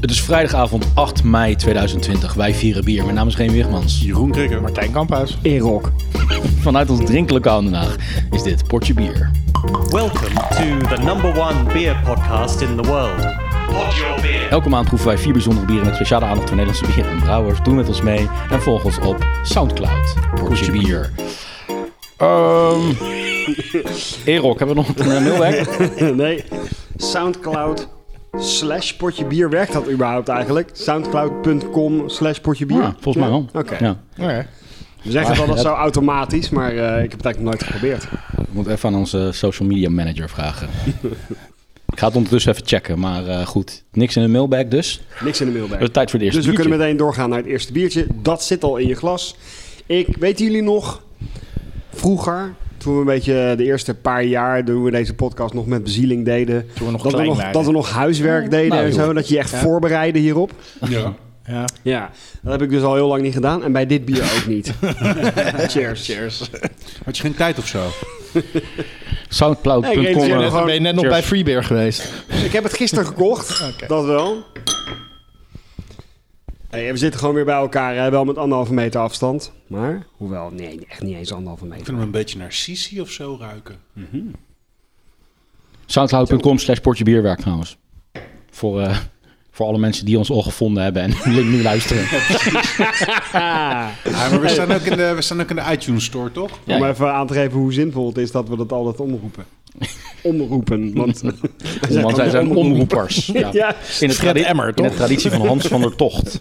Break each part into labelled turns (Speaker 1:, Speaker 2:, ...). Speaker 1: Het is vrijdagavond 8 mei 2020. Wij vieren bier. Mijn naam is Geen Wigmans.
Speaker 2: Jeroen Krikker.
Speaker 3: Martijn Kamphuis.
Speaker 4: Erok.
Speaker 1: Vanuit ons drinklokaal in Den Haag is dit Portje Bier.
Speaker 5: Welcome to the number one beer podcast in the world. Pod your beer.
Speaker 1: Elke maand proeven wij vier bijzondere bieren met speciale aandacht voor Nederlandse bieren en brouwers. Doe met ons mee en volg ons op Soundcloud. Portje Bier.
Speaker 2: Ehm,
Speaker 1: Erok, hebben we nog een eh, mailback?
Speaker 4: nee, Soundcloud slash potje bier. Werkt dat überhaupt eigenlijk? Soundcloud.com slash potje bier?
Speaker 1: Ja, volgens mij wel.
Speaker 4: Oké.
Speaker 1: Ja.
Speaker 2: oké.
Speaker 4: We zeggen het al dat zo automatisch, maar eh, ik heb het eigenlijk nog nooit geprobeerd.
Speaker 1: Ik moet even aan onze social media manager vragen. Ik ga het ondertussen even checken, maar eh, goed. Niks in de mailbag dus.
Speaker 4: Niks in de mailbag.
Speaker 1: Het is tijd voor de eerste
Speaker 4: Dus we kunnen
Speaker 1: biertje.
Speaker 4: meteen doorgaan naar het eerste biertje. Dat zit al in je glas. Ik, weten jullie nog, vroeger, toen we een beetje de eerste paar jaar, toen we deze podcast nog met bezieling deden.
Speaker 3: Toen we nog
Speaker 4: dat, we
Speaker 3: klein
Speaker 4: nog,
Speaker 3: waren.
Speaker 4: dat we nog huiswerk deden
Speaker 1: Nou,
Speaker 4: en
Speaker 1: joh.
Speaker 4: zo. Dat je je echt voorbereidde hierop.
Speaker 2: Ja. ja.
Speaker 4: Ja, dat heb ik dus al heel lang niet gedaan. En bij dit bier ook niet. Cheers. Cheers.
Speaker 2: Had je geen tijd of zo?
Speaker 4: Nee, ik
Speaker 1: Soundcloud.com.
Speaker 4: realiseer me
Speaker 1: eh,
Speaker 4: nog
Speaker 3: Dan ben je net nog
Speaker 1: Cheers.
Speaker 3: bij Freebeer geweest.
Speaker 4: Ik heb het gisteren gekocht, dat wel. Hey, we zitten gewoon weer bij elkaar, hè? wel met anderhalve meter afstand. Maar, hoewel, nee, echt niet eens anderhalve
Speaker 2: Ik
Speaker 4: meter.
Speaker 2: vind hem een beetje naar Sisi of zo ruiken.
Speaker 1: Soundcloud.com slash Portje Bierwerk trouwens. Voor, eh, voor alle mensen die ons al gevonden hebben en link nu luisteren.
Speaker 2: Ja, maar we staan, ook in de, we staan ook in de iTunes Store, toch?
Speaker 1: Ja,
Speaker 4: Om
Speaker 1: ja.
Speaker 4: even aan te geven hoe zinvol het is dat we dat altijd omroepen. Omroepen, want...
Speaker 1: Want wij zijn omroepers. Ja.
Speaker 4: Ja,
Speaker 1: In, het
Speaker 3: Fred
Speaker 1: tradi-
Speaker 3: Emmer,
Speaker 1: in
Speaker 3: toch?
Speaker 1: de traditie van Hans van der Tocht.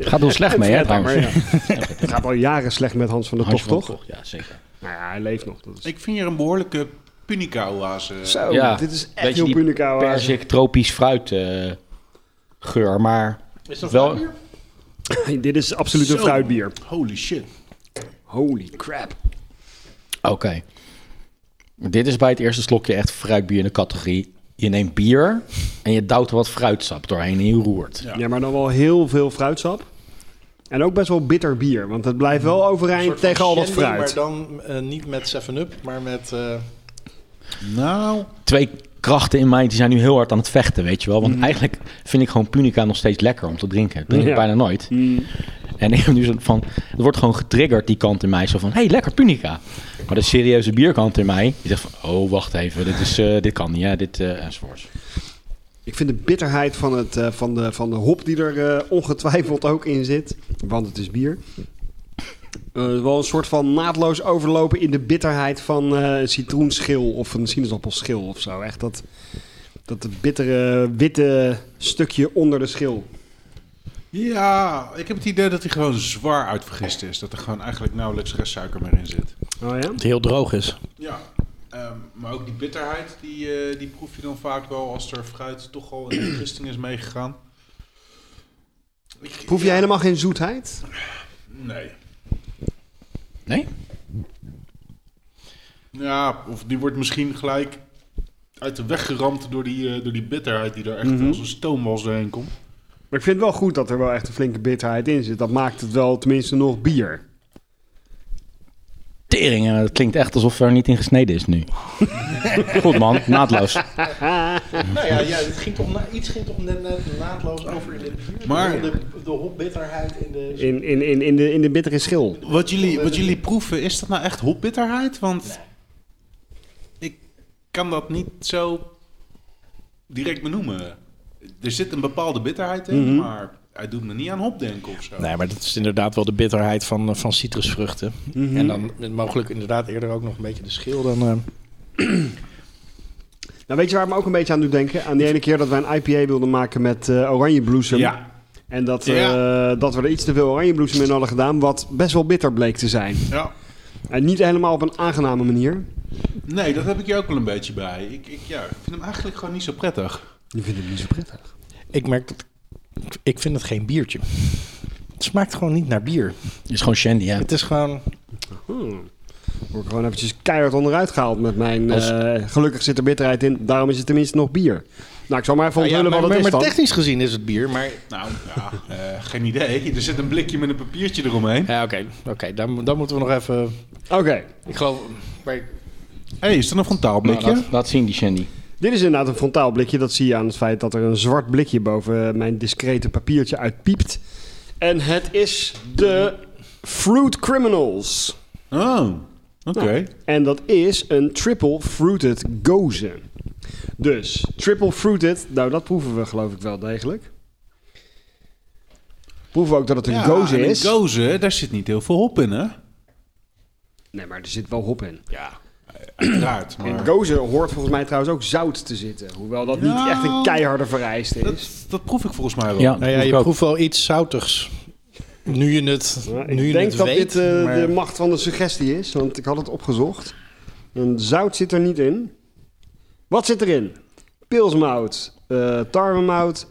Speaker 1: Gaat heel slecht mee, hè,
Speaker 4: Fred
Speaker 1: trouwens.
Speaker 4: Hammer, ja. Het gaat al jaren slecht met Hans van der
Speaker 1: Hans
Speaker 4: Tocht,
Speaker 1: van
Speaker 4: toch?
Speaker 1: der Tocht, ja, zeker.
Speaker 4: Nou ja, hij leeft nog. Dat is...
Speaker 2: Ik vind hier een behoorlijke punica-oase.
Speaker 4: Zo,
Speaker 1: ja,
Speaker 4: Oh, dit is
Speaker 1: beetje
Speaker 4: echt heel
Speaker 1: die
Speaker 4: punica. hoor.
Speaker 1: Perzik, tropisch fruit eh, geur, maar wel...
Speaker 4: Dit is absoluut een
Speaker 2: Zo.
Speaker 4: fruitbier.
Speaker 2: Holy shit.
Speaker 4: Holy crap.
Speaker 1: Oké. Dit is bij het eerste slokje echt fruitbier in de categorie. Je neemt bier en je douwt er wat fruitsap doorheen en je roert.
Speaker 2: Ja.
Speaker 4: Ja. maar dan wel heel veel fruitsap. En ook best wel bitter bier, want het blijft wel overeind tegen al dat fruit.
Speaker 3: Maar dan eh, niet met 7-Up, maar met... eh,
Speaker 2: Nou,
Speaker 1: twee krachten in mij die zijn nu heel hard aan het vechten, weet je wel. Want eigenlijk vind ik gewoon Punica nog steeds lekker om te drinken. Dat drink ik
Speaker 4: Ja.
Speaker 1: bijna nooit. En ik heb nu zo van, het wordt gewoon getriggerd die kant in mij. Zo van, hé, hey, lekker Punica. Maar de serieuze bierkant in mij, die zegt van, oh, wacht even, dit, is, eh, dit kan niet, hè, dit eh enzovoorts.
Speaker 4: Ik vind de bitterheid van, het, eh, van, de, van de hop die er eh, ongetwijfeld ook in zit, want het is bier. eh, wel een soort van naadloos overlopen in de bitterheid van eh, een citroenschil of een sinaasappelschil of zo. Echt dat, dat bittere witte stukje onder de schil.
Speaker 2: ja, ik heb het idee dat hij gewoon zwaar uitvergist is. Dat er gewoon eigenlijk nauwelijks restsuiker meer in zit.
Speaker 4: Oh ja?
Speaker 3: Het heel droog is.
Speaker 2: Ja, ehm, maar ook die bitterheid, die, eh, die proef je dan vaak wel als er fruit toch al in de vergisting is meegegaan. Ik-
Speaker 4: Proef je
Speaker 2: ja,
Speaker 4: helemaal geen zoetheid?
Speaker 2: Nee.
Speaker 1: Nee?
Speaker 2: Ja, of die wordt misschien gelijk uit de weg geramd door die, eh, door die bitterheid die er echt als een stoomwals doorheen komt.
Speaker 4: Maar ik vind het wel goed dat er wel echt een flinke bitterheid in zit. Dat maakt het wel tenminste nog bier.
Speaker 1: Tering, eh, dat klinkt echt alsof er niet in gesneden is nu. Goed man, naadloos.
Speaker 3: Nou ja, ja het ging toch na- iets ging toch net, net naadloos over de,
Speaker 2: Maar-
Speaker 3: de, de hopbitterheid in de...
Speaker 4: In, in, in, in, de, in de bittere schil.
Speaker 2: Wat jullie, wat jullie proeven, is dat nou echt hopbitterheid? Want ik kan dat niet zo direct benoemen. Er zit een bepaalde bitterheid in, maar hij doet me niet aan hop denken of zo.
Speaker 3: Nee, maar dat is inderdaad wel de bitterheid van, eh, van citrusvruchten. En dan met mogelijk inderdaad eerder ook nog een beetje de schil dan... eh,
Speaker 4: Nou, weet je waar ik me ook een beetje aan doet denken? Aan die ene keer dat wij een IPA wilden maken met eh oranjebloesem.
Speaker 2: Ja,
Speaker 4: En dat,
Speaker 2: Ja.
Speaker 4: eh, dat we er iets te veel oranjebloesem in hadden gedaan. Wat best wel bitter bleek te zijn.
Speaker 2: ja.
Speaker 4: En niet helemaal op een aangename manier.
Speaker 2: Nee, dat heb ik hier ook wel een beetje bij. Ik, ik, ja, ik vind hem eigenlijk gewoon niet zo prettig.
Speaker 4: Die vind ik niet zo prettig.
Speaker 3: Ik merk dat... Ik vind het geen biertje. Het smaakt gewoon niet naar bier.
Speaker 1: Het is gewoon shandy, hè.
Speaker 3: Het is gewoon...
Speaker 4: Word ik gewoon eventjes keihard onderuit gehaald met mijn... eh, gelukkig zit er bitterheid in. Daarom is het tenminste nog bier. Nou, ik zal maar even
Speaker 3: Nou ja, maar,
Speaker 4: onthullen wat
Speaker 3: maar-
Speaker 4: het is
Speaker 3: maar
Speaker 4: dan.
Speaker 3: technisch gezien is het bier, maar...
Speaker 2: Nou, ja, eh, geen idee. Er zit een blikje met een papiertje eromheen. Hé,
Speaker 3: Ja, oké. Oké, dan, dan moeten we nog even...
Speaker 4: Oké.
Speaker 3: Ik geloof... Maar,
Speaker 2: hey, is er een frontaal
Speaker 1: Nou,
Speaker 2: blikje?
Speaker 1: laat, laat zien die shandy.
Speaker 4: Dit is inderdaad een frontaal blikje. Dat zie je aan het feit dat er een zwart blikje boven eh, mijn discrete papiertje uitpiept. En het is de Fruit Criminals. Nou,
Speaker 2: Oh, oké.
Speaker 4: En dat is een triple fruited gozen. Dus triple fruited, nou dat proeven we geloof ik wel degelijk. Proeven we ook dat het een
Speaker 2: Ja,
Speaker 4: gozen
Speaker 2: en
Speaker 4: is.
Speaker 2: Een gozer, daar zit niet heel veel hop in, hè?
Speaker 4: nee, maar er zit wel hop in.
Speaker 2: Ja, uiteraard.
Speaker 4: In
Speaker 2: Maar
Speaker 4: gozen hoort volgens mij trouwens ook zout te zitten. Hoewel dat
Speaker 2: Ja.
Speaker 4: niet echt een keiharde vereiste is.
Speaker 2: dat, dat proef ik volgens mij wel.
Speaker 1: Ja,
Speaker 3: Nou ja,
Speaker 1: proef ik
Speaker 3: je
Speaker 1: ook.
Speaker 3: proeft wel iets zoutigs. Nu je het,
Speaker 4: Nou,
Speaker 3: nu
Speaker 4: ik
Speaker 3: je
Speaker 4: denk
Speaker 3: het
Speaker 4: dat
Speaker 3: weet.
Speaker 4: dit eh,
Speaker 3: maar-
Speaker 4: de macht van de suggestie is, want ik had het opgezocht. En zout zit er niet in. Wat zit erin? Pilsmout, eh tarwemout,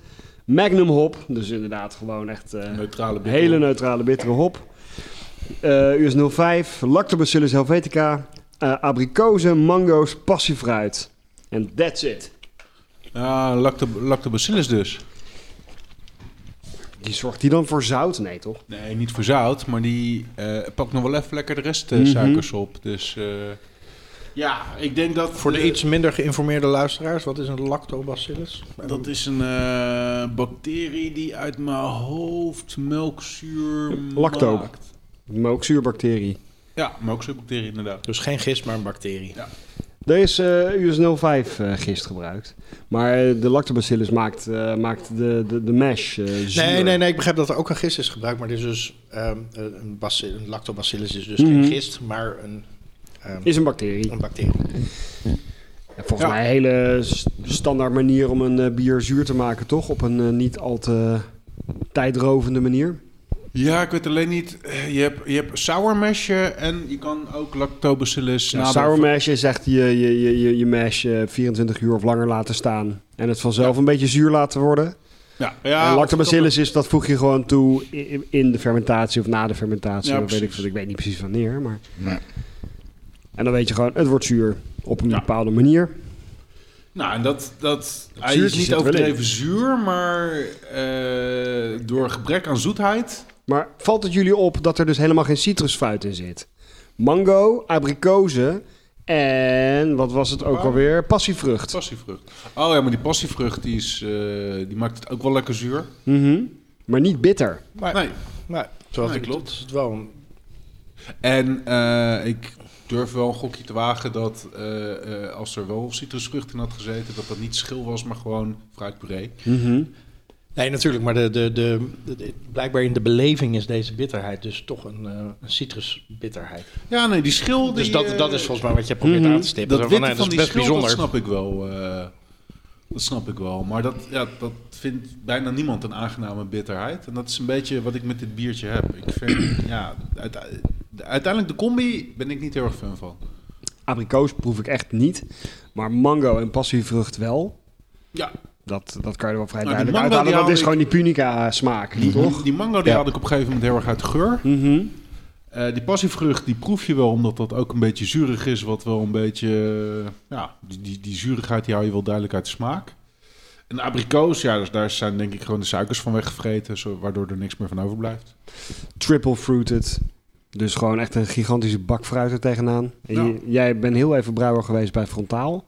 Speaker 4: magnum hop. Dus inderdaad gewoon echt eh,
Speaker 2: Neutrale bitter.
Speaker 4: hele neutrale bittere hop. Eh US 05, Lactobacillus helvetica, eh abrikozen, mango's, passiefruit. En that's it.
Speaker 2: Ja, lacto- lactobacillus dus.
Speaker 4: Die zorgt die dan voor zout? Nee, toch?
Speaker 2: Nee, niet voor zout, maar die eh, pakt nog wel even lekker de rest eh,
Speaker 4: Mhm.
Speaker 2: suikers op. Dus eh, ja, ik denk dat...
Speaker 3: Voor de
Speaker 2: eh,
Speaker 3: iets minder geïnformeerde luisteraars, wat is een lactobacillus?
Speaker 2: Dat is een eh, bacterie die uit mijn hoofd melkzuur
Speaker 4: Lacto.
Speaker 2: maakt.
Speaker 4: Melkzuurbacterie.
Speaker 2: Ja, melkzuurbacterie inderdaad.
Speaker 3: Dus geen gist, maar een bacterie.
Speaker 4: Er is eh US 05 eh, gist gebruikt. Maar eh, de lactobacillus maakt, eh, maakt de, de, de mash eh, zuur.
Speaker 3: Nee, nee, nee, ik begrijp dat er ook een gist is gebruikt, maar dit is dus ehm, een, een bacil- een lactobacillus is dus
Speaker 4: Mhm.
Speaker 3: geen gist, maar een, ehm,
Speaker 4: Is een bacterie.
Speaker 3: een bacterie.
Speaker 4: En volgens
Speaker 2: Ja.
Speaker 4: mij een hele s- standaard manier om een eh, bier zuur te maken, toch? Op een eh, niet al te tijdrovende manier.
Speaker 2: Ja, ik weet alleen niet. eh, Je hebt, je hebt sour meshje en je kan ook lactobacillus.
Speaker 4: Ja,
Speaker 2: nader-
Speaker 4: Nou, sour mash is echt je, je, je, je, je mash eh, 24 uur of langer laten staan. En het vanzelf een beetje zuur laten worden.
Speaker 2: Ja, ja,
Speaker 4: en
Speaker 2: of-
Speaker 4: lactobacillus is, dat voeg je gewoon toe i- in de fermentatie of na de fermentatie.
Speaker 2: Ja,
Speaker 4: dat weet ik,
Speaker 2: precies.
Speaker 4: ik weet niet precies wanneer, maar...
Speaker 1: Nee.
Speaker 4: En dan weet je gewoon, het wordt zuur op een
Speaker 2: Ja.
Speaker 4: bepaalde manier.
Speaker 2: Nou, en dat, dat, hij
Speaker 4: zuurtje
Speaker 2: is niet
Speaker 4: zit er wel in.
Speaker 2: overdreven zuur, maar eh, door gebrek aan zoetheid.
Speaker 4: Maar valt het jullie op dat er dus helemaal geen citrusfruit in zit? Mango, abrikozen en wat was het ook
Speaker 2: Waar?
Speaker 4: alweer? Passievrucht.
Speaker 2: Passievrucht. Oh ja, maar die passievrucht die is, eh, die maakt het ook wel lekker zuur.
Speaker 4: Mhm. Maar niet bitter.
Speaker 3: Maar,
Speaker 2: Nee.
Speaker 3: maar terwijl
Speaker 2: Nee,
Speaker 3: het
Speaker 2: klopt.
Speaker 3: klopt, is Nou, het wel een...
Speaker 2: En eh, ik durf wel een gokje te wagen dat eh, eh, als er wel citrusvrucht in had gezeten, dat dat niet schil was, maar gewoon fruitpuree.
Speaker 4: Mhm.
Speaker 3: Nee, natuurlijk, maar de, de, de, de- de- blijkbaar in de beleving is deze bitterheid dus toch een, eh, een citrusbitterheid.
Speaker 2: Ja, nee, die schil.
Speaker 3: Dus
Speaker 2: die,
Speaker 3: dat,
Speaker 2: eh,
Speaker 3: dat is volgens mij wat je probeert
Speaker 4: mhm.
Speaker 3: aan te stippen.
Speaker 2: dat
Speaker 3: Zo
Speaker 2: witte
Speaker 3: nee,
Speaker 2: van die schil, dat snap ik wel. eh, dat snap ik wel. Maar dat, ja, dat vindt bijna niemand een aangename bitterheid. En dat is een beetje wat ik met dit biertje heb. Ik vind, ja, uite- uiteindelijk de combi ben ik niet heel erg fan van.
Speaker 4: Abrikoos proef ik echt niet. Maar mango en passievrucht wel.
Speaker 2: Ja,
Speaker 4: Dat, dat kan je er wel vrij
Speaker 2: Nou, die
Speaker 4: duidelijk
Speaker 2: mango
Speaker 4: uithalen.
Speaker 2: die
Speaker 4: Dat
Speaker 2: haal
Speaker 4: is
Speaker 2: ik-
Speaker 4: gewoon die punica smaak, toch?
Speaker 2: die mango die
Speaker 4: Ja.
Speaker 2: had ik op een gegeven moment heel erg uit de geur.
Speaker 4: Mhm.
Speaker 2: Eh, die passievrucht die proef je wel, omdat dat ook een beetje zuurig is. Wat wel een beetje. eh, ja, die, die, die zuurigheid die hou je wel duidelijk uit de smaak. En de abrikoos, ja, dus daar zijn denk ik gewoon de suikers van weggevreten. Zo, waardoor er niks meer van overblijft.
Speaker 4: Triple fruited. Dus gewoon echt een gigantische bak fruit er tegenaan. En
Speaker 2: Ja.
Speaker 4: j- jij bent heel even brouwer geweest bij Frontaal.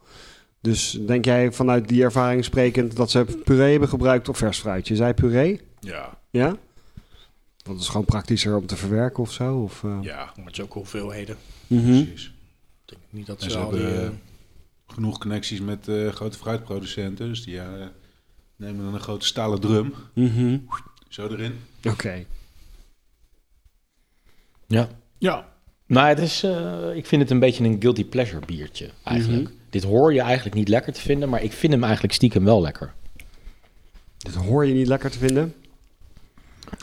Speaker 4: Dus denk jij vanuit die ervaring sprekend dat ze puree hebben gebruikt of vers fruit? Je zei puree,
Speaker 2: Ja,
Speaker 4: ja? Dat is gewoon praktischer om te verwerken of zo? Of, eh?
Speaker 2: ja,
Speaker 3: Maar het is ook hoeveelheden.
Speaker 4: Mhm.
Speaker 2: precies.
Speaker 3: Ik denk niet dat
Speaker 2: En
Speaker 3: ze,
Speaker 2: ze
Speaker 3: al die...
Speaker 2: hebben,
Speaker 3: eh,
Speaker 2: Genoeg connecties met eh, grote fruitproducenten. Dus die eh, nemen dan een grote stalen drum.
Speaker 4: Mhm.
Speaker 2: Zo erin.
Speaker 4: Oké.
Speaker 1: Ja.
Speaker 2: Ja.
Speaker 1: Nou, het is, eh, ik vind het een beetje een guilty pleasure biertje eigenlijk. Dit hoor je eigenlijk niet lekker te vinden, maar ik vind hem eigenlijk stiekem wel lekker.
Speaker 4: Dit hoor je niet lekker te vinden.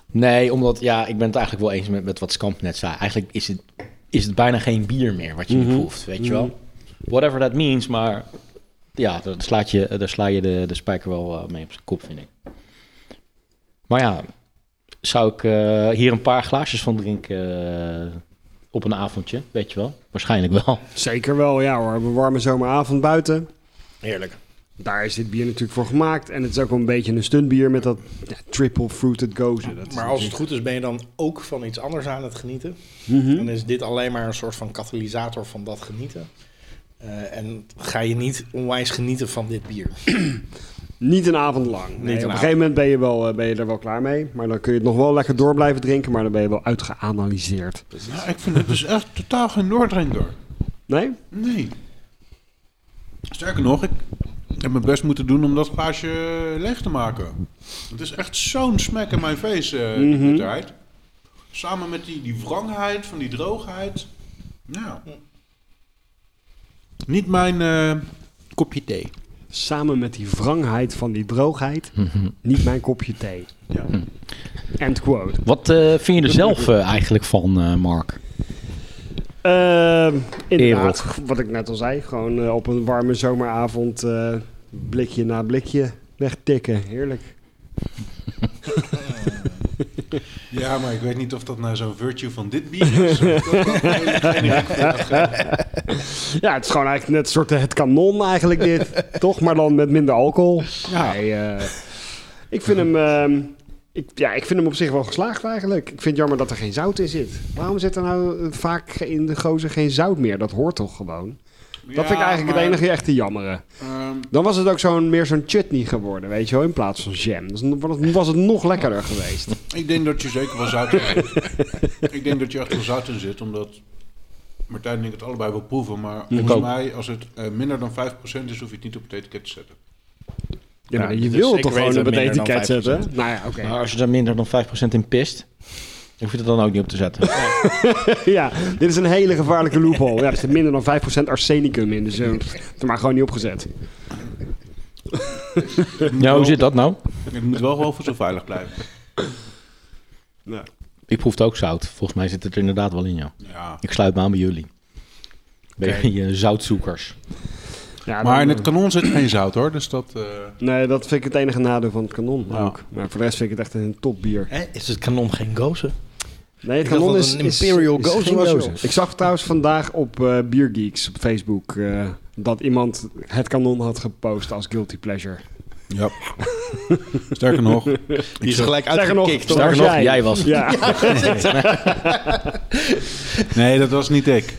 Speaker 1: Nee, omdat ja, ik ben het eigenlijk wel eens met, met wat Skamp net zei. Eigenlijk is het, is het bijna geen bier meer wat je nu
Speaker 4: Mhm.
Speaker 1: proeft, weet je wel. Whatever that means, maar ja, daar, slaat je, daar sla je de, de spijker wel eh, mee op zijn kop, vind ik. Maar ja, zou ik eh, hier een paar glaasjes van drinken eh, op een avondje, weet je wel? Waarschijnlijk wel.
Speaker 4: Zeker wel, ja hoor. Op Een warme zomeravond buiten.
Speaker 3: Heerlijk.
Speaker 4: Daar is dit bier natuurlijk voor gemaakt. En het is ook wel een beetje een stuntbier met dat ja, triple fruited gozen. Dat is
Speaker 3: Maar als het
Speaker 4: natuurlijk-
Speaker 3: goed is, ben je dan ook van iets anders aan het genieten.
Speaker 4: Mhm.
Speaker 3: Dan is dit alleen maar een soort van katalysator van dat genieten. Eh, en ga je niet onwijs genieten van dit bier.
Speaker 4: Niet een avond lang. Nee,
Speaker 3: een
Speaker 4: op een
Speaker 3: avond.
Speaker 4: gegeven moment ben je, wel, eh, ben je er wel klaar mee. Maar dan kun je het nog wel lekker door blijven drinken. Maar dan ben je wel uitgeanalyseerd.
Speaker 2: Nou, ik vind het dus echt totaal geen Noordrijnder.
Speaker 4: Nee?
Speaker 2: Nee. Sterker nog, ik heb mijn best moeten doen om dat glaasje eh, leeg te maken. Het is echt zo'n smack in mijn face, eh die
Speaker 4: Mhm.
Speaker 2: bitterheid. Samen met die, die wrangheid van die droogheid. Ja. Niet mijn eh, kopje thee.
Speaker 4: Samen met die wrangheid van die droogheid. Niet mijn kopje thee.
Speaker 2: Ja.
Speaker 4: End quote.
Speaker 1: Wat eh, vind je er zelf eh, eigenlijk van, eh, Mark?
Speaker 4: Ehm, inderdaad, wat ik net al zei. Gewoon eh, op een warme zomeravond eh, blikje na blikje wegtikken. Heerlijk.
Speaker 2: ja, maar ik weet niet of dat nou zo'n virtue van dit bier is. Dat kan ik geen idee.
Speaker 4: Ja, het is gewoon eigenlijk net een soort eh, het kanon eigenlijk dit. toch? Maar dan met minder alcohol.
Speaker 2: Ja.
Speaker 4: Nee, eh, ik vind hem... ehm, ik, ja, ik vind hem op zich wel geslaagd eigenlijk. Ik vind het jammer dat er geen zout in zit. Waarom zit er nou eh, vaak in de gozer geen zout meer? Dat hoort toch gewoon? dat vind ik
Speaker 2: Ja,
Speaker 4: eigenlijk
Speaker 2: maar,
Speaker 4: het enige echte jammeren.
Speaker 2: ehm,
Speaker 4: Dan was het ook zo'n, meer zo'n chutney geworden, weet je wel, in plaats van jam. Dus dan was het- was het nog lekkerder geweest.
Speaker 2: Ik denk dat je zeker wel zout in Ik denk dat je echt wel zout in zit, omdat Martijn en ik het allebei wil proeven. Maar volgens
Speaker 1: ook.
Speaker 2: mij, als het eh, minder dan 5% is, hoef je het niet op het etiket te zetten.
Speaker 4: Ja, maar
Speaker 3: Ja,
Speaker 4: je
Speaker 3: dus
Speaker 4: wil het
Speaker 3: zeker
Speaker 4: toch gewoon
Speaker 3: weten
Speaker 4: op het
Speaker 3: minder dan
Speaker 4: etiket zetten?
Speaker 3: 5%.
Speaker 4: Nou ja, oké.
Speaker 1: Maar als je er minder dan 5% in pist, hoef je het dan ook niet op te zetten.
Speaker 4: ja, dit is een hele gevaarlijke loophole. Ja, er zit minder dan 5% arsenicum in, dus eh, pff, heb er maar gewoon niet opgezet.
Speaker 1: ja, hoe zit dat nou?
Speaker 2: Het moet wel gewoon voor zo veilig blijven.
Speaker 1: Ik proefde ook zout. Volgens mij zit het er inderdaad wel in, ja.
Speaker 2: Ja.
Speaker 1: Ik sluit me aan bij jullie. Bij
Speaker 2: Oké.
Speaker 1: jullie eh, zoutzoekers.
Speaker 4: Ja, dan- eh,
Speaker 2: Maar in het kanon zit geen zout hoor, dus dat... eh,
Speaker 4: Nee, dat vind ik het enige nadeel van het kanon
Speaker 2: Ja.
Speaker 4: ook. Maar voor de rest vind ik het echt een topbier.
Speaker 3: Is het kanon geen gozer?
Speaker 4: Nee, het
Speaker 3: Ik dacht
Speaker 4: kanon
Speaker 3: dat
Speaker 4: is...
Speaker 3: het een
Speaker 4: is-
Speaker 3: Imperial
Speaker 4: is
Speaker 3: Gozer
Speaker 4: geen
Speaker 3: was,
Speaker 4: gozer.
Speaker 3: joh.
Speaker 4: Ik zag trouwens vandaag op eh Biergeeks op Facebook... eh, dat iemand het kanon had gepost als guilty pleasure.
Speaker 2: ja. Sterker nog,
Speaker 3: Die is gelijk
Speaker 4: Sterker nog,
Speaker 3: uitgekikt.
Speaker 4: dat
Speaker 1: Sterker
Speaker 4: was
Speaker 1: nog, jij was het.
Speaker 4: Ja.
Speaker 2: nee, dat was niet ik.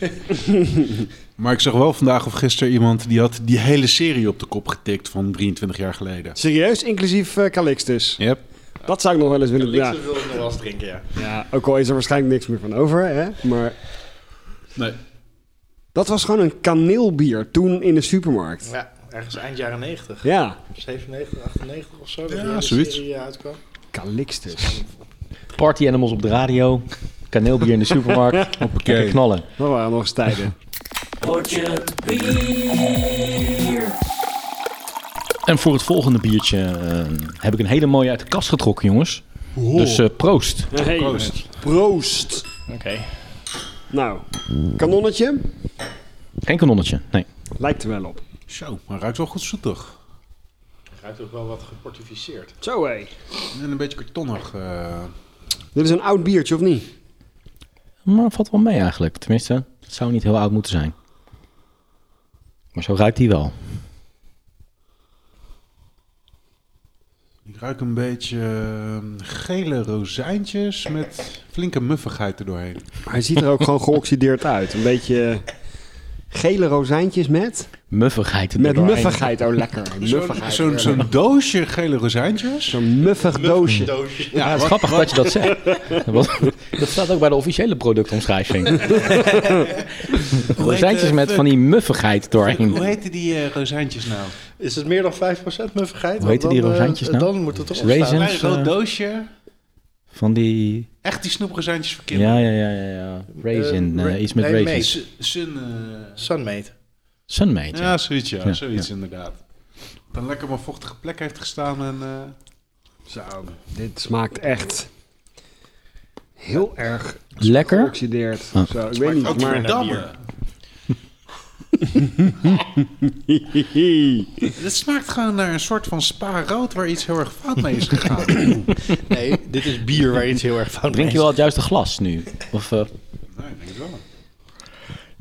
Speaker 2: Maar ik zag wel vandaag of gisteren iemand die had die hele serie op de kop getikt van 23 jaar geleden.
Speaker 4: Serieus, inclusief eh, Calixtus.
Speaker 2: Yep.
Speaker 4: Dat zou ik nog wel eens willen. Ja.
Speaker 3: wil ik nog wel eens drinken, ja.
Speaker 4: ja, ook al is er waarschijnlijk niks meer van over. Hè? Maar
Speaker 2: Nee.
Speaker 4: dat was gewoon een kaneelbier toen in de supermarkt.
Speaker 3: Ja, ergens eind jaren 90.
Speaker 4: Ja,
Speaker 3: 97, 98 of zo. dat
Speaker 2: Ja,
Speaker 3: die hele
Speaker 2: zoiets.
Speaker 3: serie, eh, uitkwam.
Speaker 4: Calixtus.
Speaker 1: Party animals op de radio, kaneelbier in de supermarkt. Lekker knallen.
Speaker 4: Dat waren nog eens tijden.
Speaker 1: En voor het volgende biertje eh, heb ik een hele mooie uit de kast getrokken, jongens. Dus eh, proost.
Speaker 4: Hey,
Speaker 2: Proost.
Speaker 4: Proost.
Speaker 3: Oké.
Speaker 4: Nou, kanonnetje
Speaker 1: Geen kanonnetje, nee.
Speaker 4: lijkt er wel op.
Speaker 2: Zo, maar ruikt wel goed zoetig.
Speaker 3: Ruikt ook wel wat geportificeerd.
Speaker 4: Zo hé.
Speaker 2: En een beetje kartonnig. eh.
Speaker 4: Dit is een oud biertje, of niet?
Speaker 1: Maar valt wel mee eigenlijk. Tenminste, het zou niet heel oud moeten zijn. Maar zo ruikt hij wel.
Speaker 2: Ik ruik een beetje eh, gele rozijntjes met flinke muffigheid erdoorheen.
Speaker 4: Maar hij ziet er ook gewoon geoxideerd uit. Een beetje gele rozijntjes met...
Speaker 1: Muffigheid. er
Speaker 4: Met
Speaker 1: doorheen.
Speaker 4: muffigheid, oh lekker.
Speaker 2: Zo'n
Speaker 4: Muffigheid.
Speaker 2: zo'n- zo'n doosje gele rozijntjes.
Speaker 4: Zo'n muffig doosje.
Speaker 1: Ja, het is grappig dat je dat zegt. Want dat staat ook bij de officiële productomschrijving. Rozijntjes met van die muffigheid doorheen.
Speaker 2: Hoe heten die eh, rozijntjes nou?
Speaker 3: Is het meer dan 5% muffigheid?
Speaker 1: Hoe heten
Speaker 3: Want
Speaker 1: die
Speaker 3: dan, eh,
Speaker 1: rozijntjes nou?
Speaker 3: Dan moet het toch
Speaker 1: Raisins?
Speaker 3: opstaan.
Speaker 2: Klein
Speaker 1: Dus,
Speaker 2: rood
Speaker 1: eh,
Speaker 2: doosje.
Speaker 1: Van die...
Speaker 2: Echt die snoeprozijntjes voor kinderen.
Speaker 1: Ja, ja, ja, ja. ja. Raisin.
Speaker 3: Eh,
Speaker 1: eh,
Speaker 3: ra-
Speaker 1: iets met
Speaker 3: nee,
Speaker 1: raisins.
Speaker 3: mace.
Speaker 2: S- Sun, eh,
Speaker 3: Sunmate.
Speaker 1: Sunmate.
Speaker 2: ja, zoiets, ja,
Speaker 1: Ja,
Speaker 2: zoiets inderdaad. Dat een lekker maar vochtige plek heeft gestaan en... eh,
Speaker 4: Zo, dit smaakt echt heel erg
Speaker 1: Lekker.
Speaker 4: geoxideerd.
Speaker 1: Ah.
Speaker 4: Zo, ik weet niet,
Speaker 2: ook
Speaker 4: maar...
Speaker 2: verdamme. Dit smaakt gewoon naar een soort van spa-rood waar iets heel erg fout mee is gegaan.
Speaker 3: Nee, dit is bier waar iets heel erg fout
Speaker 1: Drink je
Speaker 3: mee
Speaker 1: wel het juiste glas nu? Of eh,
Speaker 2: Nee, ik denk het wel.
Speaker 3: is.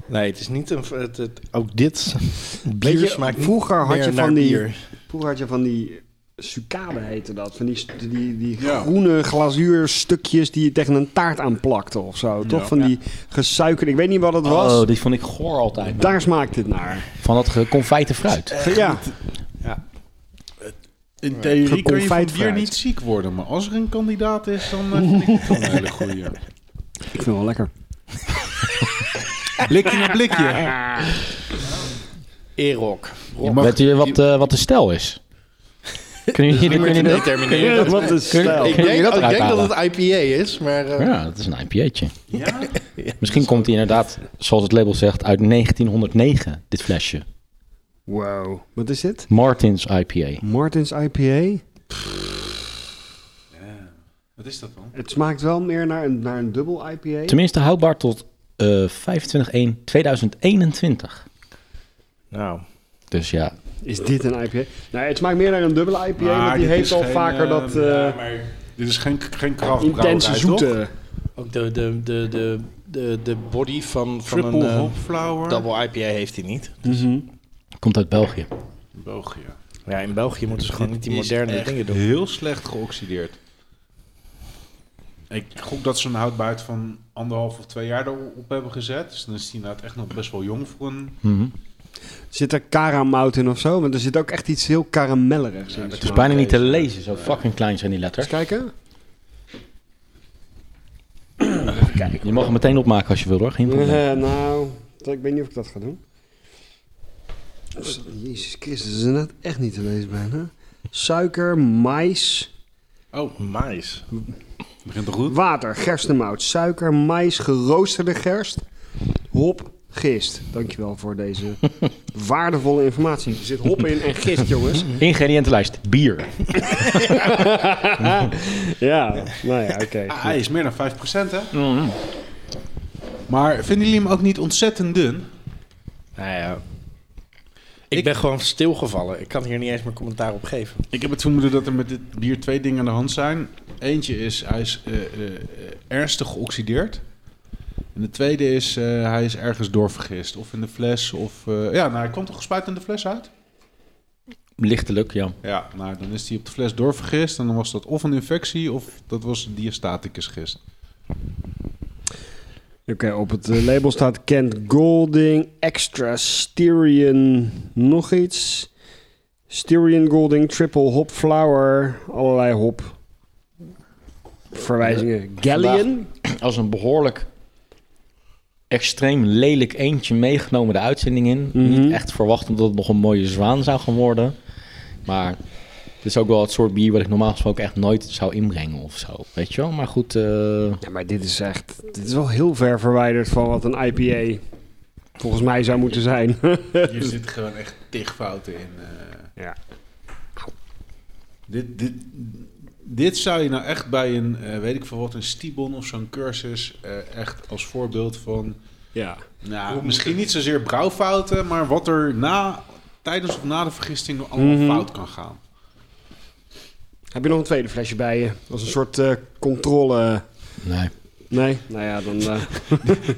Speaker 3: Nee, het is niet een... Het, het- ook dit bier
Speaker 4: Weet je,
Speaker 3: smaakt niet
Speaker 4: vroeger had
Speaker 3: meer
Speaker 4: je
Speaker 3: naar
Speaker 4: van die-
Speaker 3: bier.
Speaker 4: Vroeger had je van die sucade heette dat. Van die, st- die, die
Speaker 2: Ja.
Speaker 4: groene glazuurstukjes die je tegen een taart aanplakte of zo. Toch?
Speaker 2: Ja.
Speaker 4: Van die gesuikerde, ik weet niet wat het was.
Speaker 1: Oh, die vond ik goor altijd.
Speaker 4: Daar smaakt dit naar.
Speaker 1: Van dat geconfijte fruit.
Speaker 4: Ja,
Speaker 2: In theorie kun je van
Speaker 4: Geconfijt
Speaker 2: bier
Speaker 4: fruit.
Speaker 2: niet ziek worden, maar als er een kandidaat is, dan eh, vind ik het wel een hele goeie.
Speaker 4: ik vind het wel lekker.
Speaker 2: Blikje naar blikje.
Speaker 3: Erok.
Speaker 2: Je mag-
Speaker 1: Weet je wat, eh, wat de stijl is? Kunnen jullie kun je dat?
Speaker 3: determineren.
Speaker 4: Ja, wat een stijl.
Speaker 3: Ik
Speaker 1: Kun je
Speaker 3: denk,
Speaker 1: dat
Speaker 3: ik
Speaker 1: eruit
Speaker 3: denk dat
Speaker 1: halen?
Speaker 3: het IPA is, maar eh,
Speaker 1: Ja, dat is een IPA'tje.
Speaker 2: Ja?
Speaker 1: Misschien komt hij inderdaad, zoals het label zegt, uit 1909, dit flesje.
Speaker 4: Wow. Wat is dit?
Speaker 1: Martins IPA.
Speaker 4: Martins IPA.
Speaker 2: Wat is dat dan?
Speaker 4: Het smaakt wel meer naar een, naar een dubbel IPA.
Speaker 1: Tenminste houdbaar tot eh 25 2021
Speaker 3: nou,
Speaker 1: Dus ja,
Speaker 4: Is dit een IPA? Nou, het smaakt meer naar een dubbele IPA, want die
Speaker 2: dit
Speaker 4: heeft
Speaker 2: is
Speaker 4: al
Speaker 2: geen,
Speaker 4: vaker
Speaker 2: eh,
Speaker 4: dat eh,
Speaker 2: ja, maar dit is geen, geen krachtbrouwerij,
Speaker 4: intense eh,
Speaker 2: toch?
Speaker 4: zoete.
Speaker 3: ook de, de, de, de, de, de body van, van een
Speaker 2: Triple
Speaker 3: eh,
Speaker 2: hop flower.
Speaker 3: double IPA heeft hij niet.
Speaker 2: Mhm.
Speaker 1: komt uit België.
Speaker 2: België.
Speaker 3: Ja, in België moeten ze gewoon niet die
Speaker 2: Dit is
Speaker 3: moderne
Speaker 2: echt
Speaker 3: dingen doen.
Speaker 2: heel slecht geoxideerd. Ik gok dat ze een houdbaarheid van anderhalf of twee jaar erop hebben gezet. Dus dan is die inderdaad echt nog best wel jong voor een...
Speaker 1: Mhm.
Speaker 4: Zit er karamout in of zo? Want er zit ook echt iets heel karamellerigs in.
Speaker 1: Het is bijna niet te lezen, zo fucking klein zijn die letters.
Speaker 4: Eens kijken.
Speaker 1: Je mag hem meteen opmaken als je wil hoor, geen probleem.
Speaker 4: Eh, nou, ik weet niet of ik dat ga doen. Dus, Jezus Christus, dat is inderdaad echt niet te lezen bijna. Suiker, mais,
Speaker 2: Oh,
Speaker 3: Mais.
Speaker 2: begint toch goed?
Speaker 4: water, gerstenmout, suiker, mais, geroosterde gerst, hop, gist. Dankjewel voor deze waardevolle informatie. Er zit hop in en gist, jongens.
Speaker 1: Ingrediëntenlijst, bier.
Speaker 4: Ja, nou ja, oké.
Speaker 2: Ah, hij is meer dan 5% hè? Maar vinden jullie hem ook niet ontzettend dun?
Speaker 3: Nou ja. Ik, ben gewoon stilgevallen. Ik kan hier niet eens meer commentaar op geven.
Speaker 2: Ik heb het vermoeden dat er met dit bier twee dingen aan de hand zijn. Eentje is, hij is eh, eh, eh, ernstig geoxideerd. En de tweede is, eh, hij is ergens doorvergist. Of in de fles, of... eh, ja, nou, hij kwam toch gespuit in de fles uit?
Speaker 1: Lichtelijk, ja.
Speaker 2: Ja, nou, dan is hij op de fles doorvergist. En dan was dat of een infectie, of dat was een diastaticus gist.
Speaker 4: Oké, op het eh, label staat Kent Golding, Extra Styrian, nog iets. Styrian Golding, Triple Hop Flower, allerlei hop. Verwijzingen. Galleon?
Speaker 1: Als een behoorlijk extreem lelijk eentje meegenomen de uitzending in. Niet echt verwachtend dat het nog een mooie zwaan zou gaan worden. Maar het is ook wel het soort bier wat ik normaal gesproken echt nooit zou inbrengen of zo. Weet je wel? Maar goed, eh,
Speaker 4: Ja, maar dit is echt, dit is wel heel ver verwijderd van wat een IPA volgens mij zou moeten zijn.
Speaker 2: Hier zitten gewoon echt tig fouten in. eh.
Speaker 4: Ja.
Speaker 2: Dit, dit, dit zou je nou echt bij een, eh, weet ik veel wat, een Stibon of zo'n cursus... eh, echt als voorbeeld van...
Speaker 4: ja.
Speaker 2: Nou, misschien niet zozeer brouwfouten, maar wat er na, tijdens of na de vergisting nog allemaal fout kan gaan.
Speaker 4: Heb je nog een tweede flesje bij je? Als een soort eh, controle...
Speaker 1: nee.
Speaker 4: Nee? Nou ja, dan... eh,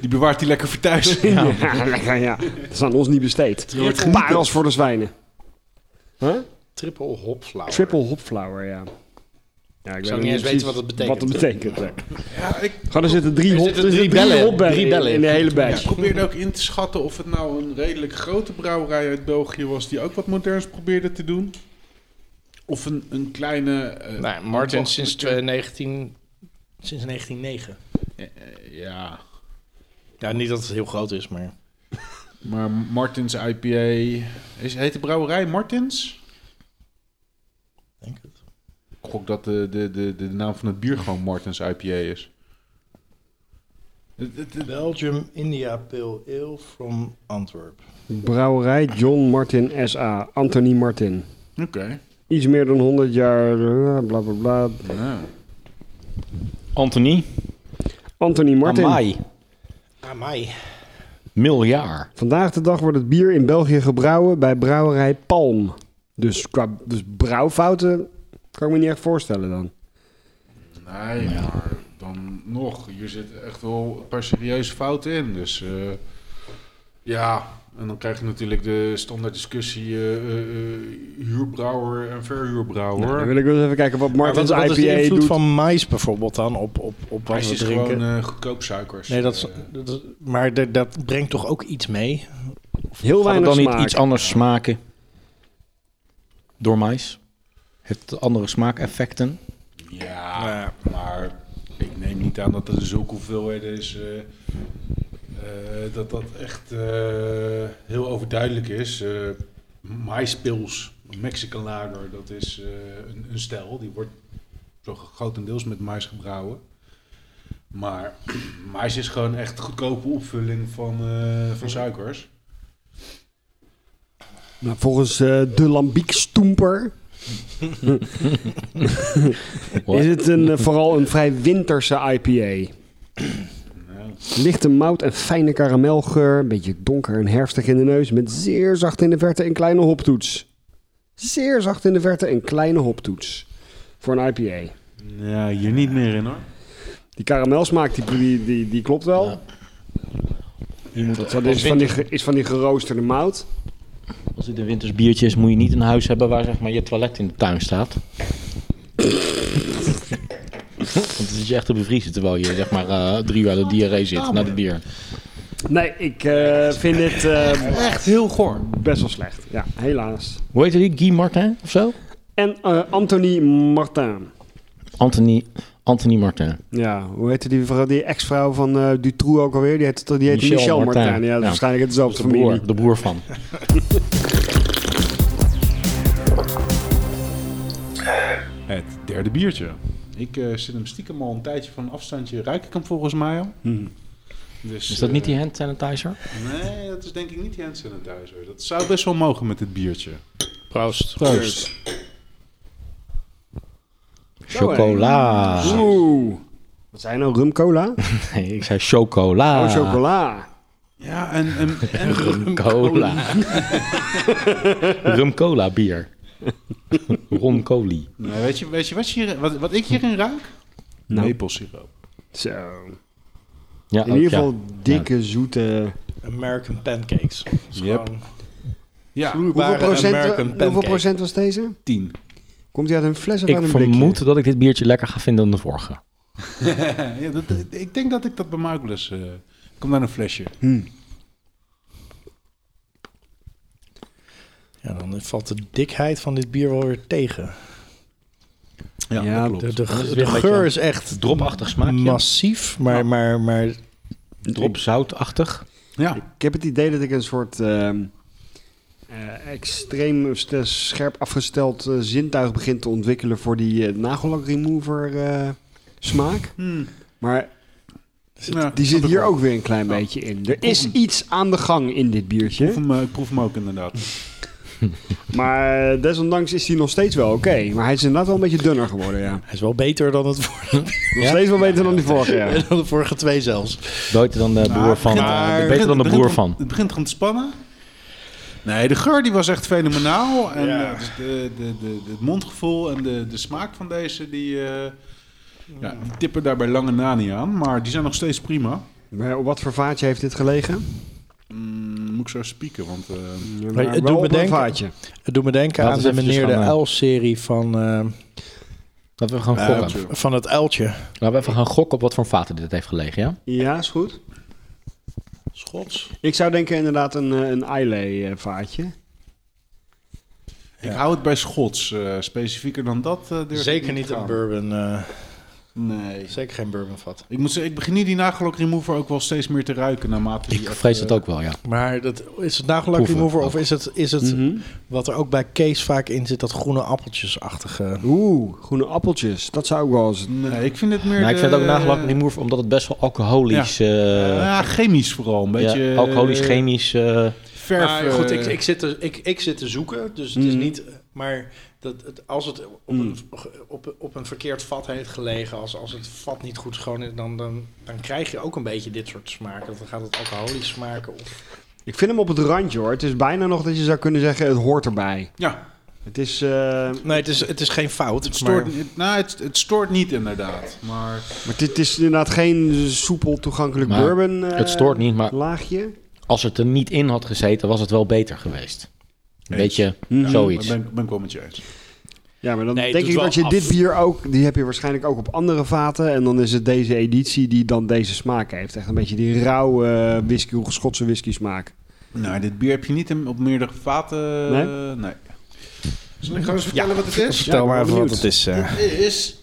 Speaker 2: Die bewaart hij lekker voor thuis.
Speaker 4: Ja, lekker, ja. Dat is aan ons niet besteed. Parels voor de zwijnen. Huh?
Speaker 3: Triple hop flower.
Speaker 4: Triple hopflower, ja. ja ik
Speaker 3: niet eens weten wat het betekent.
Speaker 4: Wat het betekent, hè.
Speaker 2: Ja, ik
Speaker 4: Gewoon, er zitten drie,
Speaker 3: Er
Speaker 4: hop,
Speaker 3: zitten
Speaker 4: er
Speaker 3: drie
Speaker 4: zitten drie
Speaker 3: bellen.
Speaker 4: hopbellen
Speaker 3: Drie
Speaker 4: in-
Speaker 3: bellen.
Speaker 4: in de hele
Speaker 2: ja,
Speaker 4: badge.
Speaker 2: ik probeerde ook in te schatten of het nou een redelijk grote brouwerij uit België was... die ook wat moderns probeerde te doen. Of een, een kleine... eh,
Speaker 3: Nou, Martin
Speaker 2: ambachtelijke-
Speaker 3: sinds, eh, 19, sinds 1909.
Speaker 2: Eh, Ja,
Speaker 3: Ja, niet dat het heel groot is, maar...
Speaker 2: maar Martins IPA... Is, heet de brouwerij Martins?
Speaker 3: Denk het.
Speaker 2: Ik gok dat de, de, de, de naam van het bier gewoon Martins IPA is. Het- het- het-
Speaker 3: Belgium India Pale Ale from Antwerp.
Speaker 4: Brouwerij John Martin S.A. Anthony Martin.
Speaker 2: Oké.
Speaker 4: Iets meer dan 100 jaar, eh, bla bla bla.
Speaker 2: Ja.
Speaker 1: Anthony,
Speaker 4: Anthony Martin.
Speaker 1: Amai,
Speaker 3: Amai.
Speaker 1: miljaar.
Speaker 4: Vandaag de dag wordt het bier in België gebrouwen bij brouwerij Palm. Dus qua dus brouwfouten kan ik me niet echt voorstellen dan.
Speaker 2: Nee, maar dan nog. Hier zit echt wel een paar serieuze fouten in. Dus eh, Ja, en dan krijg je natuurlijk de standaard discussie eh, eh, eh, huurbrouwer en verhuurbrouwer.
Speaker 4: Nou, dan wil ik wel eens even kijken wat Martins
Speaker 3: wat, is de
Speaker 4: IPA
Speaker 3: invloed
Speaker 4: doet.
Speaker 3: van mais bijvoorbeeld dan op, op, op wat
Speaker 2: Ijs
Speaker 3: we
Speaker 2: is
Speaker 3: drinken?
Speaker 2: gewoon eh, goedkoop suikers.
Speaker 3: nee, dat is,
Speaker 2: Eh,
Speaker 3: dat is- maar d- dat brengt toch ook iets mee?
Speaker 4: Heel
Speaker 1: Gaat het
Speaker 4: weinig
Speaker 1: dan niet
Speaker 4: smaak.
Speaker 1: iets anders smaken door mais? Heeft het andere smaakeffecten?
Speaker 2: ja, maar ik neem niet aan dat er zulke hoeveelheden is eh, eh, dat dat echt eh, heel overduidelijk is. Eh maispils, Mexican lager, dat is eh, een, een stijl. Die wordt zo grotendeels met mais gebrouwen. Maar mais is gewoon echt goedkope opvulling van, eh, van suikers.
Speaker 4: Nou, volgens eh, de Lambiekstoemper
Speaker 1: Wat?
Speaker 4: is het een, eh, vooral een vrij winterse IPA. Lichte mout en fijne karamelgeur. Een beetje donker en herfstig in de neus. Met zeer zacht in de verte een kleine hoptoets. Zeer zacht in de verte een kleine hoptoets. Voor een IPA.
Speaker 2: Ja, hier niet meer in hoor.
Speaker 4: Die karamelsmaak, die, die, die, die klopt wel. Dus
Speaker 1: Ja.
Speaker 4: dat dat is, van die, ge- is van die geroosterde mout.
Speaker 1: Als het een winters biertje is, moet je niet een huis hebben waar zeg maar, je toilet in de tuin staat. Want dan zit je echt te bevriezen terwijl je zeg maar, eh, drie uur aan de diarree zit naar de bier.
Speaker 4: Nee, ik eh, vind dit eh,
Speaker 2: Echt heel goor.
Speaker 4: best wel slecht. Ja, helaas.
Speaker 1: Hoe heette die? Guy Martin of zo?
Speaker 4: En eh, Anthony Martin.
Speaker 1: Anthony, Anthony Martin.
Speaker 4: Ja, hoe heette die, vrouw- die ex-vrouw van eh Dutroux ook alweer? Die heette die heette
Speaker 1: Michel
Speaker 4: Michel, Martin.
Speaker 1: Martin.
Speaker 4: Ja, dat
Speaker 1: Ja.
Speaker 4: is waarschijnlijk hetzelfde
Speaker 1: De
Speaker 4: familie.
Speaker 1: broer, de broer van.
Speaker 2: Het derde biertje. Ik eh, zit hem stiekem al een tijdje van een afstandje. Ruik ik hem volgens mij al.
Speaker 4: Hmm.
Speaker 2: Dus,
Speaker 1: Is dat
Speaker 2: eh,
Speaker 1: niet die hand sanitizer?
Speaker 2: Nee, dat is denk ik niet die hand sanitizer. Dat zou best wel mogen met dit biertje.
Speaker 3: Proost.
Speaker 2: Proost.
Speaker 1: Chocola.
Speaker 4: Oeh. Wat zijn nou? Rum cola?
Speaker 1: Nee, ik zei chocola.
Speaker 4: Oh, chocola.
Speaker 2: Ja, en, en, en
Speaker 1: Rumcola. Rumcola bier. Roncoli.
Speaker 2: Nou, weet je, weet je wat, je hier, wat, wat ik hierin ruik?
Speaker 1: Nou.
Speaker 2: Maplesiroop.
Speaker 4: Zo.
Speaker 1: Ja,
Speaker 4: In
Speaker 1: ook,
Speaker 4: ieder
Speaker 1: Oh, ja.
Speaker 4: geval dikke, zoete...
Speaker 3: American pancakes.
Speaker 2: Yep.
Speaker 3: Gewoon
Speaker 2: Ja,
Speaker 4: Hoeveel
Speaker 3: vloeibare
Speaker 4: procent,
Speaker 3: American
Speaker 4: hoeveel
Speaker 3: pancakes.
Speaker 4: procent was deze?
Speaker 2: tien.
Speaker 4: Komt hij uit een fles of uit
Speaker 1: Ik
Speaker 4: een blikje?
Speaker 1: vermoed dat ik dit biertje lekker ga vinden dan de vorige.
Speaker 2: ja, dat, dat- ik denk dat ik dat bij mij ook wel eens... eh, kom naar een flesje.
Speaker 3: Ja, dan valt de dikheid van dit bier wel weer tegen.
Speaker 2: Ja,
Speaker 4: dat
Speaker 3: De, de,
Speaker 1: is het
Speaker 3: de
Speaker 1: weer een beetje
Speaker 3: geur is echt
Speaker 1: Dropachtig smaakje.
Speaker 3: massief, maar, maar, maar
Speaker 1: Dropzoutachtig.
Speaker 2: Ja,
Speaker 4: Ik heb het idee dat ik een soort ehm, eh, extreem st- scherp afgesteld eh, zintuig begin te ontwikkelen voor die eh, nagellak remover eh, smaak. Maar
Speaker 2: Hmm. Ja,
Speaker 4: die
Speaker 2: snap
Speaker 4: zit
Speaker 2: ik
Speaker 4: hier
Speaker 2: wel.
Speaker 4: ook weer een klein beetje in. Er is iets aan de gang in dit
Speaker 2: Ik
Speaker 4: biertje.
Speaker 2: proef hem, eh, ik proef hem ook inderdaad.
Speaker 4: Maar eh, desondanks is hij nog steeds wel oké. Maar hij is inderdaad wel een beetje dunner geworden, ja.
Speaker 3: hij is wel beter dan, het vorige,
Speaker 4: Nog steeds wel beter dan die vorige, ja.
Speaker 3: dan de vorige twee zelfs.
Speaker 1: Beter dan de broer van.
Speaker 2: Maar-
Speaker 1: eh, beter dan de
Speaker 2: het Ah, begint
Speaker 1: broer
Speaker 2: om-
Speaker 1: van.
Speaker 2: Het begint om te spannen. Nee, de geur die was echt fenomenaal. En
Speaker 3: Ja.
Speaker 2: eh, dus de, de, de, de- het mondgevoel en de, de smaak van deze, die, eh, ja, die tippen daar bij lange na niet aan. Maar die zijn nog steeds prima.
Speaker 4: Maar op wat voor vaatje heeft dit gelegen?
Speaker 2: Mm, moet ik zo spieken, want... eh,
Speaker 4: Ja,
Speaker 3: het
Speaker 4: maar
Speaker 3: doet
Speaker 4: wel
Speaker 3: me
Speaker 4: op een
Speaker 3: denken-
Speaker 4: vaatje.
Speaker 3: Het doet me denken
Speaker 1: Laat
Speaker 3: aan
Speaker 1: eens
Speaker 3: de
Speaker 1: eventjes
Speaker 3: meneer de
Speaker 1: gaan, eh,
Speaker 3: L-serie van, eh,
Speaker 1: Laten we gaan gokken.
Speaker 2: chill.
Speaker 3: van het uiltje.
Speaker 1: Laten we even gaan gokken op wat voor vaten dit heeft gelegen, ja?
Speaker 4: Ja, is goed.
Speaker 3: Schots.
Speaker 4: Ik zou denken inderdaad een, eh, een Islay eh, vaatje.
Speaker 2: Ik hou het bij Schots. eh, specifieker dan dat eh, durf ik
Speaker 3: Zeker niet
Speaker 2: te
Speaker 3: een
Speaker 2: gaan.
Speaker 3: bourbon. eh,
Speaker 2: Nee.
Speaker 3: zeker geen bourbonvat.
Speaker 2: Ik moet zeggen, ik begin nu die nagelok remover ook wel steeds meer te ruiken naarmate die
Speaker 1: Ik
Speaker 2: echt,
Speaker 1: vrees
Speaker 2: eh,
Speaker 1: het ook wel, ja.
Speaker 3: Maar dat, is het nagellak
Speaker 1: Proeven.
Speaker 3: remover of is het, is het
Speaker 2: Mhm.
Speaker 3: wat er ook bij Kees vaak in zit, dat groene appeltjesachtige?
Speaker 4: Oeh, groene appeltjes. Dat zou ook wel eens...
Speaker 2: Nee, ik vind het meer...
Speaker 1: Nou, ik vind
Speaker 2: de-
Speaker 1: het ook nagelak remove omdat het best wel alcoholisch... eh,
Speaker 2: eh, Ja, chemisch vooral. Een beetje...
Speaker 1: ja,
Speaker 2: eh,
Speaker 1: alcoholisch, chemisch... eh,
Speaker 2: Verf.
Speaker 3: Maar goed,
Speaker 2: eh,
Speaker 3: ik, ik, zit te, ik, ik zit te zoeken, dus het is
Speaker 4: Mhm.
Speaker 3: niet... Maar dat, het, als het op, een,
Speaker 2: Mhm.
Speaker 3: op, op een verkeerd vat heeft gelegen, als, als het vat niet goed schoon is, dan, dan, dan krijg je ook een beetje dit soort smaken. Want Dan gaat het alcoholisch smaken. Of,
Speaker 4: Ik vind hem op het randje hoor. Het is bijna nog dat je zou kunnen zeggen, het hoort erbij.
Speaker 2: Ja,
Speaker 4: Het is... eh,
Speaker 3: nee, het is, het is geen fout.
Speaker 2: het stoort, het, nou, het, het stoort niet inderdaad. Maar
Speaker 4: maar dit is inderdaad geen soepel toegankelijk
Speaker 1: Maar
Speaker 4: bourbon eh,
Speaker 1: het stoort niet, maar
Speaker 4: laagje.
Speaker 1: als het er niet in had gezeten, was het wel beter geweest. Een
Speaker 2: Eens.
Speaker 1: beetje
Speaker 4: Mhm.
Speaker 1: zoiets.
Speaker 2: Ben, ben ik wel met je eens.
Speaker 4: Ja, maar dan
Speaker 3: Nee, het
Speaker 4: denk ik
Speaker 3: doet
Speaker 4: dat je
Speaker 3: wel af.
Speaker 4: dit bier ook... Die heb je waarschijnlijk ook op andere vaten. En dan is het deze editie die dan deze smaak heeft. Echt een beetje die rauwe eh, whisky, Schotse whisky smaak.
Speaker 2: Nou, dit bier heb je niet in- op meerdere vaten. eh,
Speaker 4: Nee?
Speaker 2: nee.
Speaker 3: Zal ik gewoon eens vertellen wat het is?
Speaker 4: Vertel maar even wat het
Speaker 6: is.
Speaker 2: Dit is.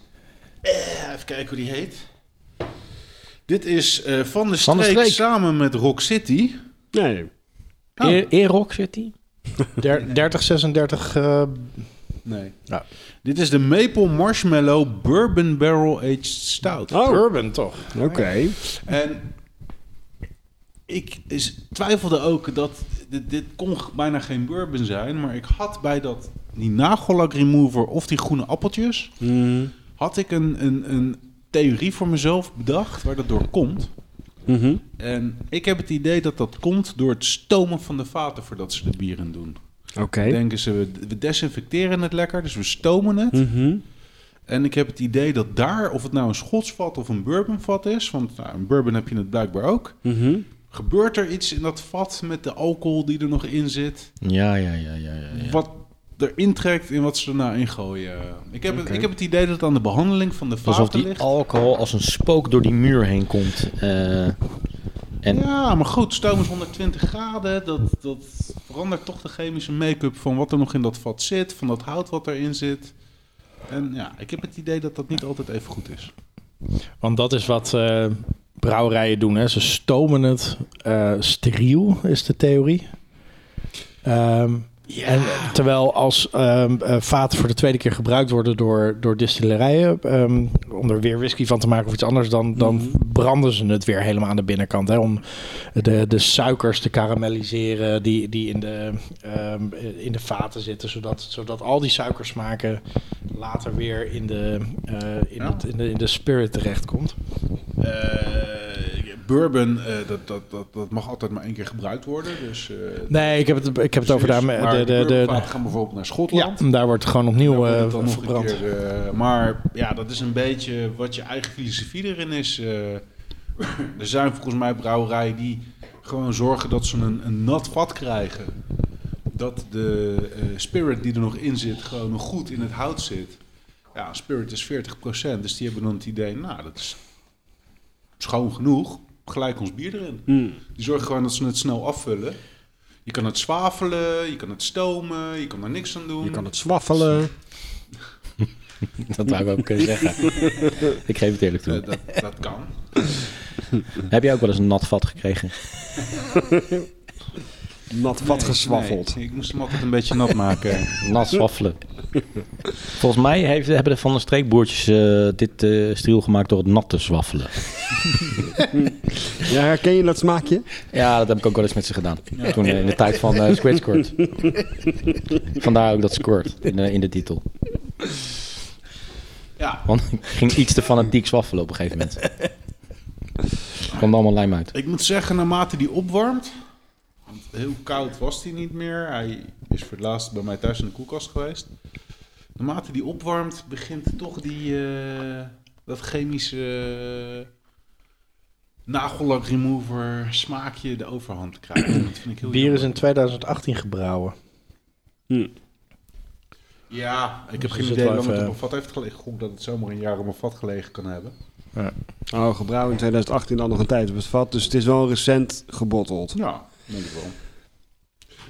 Speaker 2: eh, even kijken hoe die heet. Dit is eh, van, de
Speaker 1: Van de
Speaker 2: Streek
Speaker 1: Streek.
Speaker 2: samen met Rock City.
Speaker 4: Nee, nee.
Speaker 2: Oh.
Speaker 1: E- Erok zit die?
Speaker 3: Der- 30, 36. eh,
Speaker 2: Nee.
Speaker 6: Ja.
Speaker 2: Dit is de Maple Marshmallow Bourbon Barrel Aged Stout.
Speaker 3: Bourbon toch?
Speaker 4: Oh. Oké.
Speaker 2: En ik is, twijfelde ook dat dit, dit kon g- bijna geen bourbon zijn, maar ik had bij dat die nagellak remover of die groene appeltjes,
Speaker 5: Mm-hmm,
Speaker 4: Mhm.
Speaker 2: had ik een, een, een theorie voor mezelf bedacht waar dat door komt.
Speaker 5: mm-hmm,
Speaker 4: Mhm.
Speaker 2: En ik heb het idee dat dat komt door het stomen van de vaten voordat ze de bieren doen.
Speaker 4: Oké.
Speaker 2: Denken ze, we, we desinfecteren het lekker, dus we stomen
Speaker 5: Hm.
Speaker 2: het.
Speaker 4: Mhm.
Speaker 5: mm-hmm,
Speaker 2: En ik heb het idee dat daar, of het nou een schotsvat of een bourbonvat is, want nou, een bourbon heb je het blijkbaar ook,
Speaker 4: Mhm.
Speaker 5: mm-hmm.
Speaker 2: gebeurt er iets in dat vat met de alcohol die er nog in zit,
Speaker 1: Ja, ja, ja, ja. ja, ja.
Speaker 2: wat erin trekt en wat ze erna ingooien. Ik heb, het, ik heb het idee dat het aan de behandeling van de
Speaker 1: Alsof
Speaker 2: vaten
Speaker 1: die
Speaker 2: ligt.
Speaker 1: alcohol als een spook door die muur heen komt. Eh, en
Speaker 2: Ja, maar goed, stoom is 120 graden, dat, dat verandert toch de chemische make-up van wat er nog in dat vat zit, van dat hout wat erin zit. En ja, ik heb het idee dat dat niet altijd even goed is.
Speaker 3: Want dat is wat eh, brouwerijen doen. Hè? Ze stomen het. eh, steriel is de theorie. Ehm, en, terwijl als ehm, eh, vaten voor de tweede keer gebruikt worden door, door distillerijen... ehm, om er weer whisky van te maken of iets anders... dan, dan branden ze het weer helemaal aan de binnenkant. Hè? Om de, de suikers te karamelliseren die, die in, de, ehm, in de vaten zitten... zodat, zodat al die suikersmaken later weer in de, eh, in,
Speaker 2: Ja.
Speaker 3: het, in, de, in de spirit terechtkomt.
Speaker 2: Eh, bourbon, eh, dat, dat, dat, dat mag altijd maar één keer gebruikt worden. Dus, eh,
Speaker 3: Nee, Nou, ik heb het, ik heb het over daar,
Speaker 2: maar
Speaker 3: de, de, de,
Speaker 2: bourbonvaten gaan bijvoorbeeld naar
Speaker 3: ja,
Speaker 2: Schotland.
Speaker 3: daar wordt gewoon
Speaker 2: Daar
Speaker 3: opnieuw
Speaker 2: wordt het
Speaker 3: eh,
Speaker 2: dan nog een
Speaker 3: verbrand.
Speaker 2: keer, eh, maar ja, dat is een beetje wat je eigen filosofie erin is. eh. er zijn volgens mij brouwerijen die gewoon zorgen dat ze een, een nat vat krijgen. Dat de eh, spirit die er nog in zit, gewoon nog goed in het hout zit. Ja, spirit is 40%, dus die hebben dan het idee, nou, dat is schoon genoeg. Gelijk ons bier erin. Die zorgen gewoon dat ze het snel afvullen. Je kan het zwavelen, je kan het stomen, je kan er niks aan doen.
Speaker 4: Je kan het zwaffelen.
Speaker 1: dat wou ik ook kunnen zeggen. ik geef het eerlijk toe.
Speaker 2: Eh, dat, dat kan.
Speaker 1: Heb jij ook wel eens een nat vat gekregen?
Speaker 4: Nat wat
Speaker 2: Nee,
Speaker 4: geswaffeld.
Speaker 2: nee, ik moest hem altijd een beetje nat maken.
Speaker 1: Nat zwaffelen. Volgens mij heeft, hebben de Van der Streekboertjes eh, dit eh striel gemaakt door het nat te zwaffelen.
Speaker 4: Ja, herken je dat smaakje?
Speaker 1: Ja, dat heb ik ook wel eens met ze gedaan. Toen eh, in de tijd van eh Squid Squirt. Vandaar ook dat Squirt in, de- in de titel.
Speaker 2: Ja,
Speaker 1: Want ik ging iets te fanatiek zwaffelen op een gegeven moment. Er kwam er allemaal lijm uit.
Speaker 2: ik moet zeggen, naarmate die opwarmt... Want heel koud was hij niet meer. Hij is voor het laatst bij mij thuis in de koelkast geweest. Naarmate die opwarmt, begint toch die, eh, dat chemische nagellak remover smaakje de overhand te krijgen. Dat vind ik heel
Speaker 3: Bier is
Speaker 2: jammer.
Speaker 3: in 2018 gebrouwen.
Speaker 2: Ja, ik heb
Speaker 3: Dus
Speaker 2: geen
Speaker 3: het
Speaker 2: idee hoe
Speaker 3: wel
Speaker 2: lang het
Speaker 3: even-
Speaker 2: op een vat heeft gelegen. Ik gok dat het zomaar een jaar op een vat gelegen kan hebben.
Speaker 4: Oh, gebrouwen in 2018 dan nog een tijd op het vat. Dus het is wel recent gebotteld.
Speaker 2: Ja, denk ik wel.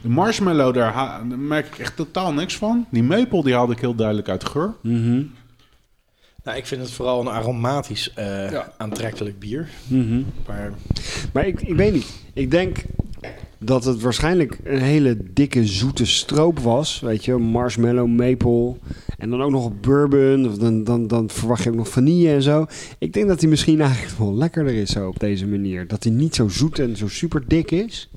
Speaker 2: De marshmallow, daar, ha- daar merk ik echt totaal niks van. Die maple, die haalde ik heel duidelijk uit de geur.
Speaker 4: Mhm.
Speaker 3: Nou, ik vind het vooral een aromatisch eh,
Speaker 2: Ja.
Speaker 3: aantrekkelijk bier.
Speaker 4: Mhm.
Speaker 3: Maar
Speaker 4: Maar ik, ik weet niet. Ik denk dat het waarschijnlijk een hele dikke zoete stroop was. Weet je, marshmallow, maple. En dan ook nog bourbon. Of Dan, dan, dan verwacht je ook nog vanille en zo. Ik denk dat hij misschien eigenlijk wel lekkerder is zo op deze manier. Dat hij niet zo zoet en zo super dik is.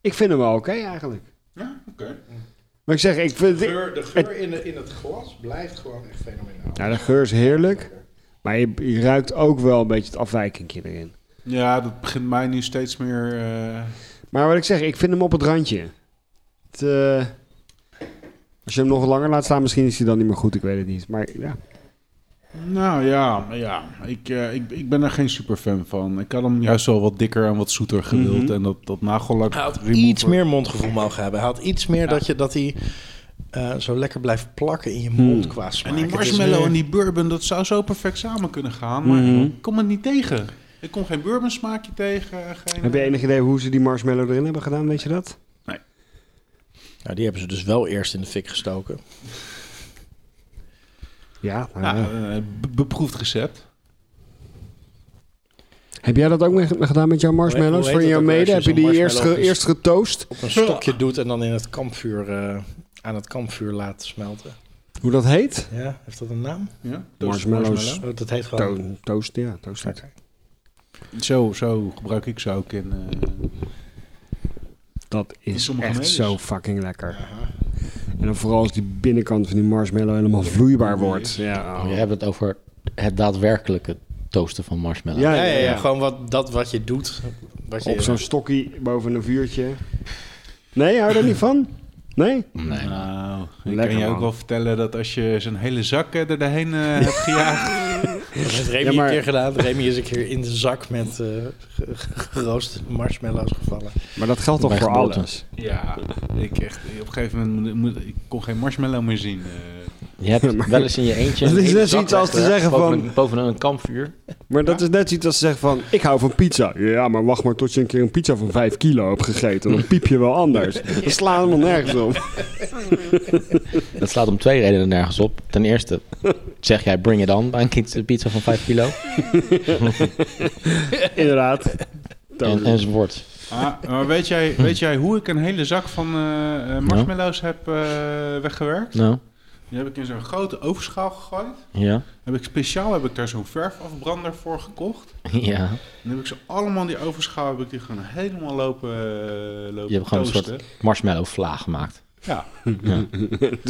Speaker 4: Ik vind hem wel oké eigenlijk.
Speaker 2: Ja, oké.
Speaker 4: Maar ik zeg, ik vind...
Speaker 3: de
Speaker 4: geur
Speaker 3: in, in het glas blijft gewoon echt fenomenaal.
Speaker 4: Ja, Nou, de geur is heerlijk. Maar je, je ruikt ook wel een beetje het afwijkingje erin.
Speaker 2: Ja, dat begint mij nu steeds meer... eh,
Speaker 4: Maar wat ik zeg, ik vind hem op het randje. Het, eh, als je hem nog langer laat staan, misschien is hij dan niet meer goed. Ik weet het niet. Maar ja.
Speaker 2: Nou ja, ja. Ik, eh, ik, ik ben er geen superfan van. Ik had hem juist wel wat dikker en wat zoeter gewild. En dat, dat nagellak...
Speaker 3: Hij had
Speaker 2: remover-
Speaker 3: iets meer mondgevoel mogen hebben. Hij had iets meer dat, je, dat hij eh, zo lekker blijft plakken in je mond qua smaak.
Speaker 2: En die
Speaker 3: Het is
Speaker 2: marshmallow
Speaker 3: meer-
Speaker 2: en die bourbon, dat zou zo perfect samen kunnen gaan. Maar ik kom het niet tegen. Ik kom geen bourbon smaakje tegen. Geen, eh,
Speaker 4: Heb je enig idee hoe ze die marshmallow erin hebben gedaan? Weet je dat?
Speaker 3: Ja, die hebben ze dus wel eerst in de fik gestoken.
Speaker 4: Ja. nou
Speaker 2: Nou,
Speaker 4: ja.
Speaker 2: eh, be- beproefd recept.
Speaker 4: Heb jij dat ook mee gedaan met jouw
Speaker 3: Hoe
Speaker 4: marshmallows
Speaker 3: heet
Speaker 4: voor
Speaker 3: dat
Speaker 4: jouw
Speaker 3: ook weer als
Speaker 4: mede?
Speaker 3: je
Speaker 4: Heb je
Speaker 3: zo'n
Speaker 4: die eerst, ge,
Speaker 3: marshmallow
Speaker 4: eerst getoast?
Speaker 3: Op een stokje doet en dan in het kampvuur, eh, aan het kampvuur laat smelten.
Speaker 4: Hoe dat heet?
Speaker 3: Ja, heeft dat een naam?
Speaker 2: Ja?
Speaker 4: Marshmallows.
Speaker 3: Oh, dat heet gewoon...
Speaker 4: To- toast, ja. Toast.
Speaker 3: Oké.
Speaker 2: Zo, zo gebruik ik ze ook in... eh,
Speaker 4: Dat is
Speaker 2: sommige
Speaker 4: echt
Speaker 2: medes.
Speaker 4: zo fucking lekker. En dan vooral als die binnenkant van die marshmallow helemaal vloeibaar wordt. Ja, oh,
Speaker 1: Je hebt het over het daadwerkelijke toasten van marshmallow.
Speaker 4: Ja,
Speaker 3: Ja, ja, ja, gewoon wat, dat wat je doet. Wat je,
Speaker 4: Op zo'n stokkie boven een vuurtje. Nee, hou er niet van? Nee?
Speaker 1: Nee.
Speaker 2: Nou, ik
Speaker 4: Lekker,
Speaker 2: kan je ook
Speaker 4: man.
Speaker 2: wel vertellen dat als je zijn hele zak eh, er doorheen eh, hebt gejaagd...
Speaker 3: Dat heeft Remy
Speaker 4: Ja, maar-
Speaker 3: een keer gedaan. Remy is een keer in de zak met eh, ge- ge- geroosterde marshmallows gevallen.
Speaker 4: Maar dat geldt toch
Speaker 1: Bij
Speaker 4: voor
Speaker 1: geboorte.
Speaker 4: alles?
Speaker 2: ja, ik echt, op een gegeven moment moet, moet- ik kon geen marshmallow meer zien. eh.
Speaker 1: Je hebt wel eens in je eentje...
Speaker 4: Dat
Speaker 1: een
Speaker 4: is
Speaker 1: hele
Speaker 4: net
Speaker 1: zak
Speaker 4: zoiets als te
Speaker 1: weggelegd
Speaker 4: zeggen
Speaker 1: boven
Speaker 4: van-
Speaker 1: Een, boven een kampvuur.
Speaker 4: Maar dat is net zoiets als zeggen van, ik hou van pizza. Ja, maar wacht maar tot je een keer een pizza van 5 kilo hebt gegeten. Dan piep je wel anders. Dat slaat helemaal nergens op.
Speaker 1: Dat slaat om twee redenen nergens op. Ten eerste zeg jij bring it on bij een kind- pizza van 5 kilo.
Speaker 4: Inderdaad.
Speaker 1: En, enzovoort.
Speaker 2: Ah, maar weet jij, weet jij hoe ik een hele zak van eh, eh, marshmallows heb eh, weggewerkt?
Speaker 1: Nou,
Speaker 2: Die heb ik in zo'n grote ovenschaal gegooid.
Speaker 1: ja.
Speaker 2: Heb ik speciaal heb ik daar zo'n verfafbrander voor gekocht.
Speaker 1: Ja.
Speaker 2: En heb ik ze allemaal in die ovenschaal heb ik die gewoon helemaal lopen, eh, lopen
Speaker 1: Je hebt gewoon een
Speaker 2: toasten.
Speaker 1: soort marshmallow vla gemaakt.
Speaker 2: Ja,
Speaker 1: En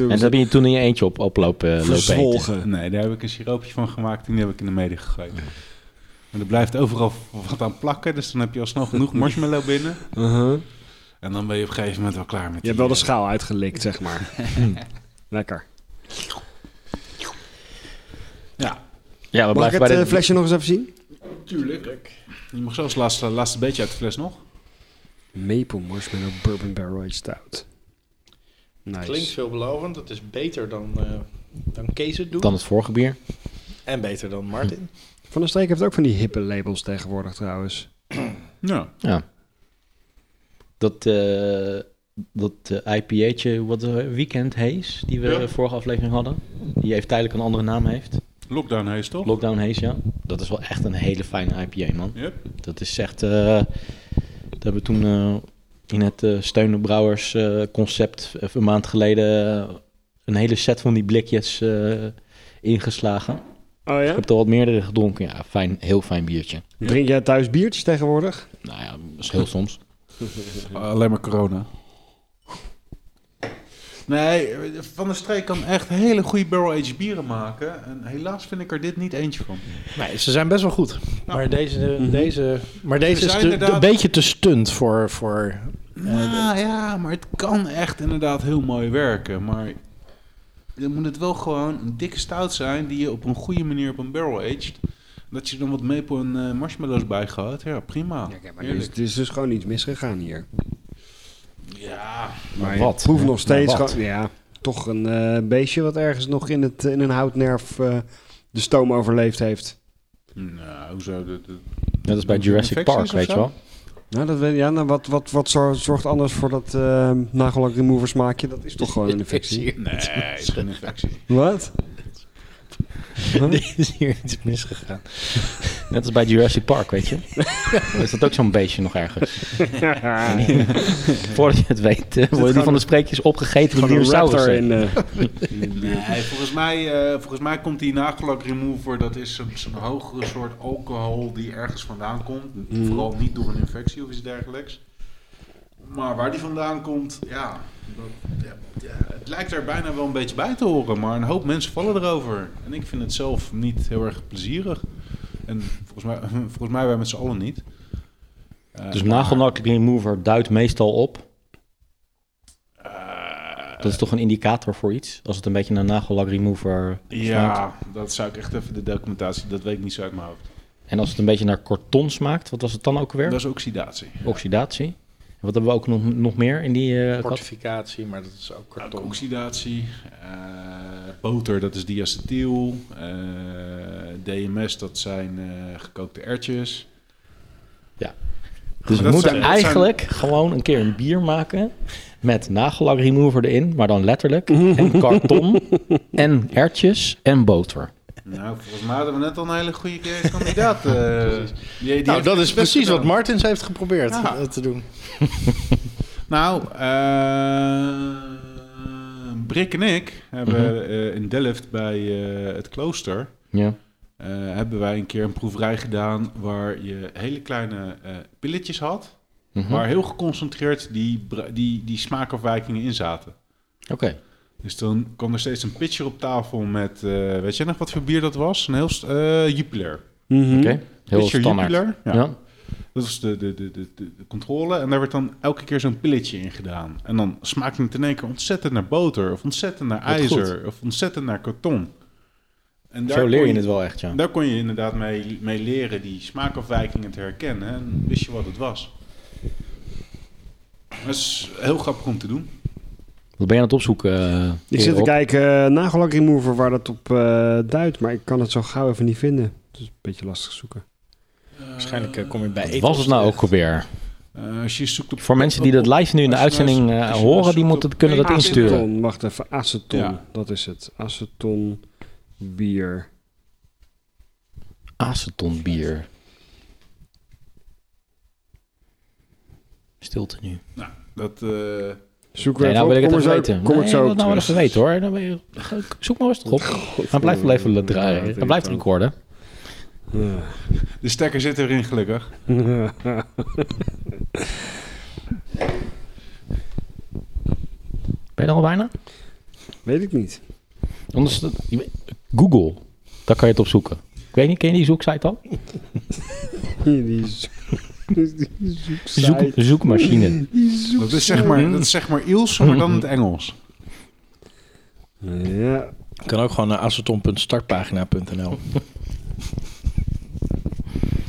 Speaker 1: dat heb je toen in je eentje op, oplopen lopen eten.
Speaker 4: Verzwolgen.
Speaker 2: nee, daar heb ik een siroopje van gemaakt en die heb ik in de mede gegooid. En er blijft overal wat aan plakken, dus dan heb je alsnog genoeg marshmallow binnen.
Speaker 4: Uh-huh.
Speaker 2: En dan ben je op een gegeven moment wel klaar met eh,
Speaker 4: Je hebt wel de schaal uitgelikt, zeg maar.
Speaker 1: Hmm.
Speaker 4: Lekker.
Speaker 2: Ja,
Speaker 1: Ja, we
Speaker 4: Mag ik
Speaker 1: blijven
Speaker 4: het
Speaker 1: bij
Speaker 4: eh,
Speaker 1: de...
Speaker 4: flesje nog eens even zien?
Speaker 2: tuurlijk. Je mag zelfs het laatste, laatste beetje uit de fles nog.
Speaker 4: Maple Marshmallow Bourbon Barrel Aged Stout. Nice.
Speaker 3: Klinkt veelbelovend. Dat is beter dan, eh dan Kees het doet.
Speaker 1: Dan het vorige bier.
Speaker 3: En beter dan Martin.
Speaker 4: Van der Streek heeft ook van die hippe labels tegenwoordig trouwens.
Speaker 2: Ja.
Speaker 1: Dat, eh dat eh, IPA'tje, wat de Weekend Haze, die we
Speaker 2: Ja.
Speaker 1: de vorige aflevering hadden. Die heeft tijdelijk een andere naam heeft.
Speaker 2: Lockdown heet toch?
Speaker 1: Lockdown Haze, ja. Dat is wel echt een hele fijne IPA, man.
Speaker 2: Yep.
Speaker 1: Dat is echt... eh, dat hebben we toen eh, in het eh Steunenbrouwers eh, concept eh, een maand geleden... eh, een hele set van die blikjes eh, ingeslagen.
Speaker 4: Oh
Speaker 1: Ik
Speaker 4: ja?
Speaker 1: heb er wat meerdere gedronken. Ja, fijn, heel fijn biertje.
Speaker 4: Drink jij thuis biertjes tegenwoordig?
Speaker 1: Nou ja, dat is heel soms.
Speaker 2: eh, Alleen maar corona. Nee, Van der Streek kan echt hele goede barrel-aged bieren maken. En helaas vind ik er dit niet eentje van.
Speaker 3: Nee, ze zijn best wel goed. Maar deze, deze, maar
Speaker 2: Ze
Speaker 3: deze is
Speaker 2: zijn
Speaker 3: te-
Speaker 2: inderdaad-
Speaker 3: een beetje te stunt voor... voor
Speaker 2: Nou ja, maar het kan echt inderdaad heel mooi werken. Maar dan moet het wel gewoon een dikke stout zijn die je op een goede manier op een barrel aged. Dat je er dan wat maple en eh, marshmallows bij gehad. Ja, prima.
Speaker 4: er is,
Speaker 2: Heerlijk.
Speaker 4: er is dus gewoon iets misgegaan hier.
Speaker 2: Ja,
Speaker 4: Maar
Speaker 1: wat?
Speaker 4: ik proef nog steeds
Speaker 1: Maar wat?
Speaker 4: gewoon- ja, toch een eh, beestje wat ergens nog in, het, in een houtnerf eh, de stoom overleefd heeft.
Speaker 2: nou, hoezo? Dat, dat-
Speaker 1: Net als bij
Speaker 2: Een
Speaker 1: Jurassic
Speaker 2: infectie
Speaker 1: Park,
Speaker 2: is of
Speaker 1: weet je
Speaker 2: zo?
Speaker 1: wel.
Speaker 4: Nou, dat weet, ja, nou, wat, wat, wat zor- zorgt anders voor dat eh nagellak remover smaakje? Dat is toch gewoon een infectie?
Speaker 2: Nee, het is geen infectie.
Speaker 4: Wat?
Speaker 3: Er is hier iets misgegaan.
Speaker 1: Net als bij Jurassic Park, weet je. Dan is dat ook zo'n beestje nog ergens. Voordat je het weet, eh, worden die
Speaker 4: gewoon
Speaker 1: van de spreekjes opgegeten door
Speaker 4: Gewoon een
Speaker 1: dinosaurus.
Speaker 4: raptor in... eh,
Speaker 2: Nee, volgens mij, eh, volgens mij komt die nagelak remover, dat is zo'n zo'n hogere soort alcohol die ergens vandaan komt.
Speaker 4: Mhm.
Speaker 2: Vooral niet door een infectie of iets dergelijks. Maar waar die vandaan komt, ja, dat- ja, ja, het lijkt er bijna wel een beetje bij te horen. Maar een hoop mensen vallen erover. En ik vind het zelf niet heel erg plezierig. En volgens mij, volgens mij wij met z'n allen niet. Eh,
Speaker 1: Dus
Speaker 2: maar-
Speaker 1: nagelnak remover duidt meestal op.
Speaker 2: Eh,
Speaker 1: Dat is toch een indicator voor iets? Als het een beetje een nagellak remover smaakt.
Speaker 2: Ja, Dus dat zou ik echt even de documentatie, dat weet ik niet zo uit mijn hoofd.
Speaker 1: En als het een beetje naar karton smaakt, wat was het dan ook weer?
Speaker 2: Dat is oxidatie.
Speaker 1: Oxidatie. En wat hebben we ook nog, nog meer in die eh, kat?
Speaker 3: Fortificatie, maar dat is ook
Speaker 2: Ook
Speaker 3: karton.
Speaker 2: Oxidatie, eh, boter, dat is diacetyl, eh, DMS, dat zijn eh, gekookte ertjes.
Speaker 1: Dus
Speaker 2: Maar
Speaker 1: we
Speaker 2: dat
Speaker 1: moeten
Speaker 2: zijn- dat zijn-
Speaker 1: eigenlijk gewoon een keer een bier maken met nagellak remover erin, maar dan letterlijk. En karton en ertjes en boter.
Speaker 2: Nou, volgens mij hadden we net al een hele goede eh, kandidaat. eh, die- die
Speaker 3: Nou,
Speaker 2: heeft
Speaker 3: dat
Speaker 2: het
Speaker 3: is
Speaker 2: best
Speaker 3: precies wat
Speaker 2: gedaan.
Speaker 3: Martins heeft geprobeerd
Speaker 2: Ja.
Speaker 3: eh, te doen.
Speaker 2: Nou, eh, Brik en ik hebben
Speaker 3: Mhm.
Speaker 2: eh, in Delft bij eh, het klooster...
Speaker 1: Ja.
Speaker 2: eh, hebben wij een keer een proeverij gedaan waar je hele kleine eh, pilletjes had...
Speaker 1: Mhm.
Speaker 2: maar heel geconcentreerd die, bra- die, die smaakafwijkingen in zaten.
Speaker 1: Oké.
Speaker 2: Dus dan kwam er steeds een pitcher op tafel met, eh, weet jij nog wat voor bier dat was? Een heel st- eh, Jupiler.
Speaker 4: Mhm.
Speaker 1: Oké. Heel
Speaker 2: Pitcher
Speaker 1: standaard.
Speaker 2: Jupiler.
Speaker 1: Ja.
Speaker 2: Ja. Dat was de, de, de, de, de controle. En daar werd dan elke keer zo'n pilletje in gedaan. En dan smaakte het in één keer ontzettend naar boter, of ontzettend naar
Speaker 1: Wat
Speaker 2: ijzer, of ontzettend naar karton. En
Speaker 1: Zo leer
Speaker 2: kon
Speaker 1: je het wel echt, ja.
Speaker 2: Daar kon je inderdaad mee, mee leren die smaakafwijkingen te herkennen. En wist je wat het was. Dat is heel grappig om te doen.
Speaker 1: Wat ben je aan het opzoeken? eh,
Speaker 4: Ik zit te
Speaker 1: Rob?
Speaker 4: kijken, eh, nagellak remover, waar dat op eh, duidt. Maar ik kan het zo gauw even niet vinden. Dus een beetje lastig zoeken.
Speaker 3: Waarschijnlijk eh, kom je bij
Speaker 1: Wat was het nou ook alweer?
Speaker 2: Eh, als je zoekt op
Speaker 1: Voor mensen die dat live nu in de
Speaker 2: Als je nou
Speaker 1: uitzending
Speaker 2: zoekt-
Speaker 1: eh,
Speaker 2: als je nou
Speaker 1: horen, die
Speaker 2: zoekt
Speaker 1: moeten,
Speaker 2: op
Speaker 1: kunnen dat
Speaker 2: één-
Speaker 1: insturen.
Speaker 4: Aceton, wacht even. Aceton,
Speaker 2: Ja.
Speaker 4: dat is het. Aceton bier.
Speaker 1: Aceton bier. Stilte nu.
Speaker 2: Nou, dat, eh,
Speaker 4: Zoek
Speaker 1: Nee,
Speaker 4: weer
Speaker 1: nou wil ik
Speaker 4: even
Speaker 1: het even weten.
Speaker 4: op. Kom, er zo, kom eh.
Speaker 1: nee,
Speaker 4: ik zo
Speaker 1: ik wil het nou wel
Speaker 4: terug.
Speaker 1: even weten hoor. Dan ben je, zoek maar rustig op. Hij blijft wel even draaien. Hij blijft recorden.
Speaker 2: de stekker zit erin gelukkig.
Speaker 4: Ja.
Speaker 1: Ben je er al bijna?
Speaker 4: Weet ik niet.
Speaker 1: Anders, Google, daar kan je het op zoeken. Ik weet niet, ken je die zoeksite al?
Speaker 4: Die, z- die zoeksite.
Speaker 1: Zoek, zoekmachine.
Speaker 4: Die zoek-
Speaker 2: Dat is zeg maar, dat is zeg maar Iels, maar dan in het Engels.
Speaker 4: Ja.
Speaker 3: Kan ook gewoon naar aceton.startpagina.nl.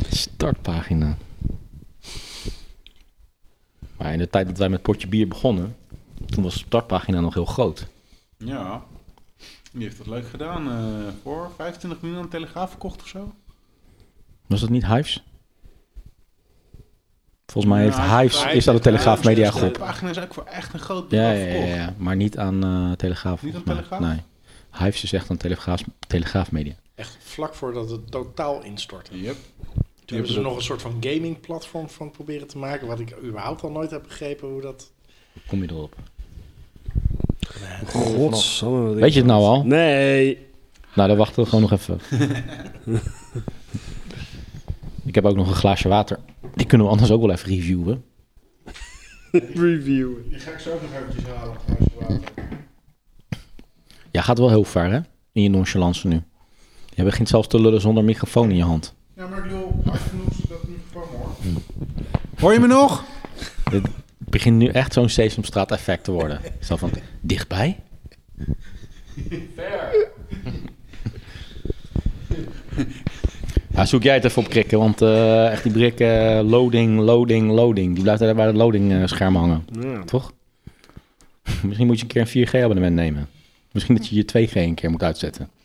Speaker 1: Startpagina. Maar in de tijd dat wij met potje bier begonnen, toen was de startpagina nog heel groot.
Speaker 2: Ja. Die heeft dat leuk gedaan. eh, voor 25 miljoen aan de Telegraaf verkocht of zo.
Speaker 1: Was dat niet Hives? Volgens mij heeft
Speaker 2: Ja,
Speaker 1: Hives, is
Speaker 2: Hives
Speaker 1: dat de
Speaker 2: heeft-
Speaker 1: Telegraaf
Speaker 2: Hives
Speaker 1: Media
Speaker 2: is de- De
Speaker 1: Groep.
Speaker 2: pagina is ook voor echt een groot bedrag
Speaker 1: Ja, ja, ja,
Speaker 2: verkocht.
Speaker 1: ja, maar niet aan eh, Telegraaf.
Speaker 2: Niet
Speaker 1: volgens
Speaker 2: aan
Speaker 1: mij.
Speaker 2: Telegraaf?
Speaker 1: Nee. Hives is echt aan Telegraaf, Telegraaf Media.
Speaker 3: Echt vlak voordat het totaal instortte.
Speaker 2: Yep.
Speaker 3: Toen hebben ze nog een soort van gaming platform van proberen te maken, wat ik überhaupt al nooit heb begrepen hoe dat...
Speaker 1: Kom je erop?
Speaker 4: Godsamme. wat ik-
Speaker 1: Weet je het nou al?
Speaker 4: Nee.
Speaker 1: Nou, dan wachten we gewoon nog even. Ik heb ook nog een glaasje water. Die kunnen we anders ook wel even reviewen.
Speaker 4: Review.
Speaker 2: Die ga ik zo ook nog eventjes halen.
Speaker 1: Ja, gaat wel heel ver, hè? In je nonchalance nu. Je begint zelfs te lullen zonder microfoon in je hand.
Speaker 2: Ja, maar joh, hard genoeg zodat nu microfoon hoor. Hoor je me nog?
Speaker 1: Dit begint nu echt zo'n Sesamstraat effect te worden. Zo van, dichtbij? Ja, zoek jij het even op, Krikken. Want eh, echt die brik, eh, loading, loading, loading. Die blijft daar bij het loading eh, scherm hangen.
Speaker 4: Ja.
Speaker 1: Toch? Misschien moet je een keer een 4G-abonnement nemen. Misschien dat je je 2G een keer moet uitzetten.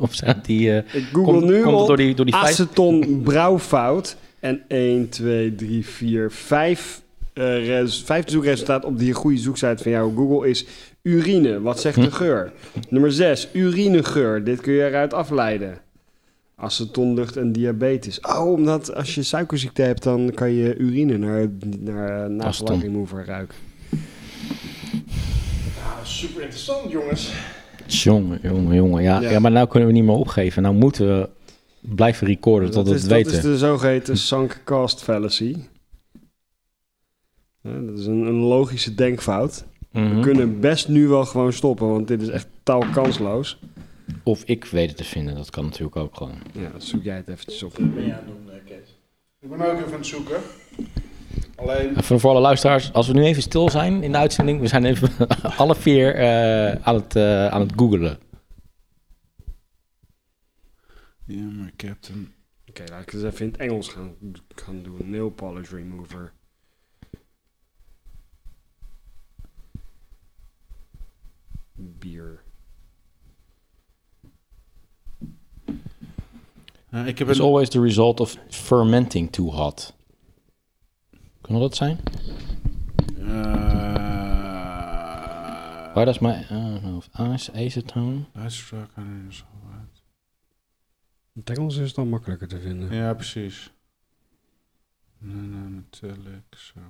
Speaker 1: Of staat die... eh,
Speaker 4: Ik google
Speaker 1: Komt-
Speaker 4: nu
Speaker 1: komt het
Speaker 4: op
Speaker 1: door die- door die vijf-
Speaker 4: aceton brouwfout. En 1, 2, 3, 4, 5... eh res, vijfde zoekresultaat op die goede zoeksite van jou, Google, is urine. Wat
Speaker 1: Hm.
Speaker 4: zegt de geur? Nummer 6, urinegeur. Dit kun je eruit afleiden. Aceton, lucht en diabetes. Oh, omdat als je suikerziekte hebt, dan kan je urine naar, naar
Speaker 1: Aceton.
Speaker 4: nagelakremover ruiken.
Speaker 3: super interessant, jongens.
Speaker 1: Jongen, jongen, jongen. Ja, ja.
Speaker 4: Ja.
Speaker 1: maar nou kunnen we niet meer opgeven. Nou moeten we blijven recorden tot we
Speaker 4: is,
Speaker 1: het weten. Hm.
Speaker 4: dat is de zogeheten sunk cost fallacy. Ja, dat is een, een logische denkfout.
Speaker 1: Mhm.
Speaker 4: We kunnen best nu wel gewoon stoppen, want dit is echt totaal kansloos.
Speaker 1: Of ik weet het te vinden. Dat kan natuurlijk ook gewoon.
Speaker 4: Ja, zoek jij het eventjes op.
Speaker 3: ben je aan het doen, eh, Kees?
Speaker 2: Ik ben ook even aan het zoeken. Alleen,
Speaker 1: Voor, voor alle luisteraars, als we nu even stil zijn in de uitzending, we zijn even alle vier eh, aan, het, eh, aan het googelen.
Speaker 2: ja, maar Captain...
Speaker 4: Oké, laat ik het eens even in het Engels gaan, gaan doen. Nail polish remover. Bier.
Speaker 2: Ja, ik heb
Speaker 1: It's
Speaker 2: een...
Speaker 1: always the result of fermenting too hot. Kunnen dat zijn?
Speaker 2: eh,
Speaker 1: Waar is mijn ice acetone?
Speaker 2: Uitspraak aan is al uit.
Speaker 4: In het Engels is het dan makkelijker te vinden.
Speaker 2: Ja, precies. Nee, nee, metallic, zo.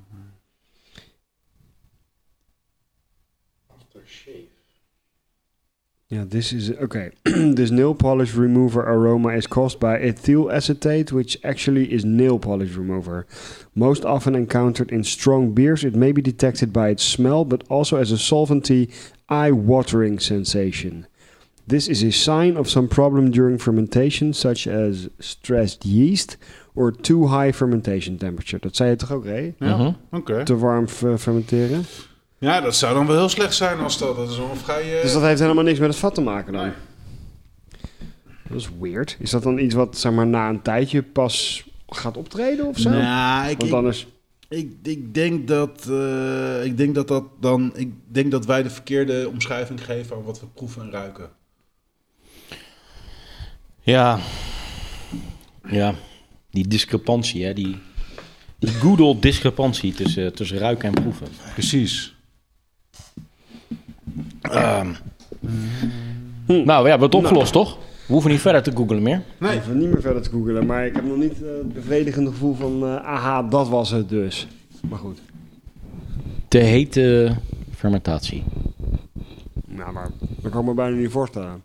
Speaker 4: Yeah, this is okay. this nail polish remover aroma is caused by ethyl acetate, which actually is nail polish remover. Most often encountered in strong beers, it may be detected by its smell, but also as a solventy, eye watering sensation. This is a sign of some problem during fermentation, such as stressed yeast or too high fermentation temperature. Dat zei je toch ook, hè?
Speaker 2: Ja,
Speaker 1: Mhm.
Speaker 2: oké.
Speaker 4: Te warm ver- fermenteren.
Speaker 2: Ja, dat zou dan wel heel slecht zijn als dat. Dat is wel vrij... eh,
Speaker 4: Dus dat heeft helemaal niks met het vat te maken dan? Dat is weird. Is dat dan iets wat zeg maar, na een tijdje pas gaat optreden of zo?
Speaker 2: Nou, ik,
Speaker 4: Want anders...
Speaker 2: ik, ik, ik denk dat, eh, ik denk dat dat dan... Ik denk dat wij de verkeerde omschrijving geven aan wat we proeven en ruiken.
Speaker 1: Ja. Ja. Die discrepantie, hè. Die, die good old discrepantie tussen, tussen ruiken en proeven.
Speaker 2: Precies.
Speaker 1: Nou ja, we hebben het opgelost, toch? We hoeven niet verder te googlen meer.
Speaker 2: Nee.
Speaker 4: Even niet meer verder te googelen, maar ik heb nog niet eh, het bevredigende gevoel van... eh, aha, dat was het dus. Maar goed.
Speaker 1: De hete fermentatie.
Speaker 4: Nou, maar dat kan ik me bijna niet voorstellen.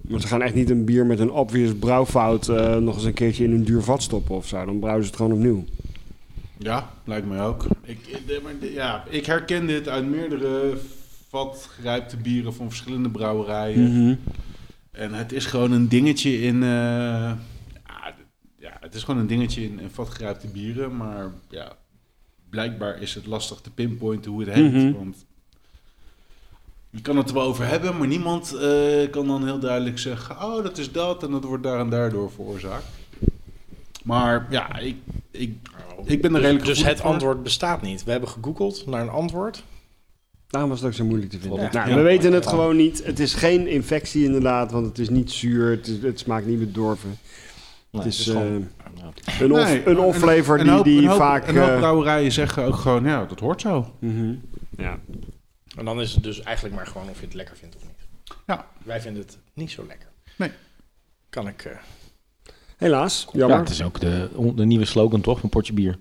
Speaker 4: Maar ze gaan echt niet een bier met een obvious brouwfout... eh, nog eens een keertje in een duur vat stoppen of zo. Dan brouwen ze het gewoon opnieuw.
Speaker 2: Ja, lijkt mij ook. Ik, ik- nee, maar de- ja, ik herken dit uit meerdere vatgerijpte bieren van verschillende brouwerijen.
Speaker 4: Mhm.
Speaker 2: En het is gewoon een dingetje in... eh, ja, d- ja, het is gewoon een dingetje in, in vatgerijpte bieren, maar ja... Blijkbaar is het lastig te pinpointen hoe het heet,
Speaker 4: Mhm.
Speaker 2: want... Je kan het er wel over hebben, maar niemand eh, kan dan heel duidelijk zeggen... oh, dat is dat en dat wordt daar en daardoor veroorzaakt. Maar ja, ik, ik, ik ben er redelijk
Speaker 3: dus
Speaker 2: gevoelig
Speaker 3: het
Speaker 2: voor.
Speaker 3: antwoord bestaat niet. We hebben gegoogeld naar een antwoord.
Speaker 4: Daarom was het ook zo moeilijk te vinden.
Speaker 3: Ja.
Speaker 4: Nou,
Speaker 3: Ja.
Speaker 4: we weten het gewoon niet. Het is geen infectie inderdaad, want het is niet zuur. Het, is- het smaakt niet bedorven. het is, eh, een, off,
Speaker 2: Nee,
Speaker 4: een off-flavor
Speaker 2: een
Speaker 4: die,
Speaker 2: hoop-
Speaker 4: die
Speaker 2: een hoop-
Speaker 4: vaak...
Speaker 2: Een hoop
Speaker 4: eh,
Speaker 2: brouwerijen zeggen ook gewoon, ja, dat hoort zo.
Speaker 4: mhm. ja.
Speaker 3: En dan is het dus eigenlijk maar gewoon of je het lekker vindt of niet.
Speaker 2: Ja.
Speaker 3: Wij vinden het niet zo lekker.
Speaker 2: Nee.
Speaker 3: Kan ik... eh,
Speaker 4: Helaas,
Speaker 1: Ja,
Speaker 4: jammer.
Speaker 1: het is ook de, de nieuwe slogan, toch? Van potje bier.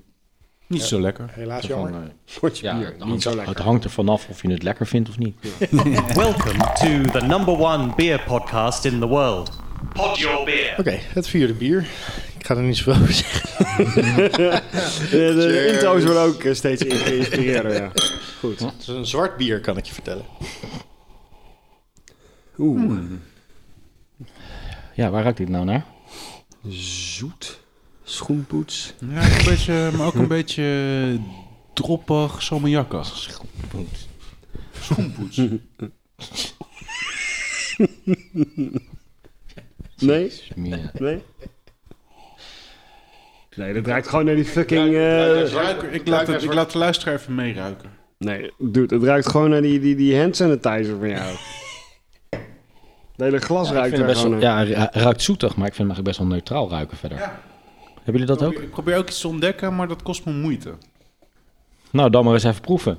Speaker 2: Niet zo lekker.
Speaker 3: helaas
Speaker 1: Van,
Speaker 3: jammer.
Speaker 1: eh,
Speaker 4: Potje
Speaker 1: ja,
Speaker 4: bier,
Speaker 1: het
Speaker 4: niet
Speaker 1: hangt,
Speaker 4: zo
Speaker 1: het
Speaker 4: lekker.
Speaker 1: hangt er vanaf of je het lekker vindt of niet.
Speaker 5: Welcome to the number one beer podcast in the world. Pod your beer.
Speaker 3: Oké, het vierde bier. Ik ga er niet zoveel over zeggen.
Speaker 4: De, de intro's worden ook eh, steeds in- geïnspireerder, ja.
Speaker 3: Het is een zwart bier, kan ik je vertellen.
Speaker 4: Oeh,
Speaker 1: Ja, waar ruikt dit nou naar?
Speaker 4: zoet. Schoenpoets.
Speaker 2: Ja, een beetje, maar ook een beetje droppig,
Speaker 1: Eh,
Speaker 2: salmiakkig. Schoenpoets.
Speaker 4: Nee?
Speaker 1: Meer-
Speaker 4: Nee? Nee, dat ruikt gewoon naar die fucking... eh,
Speaker 2: ik, laat het, ik laat de luisteraar even meeruiken.
Speaker 4: Nee, dude, het ruikt gewoon naar die, die, die hand sanitizer van jou. Het hele
Speaker 1: Ja,
Speaker 4: glas
Speaker 1: ik
Speaker 4: ruikt
Speaker 1: vind het
Speaker 4: er
Speaker 1: best
Speaker 4: gewoon
Speaker 1: wel,
Speaker 4: naar.
Speaker 1: ja, hij ruikt zoetig, maar ik vind hem eigenlijk best wel neutraal ruiken verder.
Speaker 2: Ja.
Speaker 1: Hebben jullie dat ook?
Speaker 2: Ik probeer ook iets te ontdekken, maar dat kost me moeite.
Speaker 1: Nou, dan maar eens even proeven.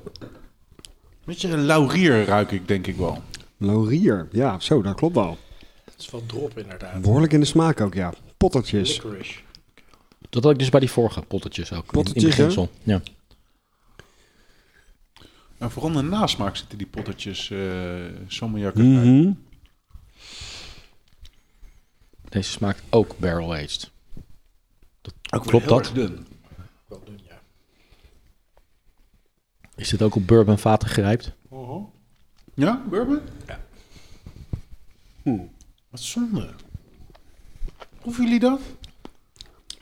Speaker 2: Beetje een laurier ruik ik, denk ik wel.
Speaker 4: Laurier, ja, zo, dat klopt wel.
Speaker 3: Het is wel drop, inderdaad.
Speaker 4: Behoorlijk in de smaak ook, ja. Pottertjes.
Speaker 3: Licorice.
Speaker 1: Dat had ik dus bij die vorige pottetjes ook. in- in
Speaker 4: Pottetjes, hè?
Speaker 1: beginsel. Ja.
Speaker 2: En vooral in de nasmaak zitten die pottetjes eh salmiakkig uit.
Speaker 4: Mhm.
Speaker 1: Deze smaakt ook barrel aged.
Speaker 2: Ook weer
Speaker 1: Klopt
Speaker 2: heel
Speaker 1: dat?
Speaker 2: erg dun.
Speaker 3: Wel doen, ja.
Speaker 1: Is dit ook op bourbon vaten gerijpt?
Speaker 2: Ja, bourbon?
Speaker 3: Ja.
Speaker 2: Oeh, Wat zonde. Proeven jullie dat?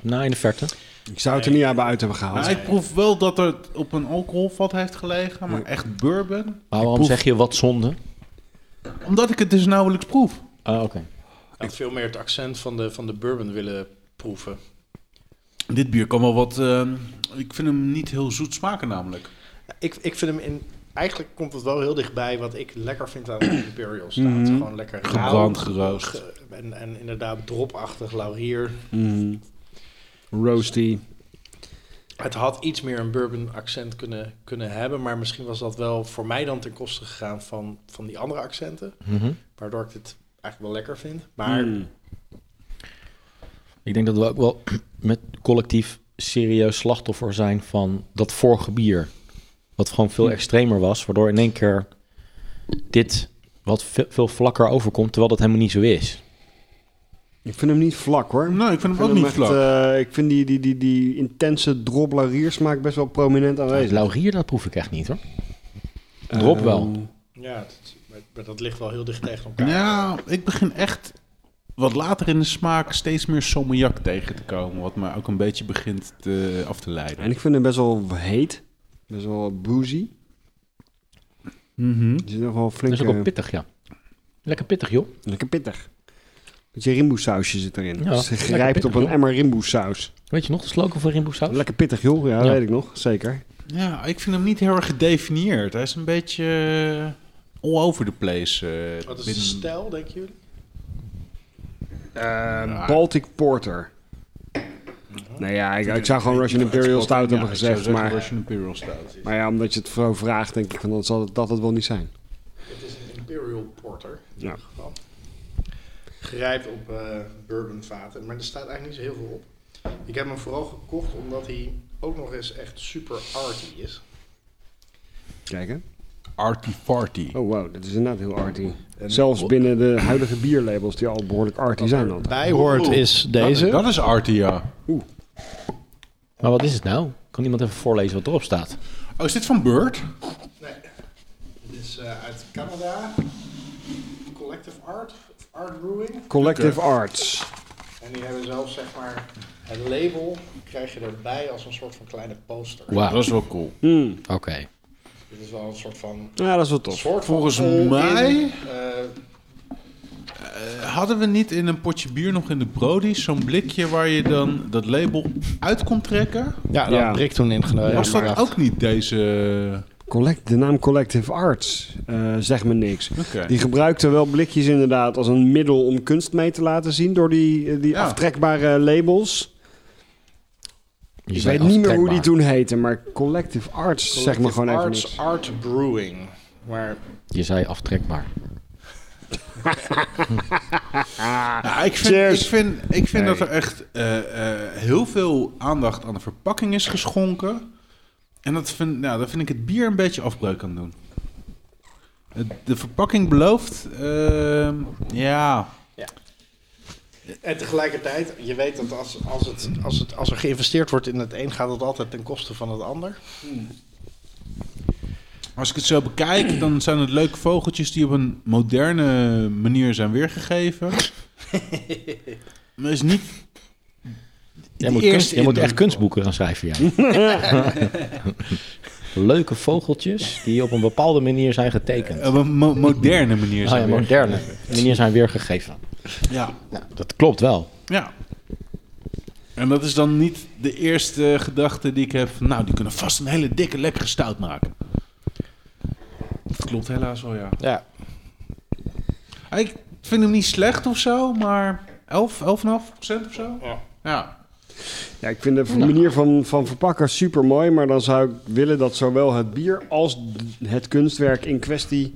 Speaker 1: Nou, in de verte.
Speaker 4: Ik zou het er niet aan bij uit hebben gehaald.
Speaker 2: Nou, ik proef wel dat het op een alcoholvat heeft gelegen, maar echt bourbon.
Speaker 1: Maar waarom
Speaker 4: proef-
Speaker 1: zeg je wat zonde?
Speaker 2: Omdat ik het dus nauwelijks proef.
Speaker 1: Ah, oké.
Speaker 3: Ik had veel meer het accent van de, van de bourbon willen proeven.
Speaker 2: Dit bier kan wel wat... ehm, ik vind hem niet heel zoet smaken namelijk.
Speaker 3: Ik, ik vind hem in... Eigenlijk komt het wel heel dichtbij wat ik lekker vind aan de Imperial staat. Gewoon lekker rauw.
Speaker 2: Mhm. Gebrand, geroost.
Speaker 3: ge- en, en inderdaad dropachtig laurier.
Speaker 4: Mhm. Roasty.
Speaker 3: Het had iets meer een bourbon accent kunnen, kunnen hebben. Maar misschien was dat wel voor mij dan ten koste gegaan van, van die andere accenten.
Speaker 1: Mhm.
Speaker 3: Waardoor ik dit eigenlijk wel lekker vind. Maar
Speaker 2: Hmm.
Speaker 4: Mm.
Speaker 1: Ik denk dat we ook wel met collectief serieus slachtoffer zijn van dat vorige bier. Wat gewoon veel extremer was, waardoor in één keer dit wat ve- veel vlakker overkomt, terwijl dat helemaal niet zo is.
Speaker 4: Ik vind hem niet vlak hoor.
Speaker 2: Nee, ik vind
Speaker 4: Ik
Speaker 2: hem
Speaker 4: vind
Speaker 2: ook
Speaker 4: hem
Speaker 2: niet
Speaker 4: echt,
Speaker 2: vlak.
Speaker 4: eh, ik vind die, die, die, die intense droblariersmaak best wel prominent
Speaker 1: Dus
Speaker 4: aanwezig.
Speaker 1: laurier, dat proef ik echt niet hoor.
Speaker 2: Eh,
Speaker 1: Drop wel.
Speaker 4: Ehm,
Speaker 3: ja, het- maar- maar dat ligt wel heel dicht tegen elkaar.
Speaker 2: Ja, ik begin echt wat later in de smaak steeds meer sommejak tegen te komen. Wat me ook een beetje begint te- af te leiden.
Speaker 4: En ik vind hem best wel heet. Best wel boozy.
Speaker 2: Mhm.
Speaker 4: Er zit nog wel
Speaker 1: Dat is
Speaker 4: flink... eh,
Speaker 1: ook
Speaker 2: eh,
Speaker 1: wel pittig, ja. Lekker pittig, joh.
Speaker 4: Lekker pittig. Beetje rimboesausje zit erin.
Speaker 1: Ja,
Speaker 4: Dus het
Speaker 1: lekker
Speaker 4: grijpt
Speaker 1: pittig,
Speaker 4: op een
Speaker 1: joh.
Speaker 4: emmer rimboesaus.
Speaker 1: Weet je nog de slogan van Rimbo's House?
Speaker 4: Lekker pittig joh, ja,
Speaker 1: Ja.
Speaker 4: weet ik nog. Zeker.
Speaker 2: Ja, ik vind hem niet heel erg gedefinieerd. Hij is een beetje eh, all over the place. eh,
Speaker 3: Wat is de
Speaker 2: binnen-
Speaker 3: stijl, denken jullie?
Speaker 2: Ja.
Speaker 4: Baltic Porter. Nou ja, ik, ik zou gewoon Russian Imperial Stout hebben
Speaker 2: Ja, ik zou
Speaker 4: gezegd,
Speaker 2: zeggen
Speaker 4: maar...
Speaker 2: Russian Imperial Stout.
Speaker 4: Maar ja, omdat je het vooral vraagt, denk ik van dan zal het, dat het wel niet zijn.
Speaker 3: Het is een Imperial Porter in
Speaker 4: Ja.
Speaker 3: ieder geval. Gerijpt op eh bourbonvaten, maar er staat eigenlijk niet zo heel veel op. Ik heb hem vooral gekocht omdat hij ook nog eens echt super arty is.
Speaker 4: Kijken.
Speaker 2: Arty Farty.
Speaker 4: Oh wow, dat is inderdaad heel arty. Zelfs binnen de huidige bierlabels die al behoorlijk arty zijn dan.
Speaker 3: Bij hoort
Speaker 2: Oeh,
Speaker 3: is
Speaker 2: Dat, dat is arty, ja.
Speaker 1: Maar wat is het nou? Kan iemand even voorlezen wat erop staat?
Speaker 2: Oh, is dit van Bird?
Speaker 3: Nee. Dit is eh, uit Canada. Collective Art, of Art Brewing.
Speaker 4: Collective Arts.
Speaker 3: En die hebben zelfs zeg maar het label krijg je erbij als een soort van kleine poster.
Speaker 1: Wauw,
Speaker 2: Dat
Speaker 1: oké.
Speaker 2: is wel cool.
Speaker 3: Dit is wel een soort van.
Speaker 4: Ja, dat is wel
Speaker 3: Een
Speaker 4: tof.
Speaker 3: soort van
Speaker 2: Volgens
Speaker 3: all-in,
Speaker 2: mij-
Speaker 3: eh,
Speaker 2: Hadden we niet in een potje bier nog in de Brody zo'n blikje waar je dan dat label uit kon trekken?
Speaker 3: ja,
Speaker 4: dat
Speaker 3: dat
Speaker 4: had
Speaker 3: ja.
Speaker 4: Brik
Speaker 3: toen ingenomen.
Speaker 2: Was dat oh, ook niet deze...
Speaker 4: Collect, de naam Collective Arts eh, zegt me niks.
Speaker 2: Oké.
Speaker 4: Die gebruikten wel blikjes inderdaad als een middel om kunst mee te laten zien door die, eh, die
Speaker 2: Ja.
Speaker 4: aftrekbare labels.
Speaker 1: Je
Speaker 4: Ik
Speaker 1: zei
Speaker 4: weet niet meer hoe
Speaker 1: aftrekbaar.
Speaker 4: die toen heette, maar Collective Arts zegt me gewoon even
Speaker 3: Arts,
Speaker 4: niks.
Speaker 3: Art Brewing. Maar
Speaker 1: Je zei aftrekbaar.
Speaker 2: Nou, ik vind,
Speaker 4: Cheers.
Speaker 2: ik vind, ik
Speaker 4: Hey.
Speaker 2: vind dat er echt eh, eh, heel veel aandacht aan de verpakking is geschonken. En dat vind, nou, dat vind ik het bier een beetje afbreuk aan doen. Het- De verpakking belooft, ehm, ja,
Speaker 3: En tegelijkertijd, je weet dat als, als, het, als, het, als er geïnvesteerd wordt in het een, gaat het altijd ten koste van het ander.
Speaker 2: als ik het zo bekijk, dan zijn het leuke vogeltjes die op een moderne manier zijn weergegeven. maar is niet...
Speaker 1: Jij
Speaker 2: de
Speaker 1: moet,
Speaker 2: eerste
Speaker 1: kunst- jij moet
Speaker 2: indruk.
Speaker 1: echt kunstboeken gaan schrijven, ja. Leuke vogeltjes die op een bepaalde manier zijn getekend.
Speaker 2: Op een mo- moderne manier
Speaker 1: Oh ja,
Speaker 2: zijn weer-
Speaker 1: moderne manier zijn weergegeven.
Speaker 2: Ja.
Speaker 1: Nou, dat klopt wel.
Speaker 2: Ja. En dat is dan niet de eerste gedachte die ik heb van, nou, die kunnen vast een hele dikke, lekkere stout maken. Dat klopt helaas wel, ja.
Speaker 3: Ja.
Speaker 2: Ah, Ik vind hem niet slecht of zo, maar 11, 11,5 procent of zo?
Speaker 3: Ja.
Speaker 2: Ja.
Speaker 4: Ja, ik vind de manier van, van verpakken super mooi, maar dan zou ik willen dat zowel het bier als d- het kunstwerk in kwestie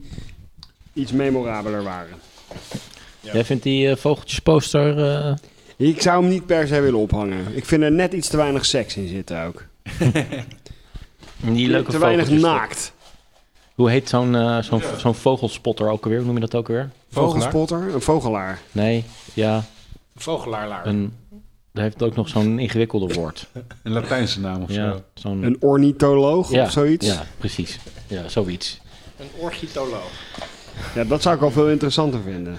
Speaker 4: iets memorabeler waren.
Speaker 1: Jij vindt die eh, vogeltjesposter... eh,
Speaker 4: Ik zou hem niet per se willen ophangen. Ik vind er net iets te weinig seks in zitten ook.
Speaker 1: die leuke
Speaker 4: te weinig
Speaker 1: vogeltjes-
Speaker 4: naakt.
Speaker 1: Hoe heet zo'n eh, zo'n zo'n vogelspotter ook alweer? Hoe noem je dat ook alweer?
Speaker 4: Vogelspotter? Een vogelaar.
Speaker 1: Nee, ja,
Speaker 3: Vogelaarlaar.
Speaker 1: een... Hij heeft ook nog zo'n ingewikkelde woord.
Speaker 2: Een Latijnse naam of
Speaker 1: Ja,
Speaker 2: zo.
Speaker 1: zo'n...
Speaker 4: Een ornitholoog
Speaker 1: ja,
Speaker 4: of zoiets.
Speaker 1: Ja,
Speaker 4: Ja.
Speaker 1: precies. Ja, zoiets.
Speaker 3: Een orchitoloog.
Speaker 4: dat zou ik al veel interessanter vinden.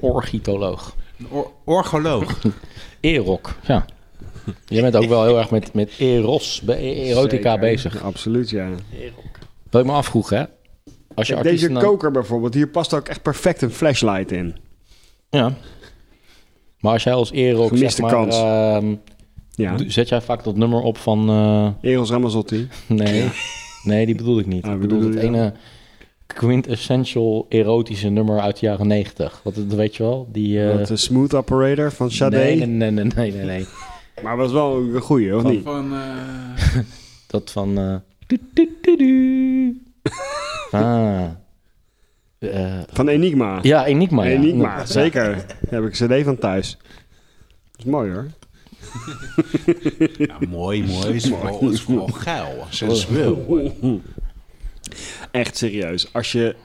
Speaker 1: Orchitoloog.
Speaker 2: Een or- orgoloog.
Speaker 1: Erok, ja. Jij bent ook wel heel erg met, met eros, be- erotica
Speaker 4: Zeker.
Speaker 1: bezig.
Speaker 4: Absoluut, ja.
Speaker 1: Wat ik me afvroeg, hè? Als je
Speaker 4: Kijk,
Speaker 1: artiest
Speaker 4: deze
Speaker 1: dan-
Speaker 4: koker bijvoorbeeld, hier past ook echt perfect een flashlight in.
Speaker 1: Ja. Maar als jij als Erok, zeg
Speaker 4: Gemiste
Speaker 1: maar...
Speaker 4: kans.
Speaker 1: ehm,
Speaker 4: Ja.
Speaker 1: d- Zet jij vaak dat nummer op van... eh,
Speaker 4: Eros Ramazzotti.
Speaker 1: nee, nee, die bedoel ik niet.
Speaker 4: Ah,
Speaker 1: ik bedoel
Speaker 4: bedoel
Speaker 1: het
Speaker 4: je, ja.
Speaker 1: ene quintessential erotische nummer uit de jaren negentig. Wat dat weet je wel? Die... eh,
Speaker 4: dat eh, Smooth Operator van Sade.
Speaker 1: nee, nee, nee, nee, nee, nee, nee.
Speaker 4: Maar was wel een goeie, of niet?
Speaker 2: Van, eh,
Speaker 1: Dat van... eh, du- du- du- du. Ah. Eh,
Speaker 4: Van Enigma.
Speaker 1: ja, Enigma. ja.
Speaker 4: Enigma,
Speaker 1: Ja.
Speaker 4: zeker. Daar heb ik een cd van thuis. Dat is mooi hoor.
Speaker 2: ja, mooi, mooi. Is vooral, is vooral geil. Sensueel.
Speaker 4: Echt serieus. Als je,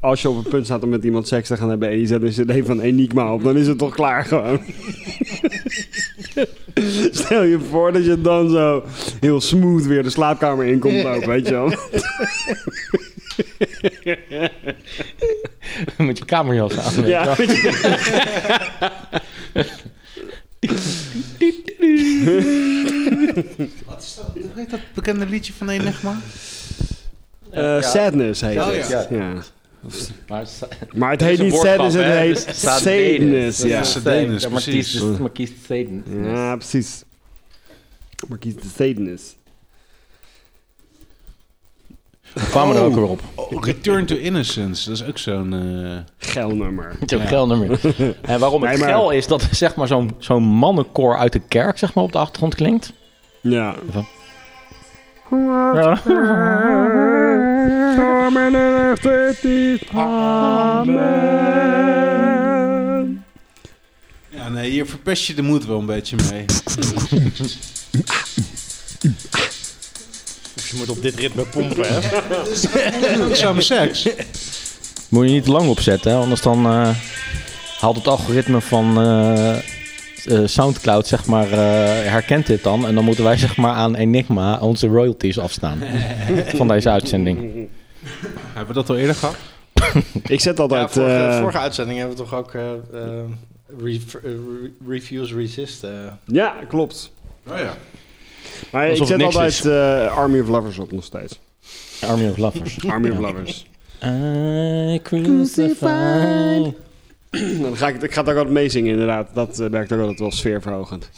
Speaker 4: als je op het punt staat om met iemand seks te gaan hebben en je zet een cd van Enigma op, dan is het toch klaar gewoon. Stel je voor dat je dan zo heel smooth weer de slaapkamer in komt lopen, weet je wel.
Speaker 1: Met je kamerjas aan. weet je wel.
Speaker 4: Ja, weet je.
Speaker 2: Wat is dat? Hoe heet dat bekende liedje van Enigma?
Speaker 4: Eh, Sadness heet
Speaker 2: Oh,
Speaker 4: het.
Speaker 2: ja.
Speaker 4: Ja.
Speaker 1: Maar het is-
Speaker 4: Maar het heet
Speaker 1: is een
Speaker 4: niet
Speaker 1: woordgrap,
Speaker 4: Sadness, het
Speaker 1: hè?
Speaker 4: heet
Speaker 1: Het is Sadenus.
Speaker 4: Sadness.
Speaker 1: Dat is
Speaker 4: Ja.
Speaker 1: een
Speaker 2: Sadenus,
Speaker 1: Ja, maar het is-
Speaker 2: precies.
Speaker 1: het is- maar kiest Sadenus.
Speaker 4: ja, precies. Maar kies de Sadness.
Speaker 1: We kwamen er ook weer op.
Speaker 2: Oh, Return to Innocence. Dat is ook zo'n... eh,
Speaker 4: Geil nummer.
Speaker 1: Het is ook geil nummer. En waarom het
Speaker 4: Nee, maar-
Speaker 1: geil is dat zeg maar, zo'n zo'n mannenkoor uit de kerk zeg maar, op de achtergrond klinkt.
Speaker 4: Ja.
Speaker 1: Ja.
Speaker 2: Ja, nee, hier verpest je de moed wel een beetje mee.
Speaker 5: Je moet op dit ritme pompen, hè?
Speaker 2: Langzame seks.
Speaker 1: Moet je niet te lang opzetten, hè, anders dan eh, haalt het algoritme van eh, eh, Soundcloud, zeg maar, eh, herkent dit dan. En dan moeten wij zeg maar, aan Enigma onze royalties afstaan van deze uitzending.
Speaker 2: Hebben we dat al eerder gehad?
Speaker 4: Ik zet
Speaker 3: Ja,
Speaker 4: altijd...
Speaker 3: vorige,
Speaker 4: eh,
Speaker 3: vorige uitzending hebben we toch ook eh, eh, ref- eh, re- refuse resist. eh.
Speaker 4: Ja, klopt.
Speaker 2: Oh ja.
Speaker 4: Maar
Speaker 1: Alsof
Speaker 4: ik
Speaker 1: het
Speaker 4: zet
Speaker 1: niks
Speaker 4: altijd eh, Army of Lovers op nog steeds.
Speaker 1: Army of Lovers.
Speaker 4: Army of Lovers.
Speaker 1: I crucified.
Speaker 4: Nou, Dan ga ik, ik ga het ook altijd meezingen inderdaad. Dat eh, werkt ook altijd wel sfeerverhogend.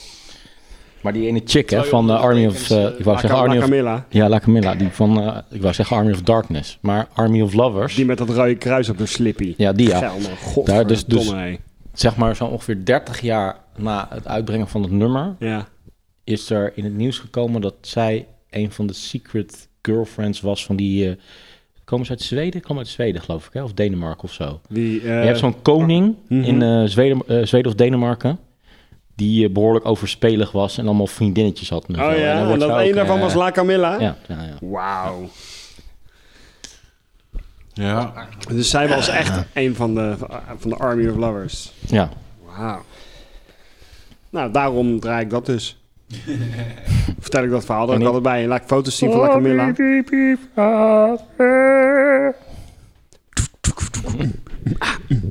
Speaker 1: Maar die ene chick hè,
Speaker 3: Zou je
Speaker 1: van
Speaker 3: ook
Speaker 1: eh, Army of...
Speaker 3: betekent,
Speaker 1: eh, ik wou
Speaker 4: La,
Speaker 1: zeggen
Speaker 4: La
Speaker 1: Army of...
Speaker 4: Camilla,
Speaker 1: Ja, La Camilla. Die van, eh, ik wou zeggen Army of Darkness. Maar Army of Lovers,
Speaker 4: die met dat rode kruis op haar slippie.
Speaker 1: ja, die ja.
Speaker 4: Geil man,
Speaker 1: Daar dus- dus-
Speaker 4: godverdomme, hé.
Speaker 1: Zeg maar zo ongeveer 30 jaar na het uitbrengen van het nummer...
Speaker 4: Ja.
Speaker 1: is er in het nieuws gekomen dat zij een van de secret girlfriends was van die... eh, komen ze uit Zweden? Komen uit Zweden, geloof ik, hè? Of Denemarken of zo.
Speaker 4: Die, eh,
Speaker 1: Je hebt zo'n koning
Speaker 4: Mhm.
Speaker 1: in eh, Zweden, eh, Zweden of Denemarken... die eh, behoorlijk overspelig was en allemaal vriendinnetjes had. en zo.
Speaker 4: Oh
Speaker 1: En dan
Speaker 4: ja, en
Speaker 1: wordt
Speaker 4: dat
Speaker 1: zij
Speaker 4: een
Speaker 1: ook,
Speaker 4: daarvan
Speaker 1: eh,
Speaker 4: was La Camilla.
Speaker 1: Ja, ja, ja.
Speaker 4: Wauw.
Speaker 2: Ja.
Speaker 4: Dus zij was echt een van de, van de Army of Lovers.
Speaker 1: ja.
Speaker 4: Wauw. Nou, daarom draai ik dat dus. Vertel ik dat verhaal er ook
Speaker 1: En ik-
Speaker 4: altijd bij. Laat ik foto's zien van La Camilla.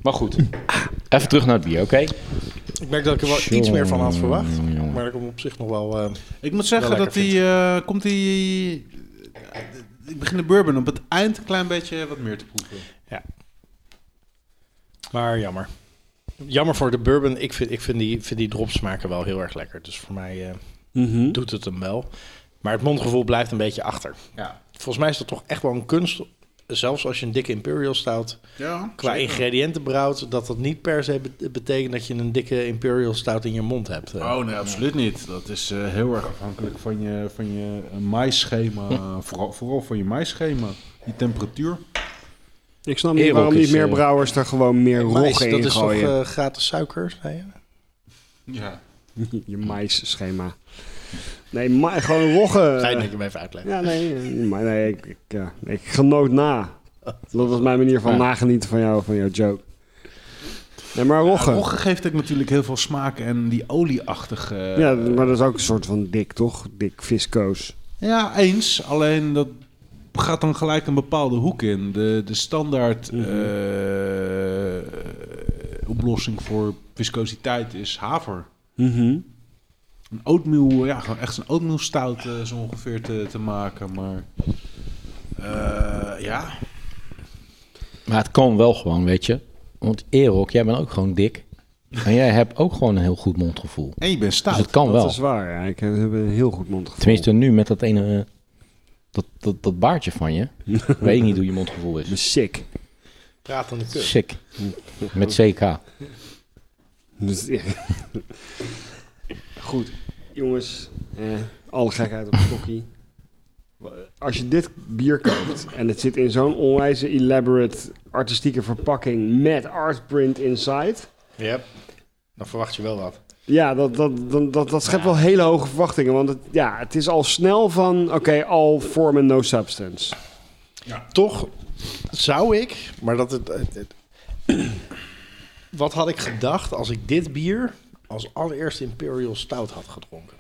Speaker 1: Maar goed. Ah, Even terug naar het bier, oké?
Speaker 3: Ik merk dat ik er wel iets meer van had verwacht. Maar ik hem op zich nog wel... eh,
Speaker 2: Ik moet zeggen
Speaker 3: Wel
Speaker 2: dat
Speaker 3: lekker
Speaker 2: die... eh, komt die... Ik begin de bourbon op het eind een klein beetje wat meer te proeven.
Speaker 3: maar jammer. Jammer voor de bourbon. Ik vind, ik vind die, vind die dropsmaken wel heel erg lekker. Dus voor mij eh,
Speaker 4: Mhm.
Speaker 3: doet het hem wel. Maar het mondgevoel blijft een beetje achter.
Speaker 2: Ja.
Speaker 3: Volgens mij is dat toch echt wel een kunst. Zelfs als je een dikke Imperial stout
Speaker 2: Ja.
Speaker 3: qua ingrediënten brouwt, dat dat niet per se be- betekent dat je een dikke Imperial stout in je mond hebt. eh.
Speaker 2: Oh nee, absoluut niet. Dat is eh, heel erg afhankelijk van je, van je eh, maïsschema. Vooral, vooral van je maïsschema. Die temperatuur.
Speaker 4: Ik snap niet
Speaker 1: Erok
Speaker 4: waarom niet
Speaker 1: is,
Speaker 4: meer
Speaker 1: eh,
Speaker 4: brouwers er gewoon meer
Speaker 3: Mais,
Speaker 4: rogge
Speaker 3: dat
Speaker 4: in
Speaker 3: is toch
Speaker 4: gooien.
Speaker 3: eh, gratis suiker, zei je?
Speaker 2: Ja.
Speaker 4: Je maïsschema. Nee, ma- gewoon rogge.
Speaker 3: Fijn dat je hem even uitlegt.
Speaker 4: Ja, nee, eh, maar nee, ik, ik, ja, ik genoot na. Dat was mijn manier van
Speaker 1: Ja.
Speaker 4: nagenieten van jou, van jouw joke. Nee, maar rogge.
Speaker 2: Nou, Rogge geeft ook natuurlijk heel veel smaak en die olieachtige...
Speaker 4: Ja,
Speaker 1: eh,
Speaker 4: maar dat is ook een soort van dik, toch? Dik viscoos.
Speaker 2: Ja, eens. Alleen dat gaat dan gelijk een bepaalde hoek in. De, de standaard eh,
Speaker 1: Mhm.
Speaker 2: oplossing voor viscositeit is haver. een oatmeal, ja, gewoon echt een oatmeal stout eh, zo ongeveer te, te maken. Maar eh, ja,
Speaker 1: Maar het kan wel gewoon, weet je. Want Erok, jij bent ook gewoon dik. En jij hebt ook gewoon een heel goed mondgevoel.
Speaker 2: en je bent
Speaker 1: Dus
Speaker 2: stout.
Speaker 1: het kan
Speaker 4: Nou, Dat
Speaker 1: wel.
Speaker 4: is waar. Ja. Ik heb, heb een heel goed mondgevoel.
Speaker 1: Tenminste, nu met dat ene. eh, Dat, dat, dat baardje van je. weet ik niet hoe je mondgevoel
Speaker 4: Ik ben
Speaker 1: is.
Speaker 4: sick.
Speaker 3: Praat aan de kut.
Speaker 1: Sick. Met CK.
Speaker 4: Dus, ja. Goed. Jongens, eh, alle gekheid op de kokkie. Als je dit bier koopt en het zit in zo'n onwijze elaborate artistieke verpakking met artprint inside.
Speaker 3: Yep. Dan verwacht je wel wat.
Speaker 4: Ja, dat, dat, dat, dat, dat schept wel hele hoge verwachtingen. Want het, ja, het is al snel van, oké, all form and no substance.
Speaker 3: Toch zou ik, maar dat het, het- het- wat had ik gedacht als ik dit bier als allereerste Imperial Stout had gedronken?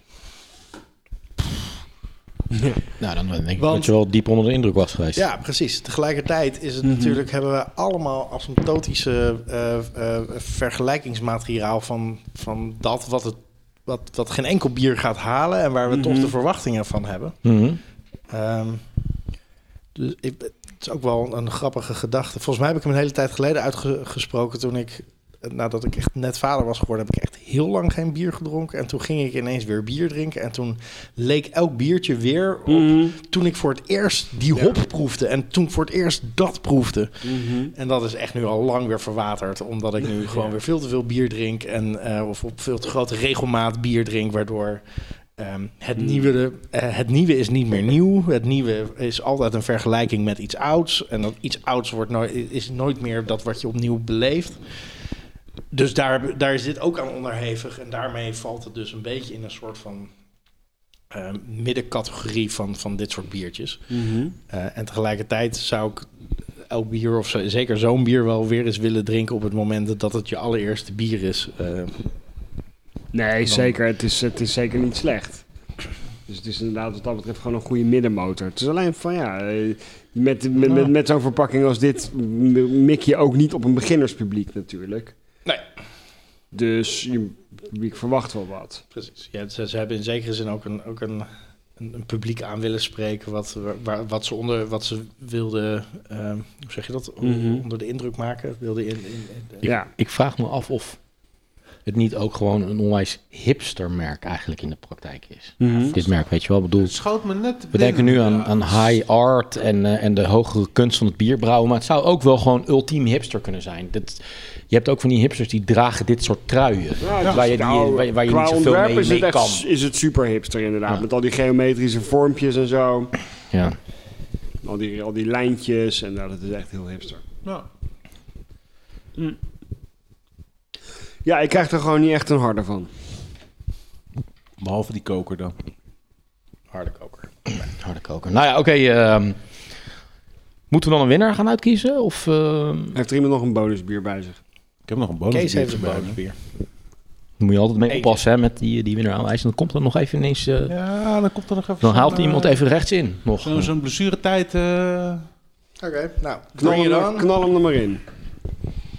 Speaker 1: Nou, dan denk ik
Speaker 3: Want-
Speaker 1: dat je wel diep onder de indruk was geweest.
Speaker 3: Ja, precies. Tegelijkertijd is het natuurlijk hebben we allemaal asymptotische eh, eh, vergelijkingsmateriaal van, van dat wat het wat, wat geen enkel bier gaat halen en waar we toch de verwachtingen van hebben.
Speaker 1: Mhm.
Speaker 3: Ehm, dus ik, het is ook wel een grappige gedachte. Volgens mij heb ik hem een hele tijd geleden uitgesproken toen ik, eh, nadat ik echt net vader was geworden, heb ik echt heel lang geen bier gedronken. En toen ging ik ineens weer bier drinken. En toen leek elk biertje weer op toen ik voor het eerst die hop proefde. En toen ik voor het eerst dat proefde. En dat is echt nu al lang weer verwaterd. Omdat ik nu gewoon weer veel te veel bier drink. En, eh, of op veel te grote regelmaat bier drink. Waardoor ehm, het, nieuwe, eh, het nieuwe is niet meer nieuw. Het nieuwe is altijd een vergelijking met iets ouds. En dat iets ouds wordt nooit, is nooit meer dat wat je opnieuw beleeft. Dus daar, daar is dit ook aan onderhevig. En daarmee valt het dus een beetje in een soort van eh, middencategorie van, van dit soort biertjes. Eh, en tegelijkertijd zou ik elk bier, of zo- zeker zo'n bier, wel weer eens willen drinken op het moment dat het je allereerste bier is. Eh,
Speaker 4: Nee, zeker. Het is, het is zeker niet slecht. Dus het is inderdaad wat dat betreft gewoon een goede middenmotor. Het is alleen van ja, eh, met, met, met, met zo'n verpakking als dit m- mik je ook niet op een beginnerspubliek natuurlijk.
Speaker 3: Nee.
Speaker 4: Dus je publiek verwacht wel wat.
Speaker 3: precies. Ja, ze, ze hebben in zekere zin ook een, ook een, een, een publiek aan willen spreken wat, waar, wat ze onder wat ze wilden, eh, hoe zeg je dat, O-
Speaker 4: Mhm.
Speaker 3: onder de indruk maken. Wilden in, in, in-
Speaker 4: Ja,
Speaker 1: Ik vraag me af of het niet ook gewoon een onwijs hipstermerk eigenlijk in de praktijk is.
Speaker 4: Mhm.
Speaker 1: Dit merk, weet je wel, Ik bedoel.
Speaker 2: Het schoot me net te
Speaker 1: We denken nu
Speaker 2: binnen.
Speaker 1: aan,
Speaker 2: Ja,
Speaker 1: aan high art en, eh, en de hogere kunst van het bierbrouwen. Maar het zou ook wel gewoon ultiem hipster kunnen zijn. Dat, je hebt ook van die hipsters die dragen dit soort truien. waar je, die,
Speaker 4: Nou,
Speaker 1: waar, je- waar je
Speaker 4: qua
Speaker 1: niet zoveel
Speaker 4: ontwerp
Speaker 1: mee,
Speaker 4: is, het
Speaker 1: mee
Speaker 4: echt,
Speaker 1: kan.
Speaker 4: is het super hipster inderdaad.
Speaker 1: Ja.
Speaker 4: Met al die geometrische vormpjes en zo.
Speaker 1: Ja.
Speaker 4: Al die, al die lijntjes en nou, dat is echt heel hipster.
Speaker 2: Ja.
Speaker 4: Ja, ik krijg er gewoon niet echt een harde van.
Speaker 2: Behalve die koker dan.
Speaker 3: harde koker.
Speaker 1: Harde koker. Nou ja, oké. ehm, moeten we dan een winnaar gaan uitkiezen? Of, ehm,
Speaker 4: Heeft er iemand nog een bonusbier bij zich?
Speaker 2: Ik heb nog een bonus.
Speaker 3: Kees heeft een bonusbier.
Speaker 1: dan moet je altijd mee
Speaker 3: Eentje.
Speaker 1: oppassen hè, met die, die winnaar aanwijzen. Dan komt er nog even ineens... eh,
Speaker 2: Ja, dan komt er nog even.
Speaker 1: dan
Speaker 2: zo'n,
Speaker 1: haalt
Speaker 2: eh,
Speaker 1: iemand even rechts in. Nog.
Speaker 2: Zo'n zo'n blessuretijd. eh,
Speaker 3: Oké, nou,
Speaker 4: Knal
Speaker 3: bring
Speaker 4: hem,
Speaker 3: it
Speaker 4: er,
Speaker 3: on.
Speaker 4: knal hem er maar in.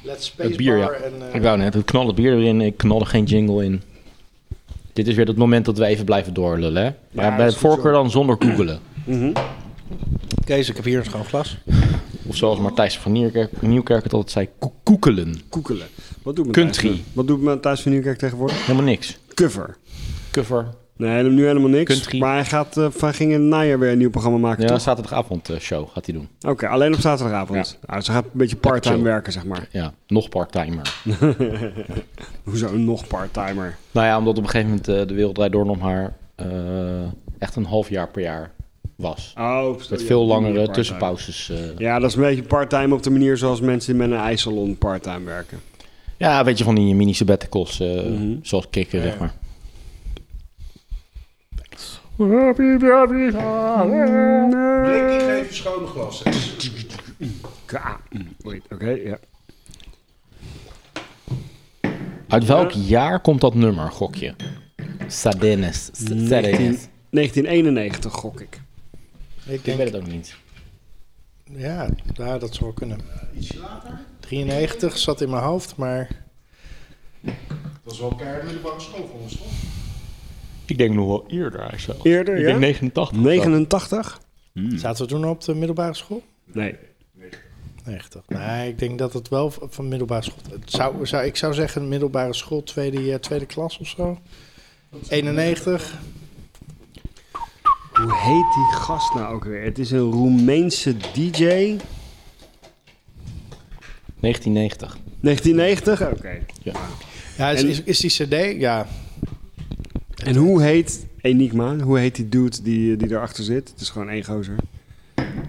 Speaker 3: Let's spacebar
Speaker 1: Het bier, ja.
Speaker 3: en... eh,
Speaker 1: Ik wou net, ik knal het bier erin, ik knal er geen jingle in. Dit is weer het moment dat we even blijven doorlullen, hè? Maar
Speaker 4: Ja,
Speaker 1: bij
Speaker 4: dat is goed
Speaker 1: voorkeur dan zonder googelen.
Speaker 3: Kees, ik heb hier een schoon glas.
Speaker 1: Of zoals Martijn van Nieuwkerk, Nieuwkerk het altijd zei, ko- koekelen.
Speaker 4: Koekelen. Wat doet Matthijs
Speaker 1: Country.
Speaker 4: van- Wat doet Matthijs van Nieuwkerk tegenwoordig?
Speaker 1: Helemaal niks.
Speaker 4: Cover.
Speaker 1: Cover.
Speaker 4: Nee, hij doet nu helemaal niks.
Speaker 1: Country.
Speaker 4: Maar hij gaat, eh, van, ging in het najaar weer een nieuw programma maken,
Speaker 1: Ja,
Speaker 4: toch?
Speaker 1: zaterdagavond eh, show gaat hij doen.
Speaker 4: Oké, alleen op zaterdagavond. Nou, ze gaat een beetje part-time
Speaker 1: Lekker chill.
Speaker 4: werken, zeg maar.
Speaker 1: Ja, nog part-timer.
Speaker 4: Hoezo nog part-timer?
Speaker 1: nou ja, omdat op een gegeven moment eh, de wereld draait door nog maar eh, echt een half jaar per jaar was.
Speaker 4: Oh, op-
Speaker 1: Met
Speaker 4: ja,
Speaker 1: veel
Speaker 4: op die manier
Speaker 1: langere
Speaker 4: part-time.
Speaker 1: tussenpauzes. eh.
Speaker 4: Ja, dat is een beetje part-time op de manier zoals mensen die met een ijssalon part-time werken.
Speaker 1: Ja, weet je, van die mini sabbaticals, eh,
Speaker 4: Mhm.
Speaker 1: zoals kikken, zeg maar.
Speaker 2: Blik die geeft je schone glas.
Speaker 4: Ka- Wait, Oké, ja.
Speaker 1: Uit welk jaar komt dat nummer, gokje? Sadenes. S- Sadenes.
Speaker 4: 1991 gok ik.
Speaker 3: Ik
Speaker 1: Ik
Speaker 3: denk
Speaker 1: weet het ook niet.
Speaker 3: Ja, ja, dat zou wel kunnen. Iets later? 93 zat in mijn hoofd, maar...
Speaker 2: Dat is wel elkaar middelbare school voor ons, toch?
Speaker 1: Ik denk nog wel eerder eigenlijk.
Speaker 4: Eerder,
Speaker 1: Ik
Speaker 4: ja?
Speaker 1: denk 89. of zo.
Speaker 4: 89?
Speaker 1: Hmm.
Speaker 3: Zaten we toen op de middelbare school?
Speaker 4: Nee.
Speaker 3: 90. Nee, ik denk dat het wel v- van middelbare school... het Zou, zou, ik zou zeggen middelbare school, tweede, eh, tweede klas of zo. 91.
Speaker 4: Hoe heet die gast nou ook weer? Het is een Roemeense DJ.
Speaker 1: 1990.
Speaker 4: 1990? Oké.
Speaker 3: Ja, is,
Speaker 4: En-
Speaker 3: is, is die cd? Ja.
Speaker 4: En hoe heet Enigma? Hoe heet die dude die, die erachter zit? Het is gewoon één gozer.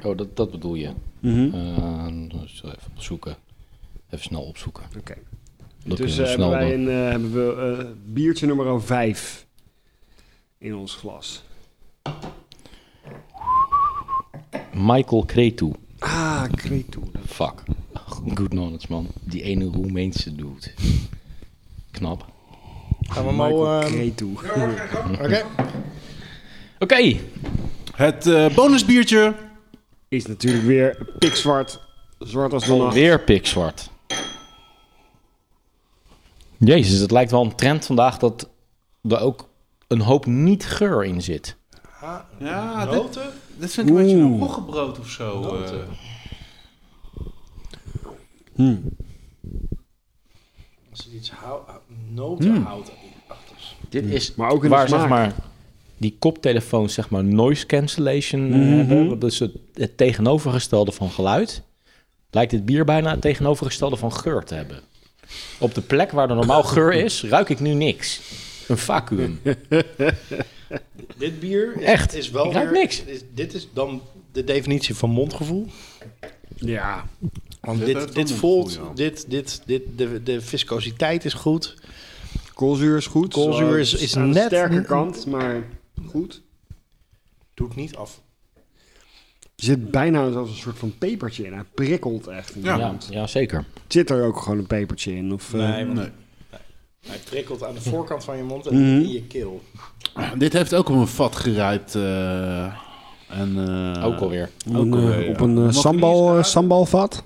Speaker 1: Oh, dat, dat bedoel je.
Speaker 4: Mhm.
Speaker 1: Eh, dus even opzoeken. Even snel opzoeken.
Speaker 4: Oké.
Speaker 1: Dat kunnen
Speaker 4: Dus
Speaker 1: we
Speaker 4: eh,
Speaker 1: snel
Speaker 4: hebben wij
Speaker 1: doen.
Speaker 4: een eh, hebben we, eh, biertje nummer 5 in ons glas.
Speaker 1: Michael Cretu.
Speaker 4: Ah, Cretu. dat-
Speaker 1: Fuck. Good knowledge, man. Die ene Roemeense dude. Knap.
Speaker 3: Gaan we hem al...
Speaker 4: Michael
Speaker 3: eh,
Speaker 4: Cretu.
Speaker 3: Oké.
Speaker 1: Hmm. Oké.
Speaker 2: Het eh, bonusbiertje.
Speaker 4: Is natuurlijk weer pikzwart. Zwart als de nacht.
Speaker 1: Weer pikzwart. Jezus, het lijkt wel een trend vandaag dat er ook een hoop niet geur in zit.
Speaker 2: Ja, dit, dit vind ik een beetje een roggebrood of zo. eh.
Speaker 3: Als er iets hout, notenhout achter is.
Speaker 1: Dit is
Speaker 4: Maar ook in de
Speaker 1: waar zeg
Speaker 4: smaak.
Speaker 1: maar die koptelefoons zeg maar noise cancellation eh,
Speaker 4: Mhm.
Speaker 1: hebben. Dus het, het tegenovergestelde van geluid. Lijkt dit bier bijna het tegenovergestelde van geur te hebben. Op de plek waar er normaal geur is, ruik ik nu niks. Een vacuüm.
Speaker 3: Dit bier is,
Speaker 1: Echt?
Speaker 3: is wel
Speaker 1: Ik ruik
Speaker 3: weer-
Speaker 1: niks.
Speaker 3: is- dit is dan de definitie van mondgevoel.
Speaker 4: Ja.
Speaker 3: Want
Speaker 2: Dit
Speaker 3: dit,
Speaker 2: heeft
Speaker 3: dit,
Speaker 2: wel
Speaker 3: voelt,
Speaker 2: mondgevoel, ja.
Speaker 3: dit, dit, dit, de, de viscositeit is goed.
Speaker 4: Koolzuur is goed.
Speaker 3: Koolzuur is-
Speaker 4: Zo,
Speaker 3: is
Speaker 4: aan de
Speaker 3: net-
Speaker 4: sterke kant, maar goed.
Speaker 3: Doet niet af.
Speaker 4: Er zit bijna zelfs een soort van pepertje in. Hij prikkelt echt. in de
Speaker 2: Ja.
Speaker 1: Ja,
Speaker 4: mond.
Speaker 1: ja, zeker.
Speaker 4: Zit er ook gewoon een pepertje in? Of, eh,
Speaker 2: Nee.
Speaker 3: Hij prikkelt aan de voorkant van je mond en
Speaker 4: Mhm.
Speaker 3: in je keel.
Speaker 2: Dit heeft ook op een vat geruikt. eh, en, eh,
Speaker 1: Ook alweer.
Speaker 4: op
Speaker 2: ook
Speaker 4: een,
Speaker 2: wel,
Speaker 4: eh,
Speaker 2: ja.
Speaker 4: op een eh,
Speaker 2: Mag ik
Speaker 4: sambal,
Speaker 2: iets
Speaker 4: eh,
Speaker 2: raden?
Speaker 4: sambalvat?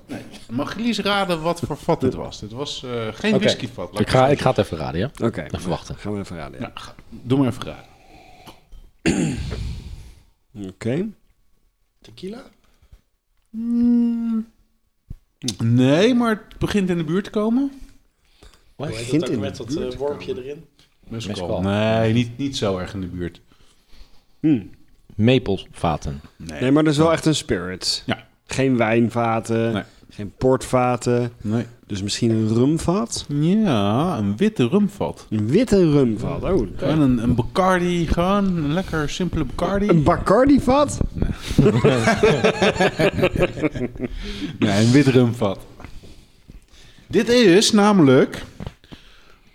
Speaker 2: Mag jullie eens raden wat voor vat dit was? Dit was eh, geen
Speaker 1: Oké.
Speaker 2: whiskyvat. laat
Speaker 1: Ik ga, ik ga het even raden, ja?
Speaker 4: Oké,
Speaker 1: Even wachten.
Speaker 4: gaan we even raden. ja.
Speaker 2: Nou, ga- doe maar even raden.
Speaker 4: Oké.
Speaker 3: Tequila?
Speaker 2: Nee, maar het begint in de buurt te komen.
Speaker 3: Hoe heet
Speaker 4: Begint
Speaker 3: dat ook
Speaker 4: in
Speaker 3: met
Speaker 4: de
Speaker 3: dat eh,
Speaker 4: buurt te
Speaker 3: wormpje erin?
Speaker 2: Mescal.
Speaker 1: Mescal.
Speaker 2: Nee, niet, niet zo erg in de buurt.
Speaker 4: Hm.
Speaker 1: Mapelvaten.
Speaker 4: Nee, maar dat is wel echt een spirit.
Speaker 2: Ja.
Speaker 4: Geen wijnvaten,
Speaker 2: Nee.
Speaker 4: geen portvaten.
Speaker 2: Nee.
Speaker 4: Dus misschien een rumvat?
Speaker 2: Ja, een witte rumvat.
Speaker 4: Een witte rumvat. Oh,
Speaker 2: Gewoon een, een Bacardi, gewoon een lekker simpele Bacardi.
Speaker 4: een Bacardi-vat?
Speaker 2: Nee, een wit rumvat. Dit is namelijk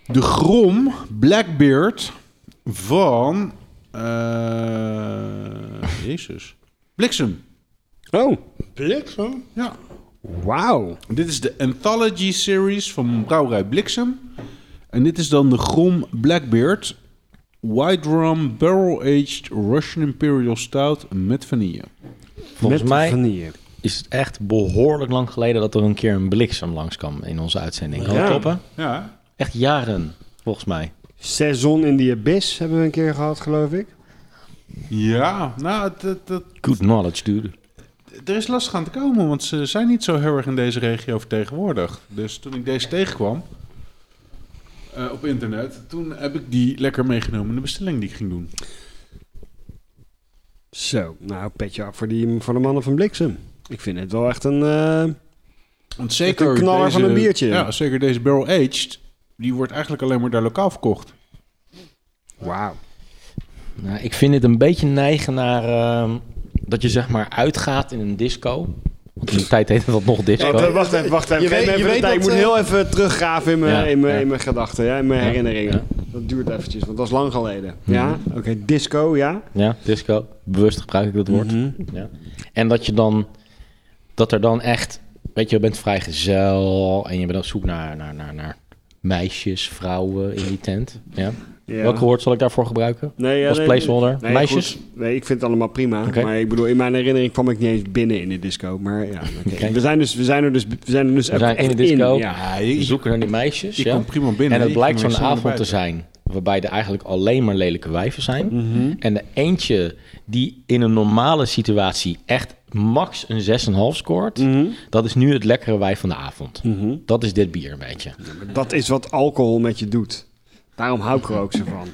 Speaker 2: de Grom Blackbeard van... eh, Jezus. Bliksem.
Speaker 4: Oh,
Speaker 3: Bliksem?
Speaker 2: Ja.
Speaker 4: wauw.
Speaker 2: Dit is de Anthology Series van Brouwerij Bliksem. En dit is dan de Grom Blackbeard. White Rum Barrel Aged Russian Imperial Stout met vanille.
Speaker 1: Volgens
Speaker 4: Met
Speaker 1: mij
Speaker 4: vanille.
Speaker 1: is het echt behoorlijk lang geleden dat er een keer een bliksem langskwam in onze uitzending. Kan
Speaker 4: Ja.
Speaker 1: dat kloppen?
Speaker 2: Ja.
Speaker 1: Echt jaren, volgens mij.
Speaker 4: Saison in the Abyss hebben we een keer gehad, geloof ik.
Speaker 2: Ja, nou, het- het- het-
Speaker 1: Good knowledge, dude.
Speaker 2: er is lastig aan te komen, want ze zijn niet zo heel erg in deze regio vertegenwoordigd. Dus toen ik deze tegenkwam eh, op internet, toen heb ik die lekker meegenomen in de bestelling die ik ging doen.
Speaker 4: Zo, nou, petje af voor, die, voor de mannen van Bliksem. Ik vind het wel echt een... eh,
Speaker 2: Want
Speaker 4: zeker een knaller van een biertje.
Speaker 2: Ja, zeker deze Barrel Aged, die wordt eigenlijk alleen maar daar lokaal verkocht.
Speaker 4: Wauw.
Speaker 1: Nou, ik vind het een beetje neigen naar ehm, dat je zeg maar uitgaat in een disco. Want in de tijd heette dat nog disco.
Speaker 4: Wacht, wacht even, wacht even.
Speaker 3: Je
Speaker 4: Geef
Speaker 3: weet-
Speaker 4: me even
Speaker 3: je
Speaker 4: de
Speaker 3: weet
Speaker 4: tijd. Ik
Speaker 3: dat,
Speaker 4: moet
Speaker 3: eh,
Speaker 4: heel even teruggraven in mijn,
Speaker 1: Ja,
Speaker 4: in mijn,
Speaker 1: ja.
Speaker 4: in mijn gedachten, ja, in mijn
Speaker 1: Ja, Mhm.
Speaker 4: herinneringen. Dat duurt eventjes, want dat is lang geleden. Ja, oké, disco, ja.
Speaker 1: Ja, disco. Bewust gebruik ik dat woord. ja. En dat je dan, dat er dan echt, weet je, je bent vrijgezel en je bent op zoek naar, naar, naar, naar meisjes, vrouwen in die tent. Ja.
Speaker 4: Ja.
Speaker 1: Welke woord zal ik daarvoor gebruiken?
Speaker 4: Nee, ja,
Speaker 1: Als
Speaker 4: nee,
Speaker 1: placeholder.
Speaker 4: nee,
Speaker 1: Meisjes?
Speaker 4: goed. Nee, ik vind het allemaal prima.
Speaker 1: Oké.
Speaker 4: Maar ik bedoel, in mijn herinnering kwam ik niet eens binnen in de disco. Maar ja, oké.
Speaker 1: Oké.
Speaker 4: we, zijn dus, we zijn er dus... We zijn er dus
Speaker 1: We zijn
Speaker 4: echt
Speaker 1: in de disco.
Speaker 4: ja.
Speaker 2: je,
Speaker 1: Zoeken naar die meisjes.
Speaker 2: je
Speaker 1: ja.
Speaker 2: komt prima binnen.
Speaker 1: En het
Speaker 2: je
Speaker 1: blijkt
Speaker 2: ging
Speaker 1: zo'n
Speaker 2: weer snel
Speaker 1: avond
Speaker 2: naar
Speaker 1: te
Speaker 2: buiten.
Speaker 1: zijn waarbij er eigenlijk alleen maar lelijke wijven zijn. En de eentje die in een normale situatie echt max een 6,5 scoort, dat is nu het lekkere wijf van de avond. Dat is dit bier een beetje.
Speaker 4: Dat is wat alcohol met je doet. Daarom hou ik er ook zo van.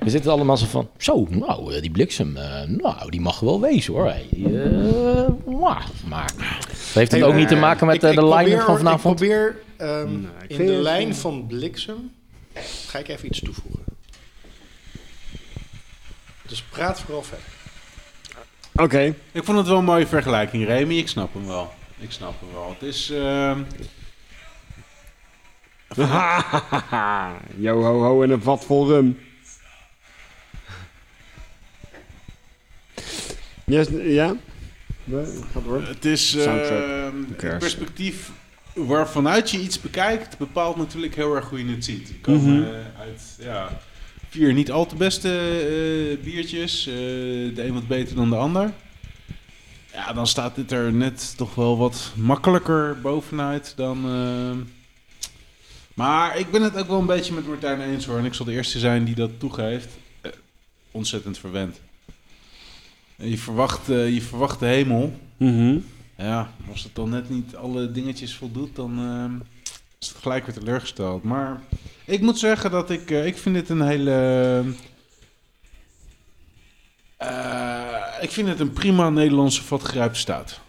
Speaker 1: We zitten allemaal zo van, zo, nou, eh, die bliksem, eh, nou, die mag er wel wezen hoor. Hey, eh, mwah. maar dat heeft het ook niet te maken met
Speaker 3: Ik-
Speaker 1: eh,
Speaker 3: ik
Speaker 1: de line
Speaker 3: probeer-
Speaker 1: van vanavond?
Speaker 3: Ik probeer ehm,
Speaker 4: ik
Speaker 3: in
Speaker 4: vind
Speaker 3: de
Speaker 4: het-
Speaker 3: lijn van bliksem... ga ik even iets toevoegen. Dus praat vooral verder.
Speaker 4: Oké.
Speaker 2: Ik vond het wel een mooie vergelijking, Remy. Ik snap hem wel. Ik snap hem wel. Het is... ehm,
Speaker 4: Hahaha. Yo ho ho en een vat vol rum. Yes, ja? We- Gaat door.
Speaker 2: Het is eh,
Speaker 4: Soundtrack.
Speaker 2: het
Speaker 4: cares?
Speaker 2: perspectief waarvanuit je iets bekijkt, bepaalt natuurlijk heel erg hoe je het ziet. Die komen eh, uit ja, vier niet al te beste eh, biertjes, eh, de een wat beter dan de ander. Ja, dan staat dit er net toch wel wat makkelijker bovenuit dan. eh, maar ik ben het ook wel een beetje met Martijn eens hoor. En ik zal de eerste zijn die dat toegeeft. Eh, ontzettend verwend. En Je verwacht, eh, je verwacht de hemel. Ja, als het dan net niet alle dingetjes voldoet, dan ehm, is het gelijk weer teleurgesteld. Maar ik moet zeggen dat ik, eh, ik vind dit een hele... eh, ik vind het een prima Nederlandse vatgrijp stout.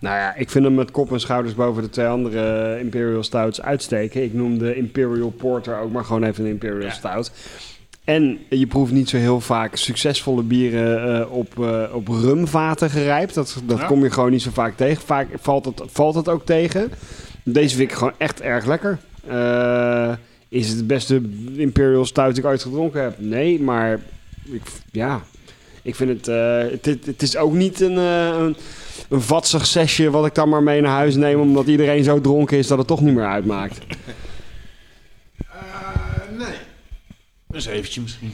Speaker 4: Nou ja, ik vind hem met kop en schouders boven de twee andere eh, Imperial Stouts uitsteken. Ik noemde Imperial Porter ook maar gewoon even een Imperial Stout. En je proeft niet zo heel vaak succesvolle bieren eh, op, eh, op rumvaten gerijpt. Dat, dat
Speaker 2: Ja.
Speaker 4: kom je gewoon niet zo vaak tegen. Vaak valt het, valt het ook tegen. Deze vind ik gewoon echt erg lekker. Eh, is het de beste Imperial Stout die ik ooit gedronken heb? Nee, maar ik, ja, ik vind het... eh, het, het- het is ook niet een, eh, een, een vatsig zesje wat ik dan maar mee naar huis neem... omdat iedereen zo dronken is dat het toch niet meer uitmaakt.
Speaker 2: nee. Een zeventje misschien.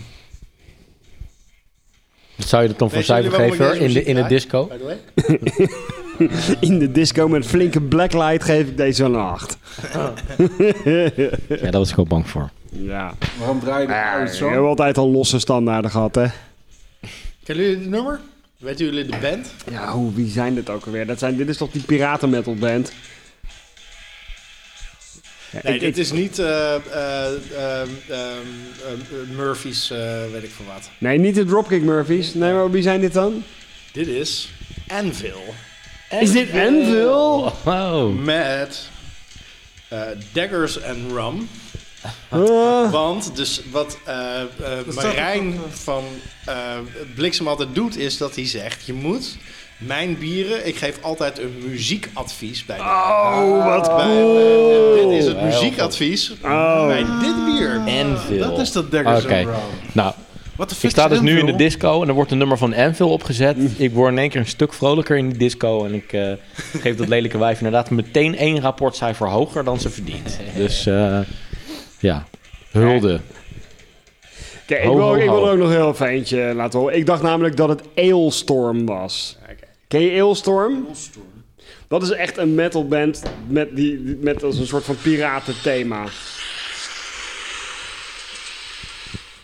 Speaker 1: Wat zou je dat dan voor
Speaker 3: Weet jullie
Speaker 1: cijfer
Speaker 3: waarom ik
Speaker 1: geven hoor,
Speaker 3: deze
Speaker 1: in de,
Speaker 3: muziek
Speaker 1: in de disco?
Speaker 3: draai? By the way.
Speaker 4: In de disco met flinke blacklight geef ik deze een 8.
Speaker 1: Ja, daar was ik wel bang voor.
Speaker 4: Ja,
Speaker 2: Waarom draai
Speaker 1: Ah,
Speaker 2: je
Speaker 4: Ja,
Speaker 2: dat
Speaker 4: ik
Speaker 2: zo?
Speaker 4: heb altijd al losse standaarden gehad, hè.
Speaker 3: Kennen jullie het nummer? Weten jullie de band?
Speaker 4: Ja, hoe, wie zijn dit ook alweer? Dat zijn, dit is toch die piraten metal band? Ja,
Speaker 3: Nee,
Speaker 4: ik-
Speaker 3: dit
Speaker 4: ik-
Speaker 3: is niet eh, eh, ehm, ehm, ehm, Murphy's, eh, weet ik veel wat.
Speaker 4: nee, niet de Dropkick Murphys. Nee, maar wie zijn dit dan?
Speaker 3: Dit is Anvil.
Speaker 4: Is dit Anvil?
Speaker 1: Wow.
Speaker 3: Met eh, Daggers and Rum.
Speaker 4: Ah.
Speaker 3: Want dus wat eh, eh, Marijn van eh, Bliksem altijd doet, is dat hij zegt: Je moet mijn bieren, ik geef altijd een muziekadvies bij. de-
Speaker 4: Oh, wat
Speaker 3: bij-
Speaker 4: cool. Oh.
Speaker 3: dit is het muziekadvies bij dit bier.
Speaker 1: Anvil.
Speaker 2: Dat is dat Daggers
Speaker 1: Oké.
Speaker 2: and Rum.
Speaker 1: Nou,
Speaker 2: Wat de fuck
Speaker 1: ik sta
Speaker 2: is
Speaker 1: dus nu in de
Speaker 2: Anvil?
Speaker 1: disco en er wordt een nummer van Anvil opgezet. Ik word in één keer een stuk vrolijker in die disco. En ik eh, geef dat lelijke wijf inderdaad meteen één rapportcijfer hoger dan ze verdient. Dus eh, ja, hulde.
Speaker 4: Oké, ik,
Speaker 1: Ho,
Speaker 4: wil,
Speaker 1: ho,
Speaker 4: ik wil
Speaker 1: ho.
Speaker 4: er ook nog heel even eentje laten horen. Ik dacht namelijk dat het Aelstorm was. Ken je Aelstorm? Dat is echt een metalband met, die, met als een soort van piratenthema.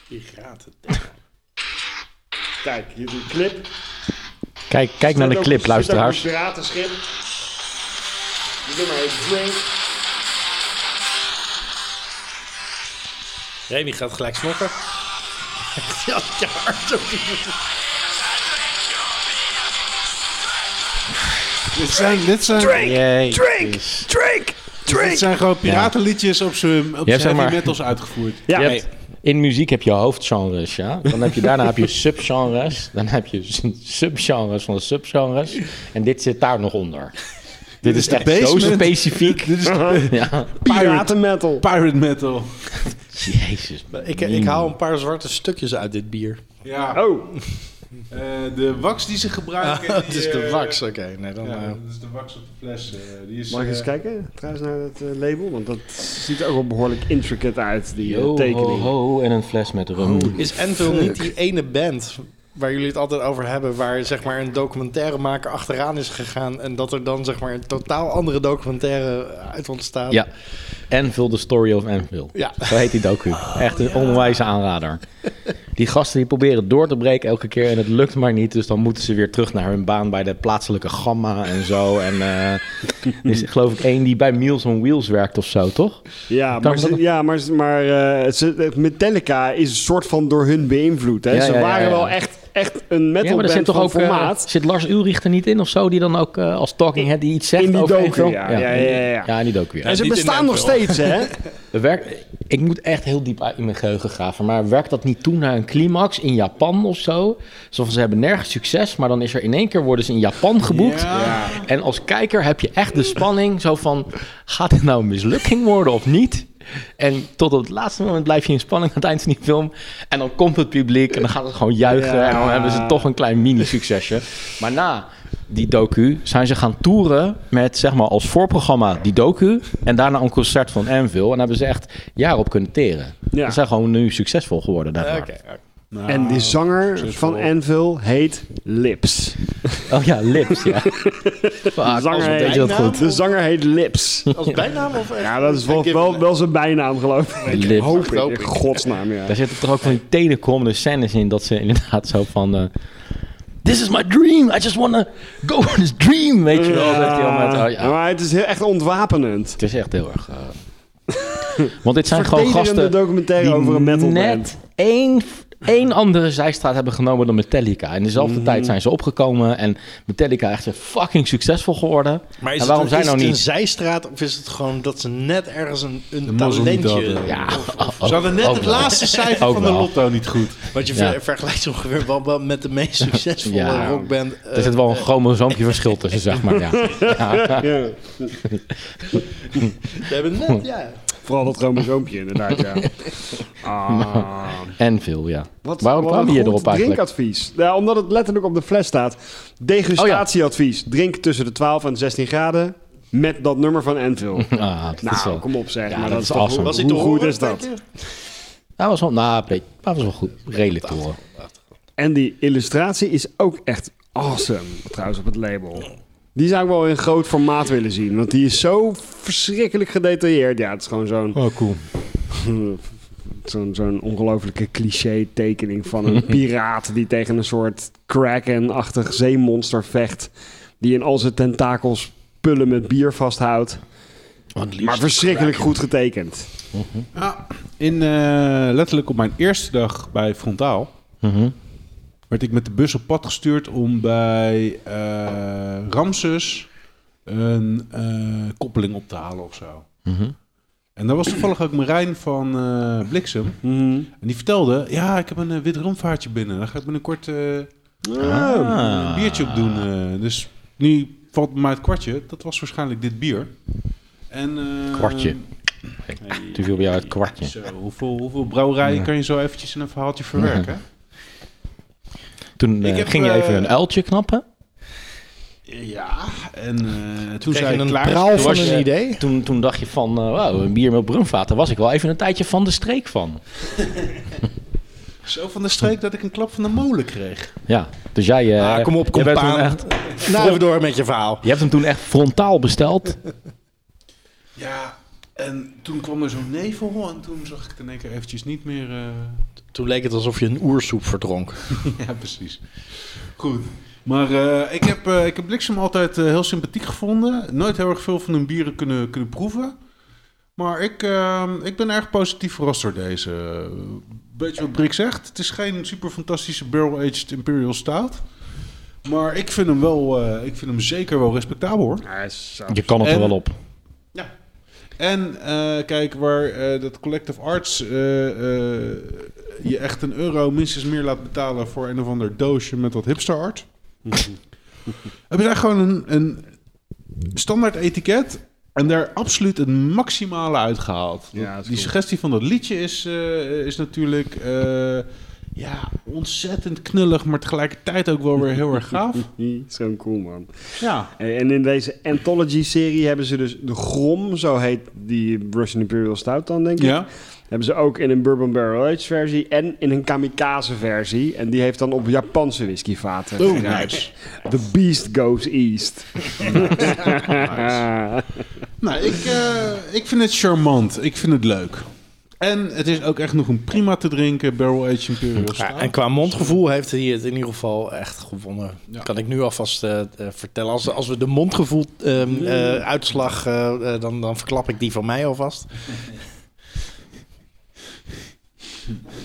Speaker 3: Piraten.
Speaker 4: Kijk, hier is een clip.
Speaker 1: Kijk, kijk naar de clip, luisteraars.
Speaker 4: Een piratenschip. De nummer heet Drink.
Speaker 3: Remy gaat gelijk snokken. ja, ja, hard op die-
Speaker 2: Dit zijn, dit zijn,
Speaker 1: Yay.
Speaker 2: dit zijn gewoon piratenliedjes op zijn op
Speaker 1: Ja, zeg
Speaker 2: zijn heavy
Speaker 1: maar.
Speaker 2: metals uitgevoerd.
Speaker 1: Je hebt- in muziek heb je hoofdgenres, ja. Dan heb je, daarna heb je subgenres. Dan heb je subgenres van subgenres. En dit zit daar nog onder. Dit is echt zo
Speaker 2: basement.
Speaker 1: specifiek.
Speaker 2: Dit is
Speaker 1: Ja.
Speaker 4: Piratenmetal.
Speaker 2: pirate metal.
Speaker 1: Jezus.
Speaker 3: Ik, ik haal een paar zwarte stukjes uit dit bier.
Speaker 2: Ja.
Speaker 4: Oh,
Speaker 2: Eh, de wax die ze gebruiken. die,
Speaker 3: Het is de
Speaker 2: eh,
Speaker 3: wax, oké. Nee, dan,
Speaker 2: Ja,
Speaker 3: eh,
Speaker 2: dat is de wax op de fles. eh, die
Speaker 1: Dus,
Speaker 2: is,
Speaker 4: mag ik eens
Speaker 2: eh,
Speaker 4: kijken trouwens naar dat eh, label? Want dat ziet er ook wel behoorlijk intricate uit, die eh,
Speaker 1: Yo, ho,
Speaker 4: tekening.
Speaker 1: ho, en een fles met rum.
Speaker 3: Is Anvil niet die ene band waar jullie het altijd over hebben, waar zeg maar een documentairemaker achteraan is gegaan en dat er dan zeg maar een totaal andere documentaire uit ontstaat?
Speaker 1: Ja. Anvil, The Story of Anvil.
Speaker 6: Ja.
Speaker 1: Zo heet die docu.
Speaker 4: Oh,
Speaker 1: Echt een onwijze aanrader. Die gasten die proberen door te breken elke keer en het lukt maar niet. Dus dan moeten ze weer terug naar hun baan bij de plaatselijke Gamma en zo. En eh, er is geloof ik één die bij Meals on Wheels werkt of zo, toch?
Speaker 4: Ja,
Speaker 1: Kan
Speaker 4: maar, ze-
Speaker 1: dat-
Speaker 4: ja, maar, ze- maar eh, ze- Metallica is een soort van door hun beïnvloed. Hè?
Speaker 1: Ja,
Speaker 4: ze
Speaker 1: ja, ja,
Speaker 4: waren
Speaker 1: ja.
Speaker 4: wel echt, echt een
Speaker 1: ja, maar er
Speaker 4: metalband
Speaker 1: zit toch
Speaker 4: van
Speaker 1: ook eh,
Speaker 4: formaat.
Speaker 1: zit Lars Ulrich er niet in of zo, die dan ook eh, als talking head die iets zegt
Speaker 4: In die
Speaker 1: over
Speaker 4: docu,
Speaker 1: Anvil?
Speaker 4: ja. Ja, ja, ja, ja.
Speaker 1: ja, in die docu. ja.
Speaker 4: en ze
Speaker 6: niet in
Speaker 4: bestaan nog
Speaker 6: Nederland.
Speaker 4: steeds, hè?
Speaker 1: Werk, ik moet echt heel diep uit in mijn geheugen graven. Maar werkt dat niet toe naar een climax in Japan of zo? Alsof ze hebben nergens succes, maar dan is er in één keer worden ze in Japan geboekt. En als kijker heb je echt de spanning zo van... gaat dit nou een mislukking worden of niet? En tot op het laatste moment blijf je in spanning aan het eind van die film. En dan komt het publiek en dan gaat het gewoon juichen.
Speaker 4: Ja.
Speaker 1: En dan hebben ze toch een klein mini-succesje. Maar na die docu zijn ze gaan toeren met, zeg maar, als voorprogramma die docu. En daarna een concert van Anvil. En hebben ze echt jaren op kunnen teren.
Speaker 4: Ja.
Speaker 1: Ze zijn gewoon nu succesvol geworden daarna.
Speaker 6: Oké, oké. Nou,
Speaker 4: en die zanger van Anvil heet Lips.
Speaker 1: Oh ja, Lips, ja. Vaak,
Speaker 4: zanger
Speaker 1: alsof
Speaker 4: heet-
Speaker 1: deed je dat goed.
Speaker 4: De zanger heet Lips.
Speaker 6: Als bijnaam of echt?
Speaker 4: Ja, dat is wel,
Speaker 6: Ik-
Speaker 4: wel, wel zijn bijnaam, geloof ik.
Speaker 1: Lips.
Speaker 4: Hoop ik,
Speaker 6: Hoop
Speaker 4: in
Speaker 6: ik.
Speaker 4: godsnaam, ja.
Speaker 1: Daar zitten toch ook van die telecomende scènes in dat ze inderdaad zo van. eh, This is my dream. I just wanna go on this dream. Weet je wel. Dat die allemaal met, oh
Speaker 4: Ja,
Speaker 1: ja,
Speaker 4: Maar het is heel, echt ontwapenend.
Speaker 1: het is echt heel erg. eh, Want dit zijn gewoon
Speaker 4: Vertederende
Speaker 1: gasten
Speaker 4: documentaire
Speaker 1: die
Speaker 4: over een metalband.
Speaker 1: net één, één andere zijstraat hebben genomen dan Metallica. In dezelfde
Speaker 6: Mm.
Speaker 1: tijd zijn ze opgekomen en Metallica echt weer fucking succesvol geworden.
Speaker 6: Maar is
Speaker 1: en waarom
Speaker 6: het,
Speaker 1: zijn
Speaker 6: is
Speaker 1: nou
Speaker 6: het
Speaker 1: niet?
Speaker 6: een zijstraat of is het gewoon dat ze net ergens een, een
Speaker 2: mazzel niet
Speaker 6: talentje...
Speaker 2: hadden.
Speaker 1: Ja,
Speaker 6: Ze hadden net
Speaker 1: ook
Speaker 6: het
Speaker 1: wel.
Speaker 6: laatste cijfer
Speaker 1: Ook
Speaker 6: van de
Speaker 1: wel.
Speaker 6: lot. eh,
Speaker 2: Lotto niet goed.
Speaker 6: Want je
Speaker 1: Ja.
Speaker 6: ver- vergelijkt ze ongeveer wel, wel met de meest succesvolle
Speaker 1: Ja.
Speaker 6: rockband.
Speaker 1: Er
Speaker 6: eh,
Speaker 1: zit wel een chromosoompje verschil tussen, zeg maar. Ja.
Speaker 4: Ja.
Speaker 6: we hebben net, ja.
Speaker 4: Vooral dat chromosoompje, inderdaad, ja. Ah.
Speaker 1: En veel, ja.
Speaker 4: Wat,
Speaker 1: Waarom
Speaker 4: wat
Speaker 1: kwam
Speaker 4: een
Speaker 1: je
Speaker 4: goed
Speaker 1: erop eigenlijk?
Speaker 4: drinkadvies. Ja, omdat het letterlijk op de fles staat.
Speaker 1: Oh
Speaker 4: Degustatieadvies. Drink tussen de 12 en 16 graden met dat nummer van Enfield.
Speaker 1: Ah, dat is
Speaker 4: nou,
Speaker 1: wel-
Speaker 4: kom op zeg.
Speaker 1: Ja, dat
Speaker 4: maar dat
Speaker 1: is
Speaker 4: is toch-
Speaker 1: awesome.
Speaker 4: hoe-
Speaker 6: Was hij te
Speaker 4: Hoe goed
Speaker 6: horen,
Speaker 4: is dat?
Speaker 6: denk je?
Speaker 1: Hij was wel, nou, nee, hij was wel goed. Redelijk te horen.
Speaker 4: En die illustratie is ook echt awesome. Trouwens, op het label. Die zou ik wel in groot formaat willen zien. Want die is zo verschrikkelijk gedetailleerd. Ja, het is gewoon zo'n...
Speaker 1: Oh, cool.
Speaker 4: Zo'n zo'n ongelofelijke cliché-tekening van een piraat die tegen een soort kraken-achtig zeemonster vecht. Die in al zijn tentakels pullen met bier vasthoudt. Maar verschrikkelijk goed getekend.
Speaker 2: Ja, in, eh, letterlijk op mijn eerste dag bij Frontaal
Speaker 1: Mhm,
Speaker 2: werd ik met de bus op pad gestuurd om bij eh, Ramses een eh, koppeling op te halen of zo.
Speaker 1: mhm.
Speaker 2: En daar was toevallig ook Marijn van eh, Bliksem. En die vertelde, ja, ik heb een eh, wit romvaartje binnen. Daar ga ik binnenkort eh,
Speaker 1: Ah.
Speaker 2: een biertje op doen. eh. dus nu valt bij mij het kwartje. Dat was waarschijnlijk dit bier. En, eh,
Speaker 1: Kwartje.
Speaker 2: Hey.
Speaker 1: Toen viel bij jou het kwartje.
Speaker 2: Zo, hoeveel, hoeveel brouwerijen kan je zo eventjes in een verhaaltje verwerken?
Speaker 1: Toen eh,
Speaker 2: Ik heb,
Speaker 1: ging je
Speaker 2: eh,
Speaker 1: even een uiltje knappen.
Speaker 2: Ja, en eh, toen
Speaker 6: Krijg
Speaker 2: zei
Speaker 6: je
Speaker 2: ik
Speaker 6: een
Speaker 2: klaar.
Speaker 6: praal
Speaker 1: was
Speaker 6: van
Speaker 1: je-
Speaker 6: een idee?
Speaker 1: Toen, toen dacht je van, eh, wauw, een bier met brunvaten. Daar was ik wel even een tijdje van de streek van.
Speaker 2: Zo van de streek dat ik een klap van de molen kreeg.
Speaker 1: Ja, dus jij... eh,
Speaker 6: ah, kom op,
Speaker 1: jij
Speaker 6: kom
Speaker 1: bent toen
Speaker 6: aan.
Speaker 1: echt-
Speaker 6: Nou, even door met je verhaal.
Speaker 1: Je hebt hem toen echt frontaal besteld.
Speaker 2: Ja, en toen kwam er zo'n nevel en toen zag ik het in één keer eventjes niet meer... eh,
Speaker 6: Toen leek het alsof je een oersoep verdronk.
Speaker 2: ja, precies. Goed. Maar eh, ik, heb, eh, ik heb Bliksem altijd eh, heel sympathiek gevonden. Nooit heel erg veel van hun bieren kunnen, kunnen proeven. Maar ik, eh, ik ben erg positief verrast door deze. Beetje wat Brik zegt. Het is geen super fantastische barrel-aged Imperial Stout. Maar ik vind hem wel, eh, ik vind hem zeker wel respectabel hoor.
Speaker 1: Je kan het er
Speaker 2: En-
Speaker 1: wel op.
Speaker 2: Ja. En eh, kijk, waar eh, dat Collective Arts eh, eh, je echt een euro minstens meer laat betalen voor een of ander doosje met wat hipster art. hebben zij gewoon een, een standaard etiket en daar absoluut het maximale uitgehaald.
Speaker 4: Ja, dat is
Speaker 2: Die
Speaker 4: cool.
Speaker 2: suggestie van dat liedje is, eh, is natuurlijk eh, ja, ontzettend knullig, maar tegelijkertijd ook wel weer heel erg gaaf.
Speaker 4: Hm, Zo'n cool man.
Speaker 2: Ja.
Speaker 4: En en in deze anthology-serie hebben ze dus de Grom, zo heet die Russian Imperial Stout dan, denk ik.
Speaker 2: Ja.
Speaker 4: Hebben ze ook in een Bourbon Barrel Age versie en in een Kamikaze versie. En die heeft dan op Japanse whiskyvaten.
Speaker 2: Oh, nice.
Speaker 4: The Beast Goes East.
Speaker 2: Nou, ik, eh, ik vind het charmant. Ik vind het leuk. En het is ook echt nog een prima te drinken Barrel Aged Imperial
Speaker 3: Ja,
Speaker 2: Stout.
Speaker 7: Ja, en qua mondgevoel heeft hij het in ieder geval echt gewonnen. Kan ik nu alvast eh, eh, vertellen. Als, als we de ehm, eh, mondgevoel-uitslag, eh, dan, dan verklap ik die van mij alvast.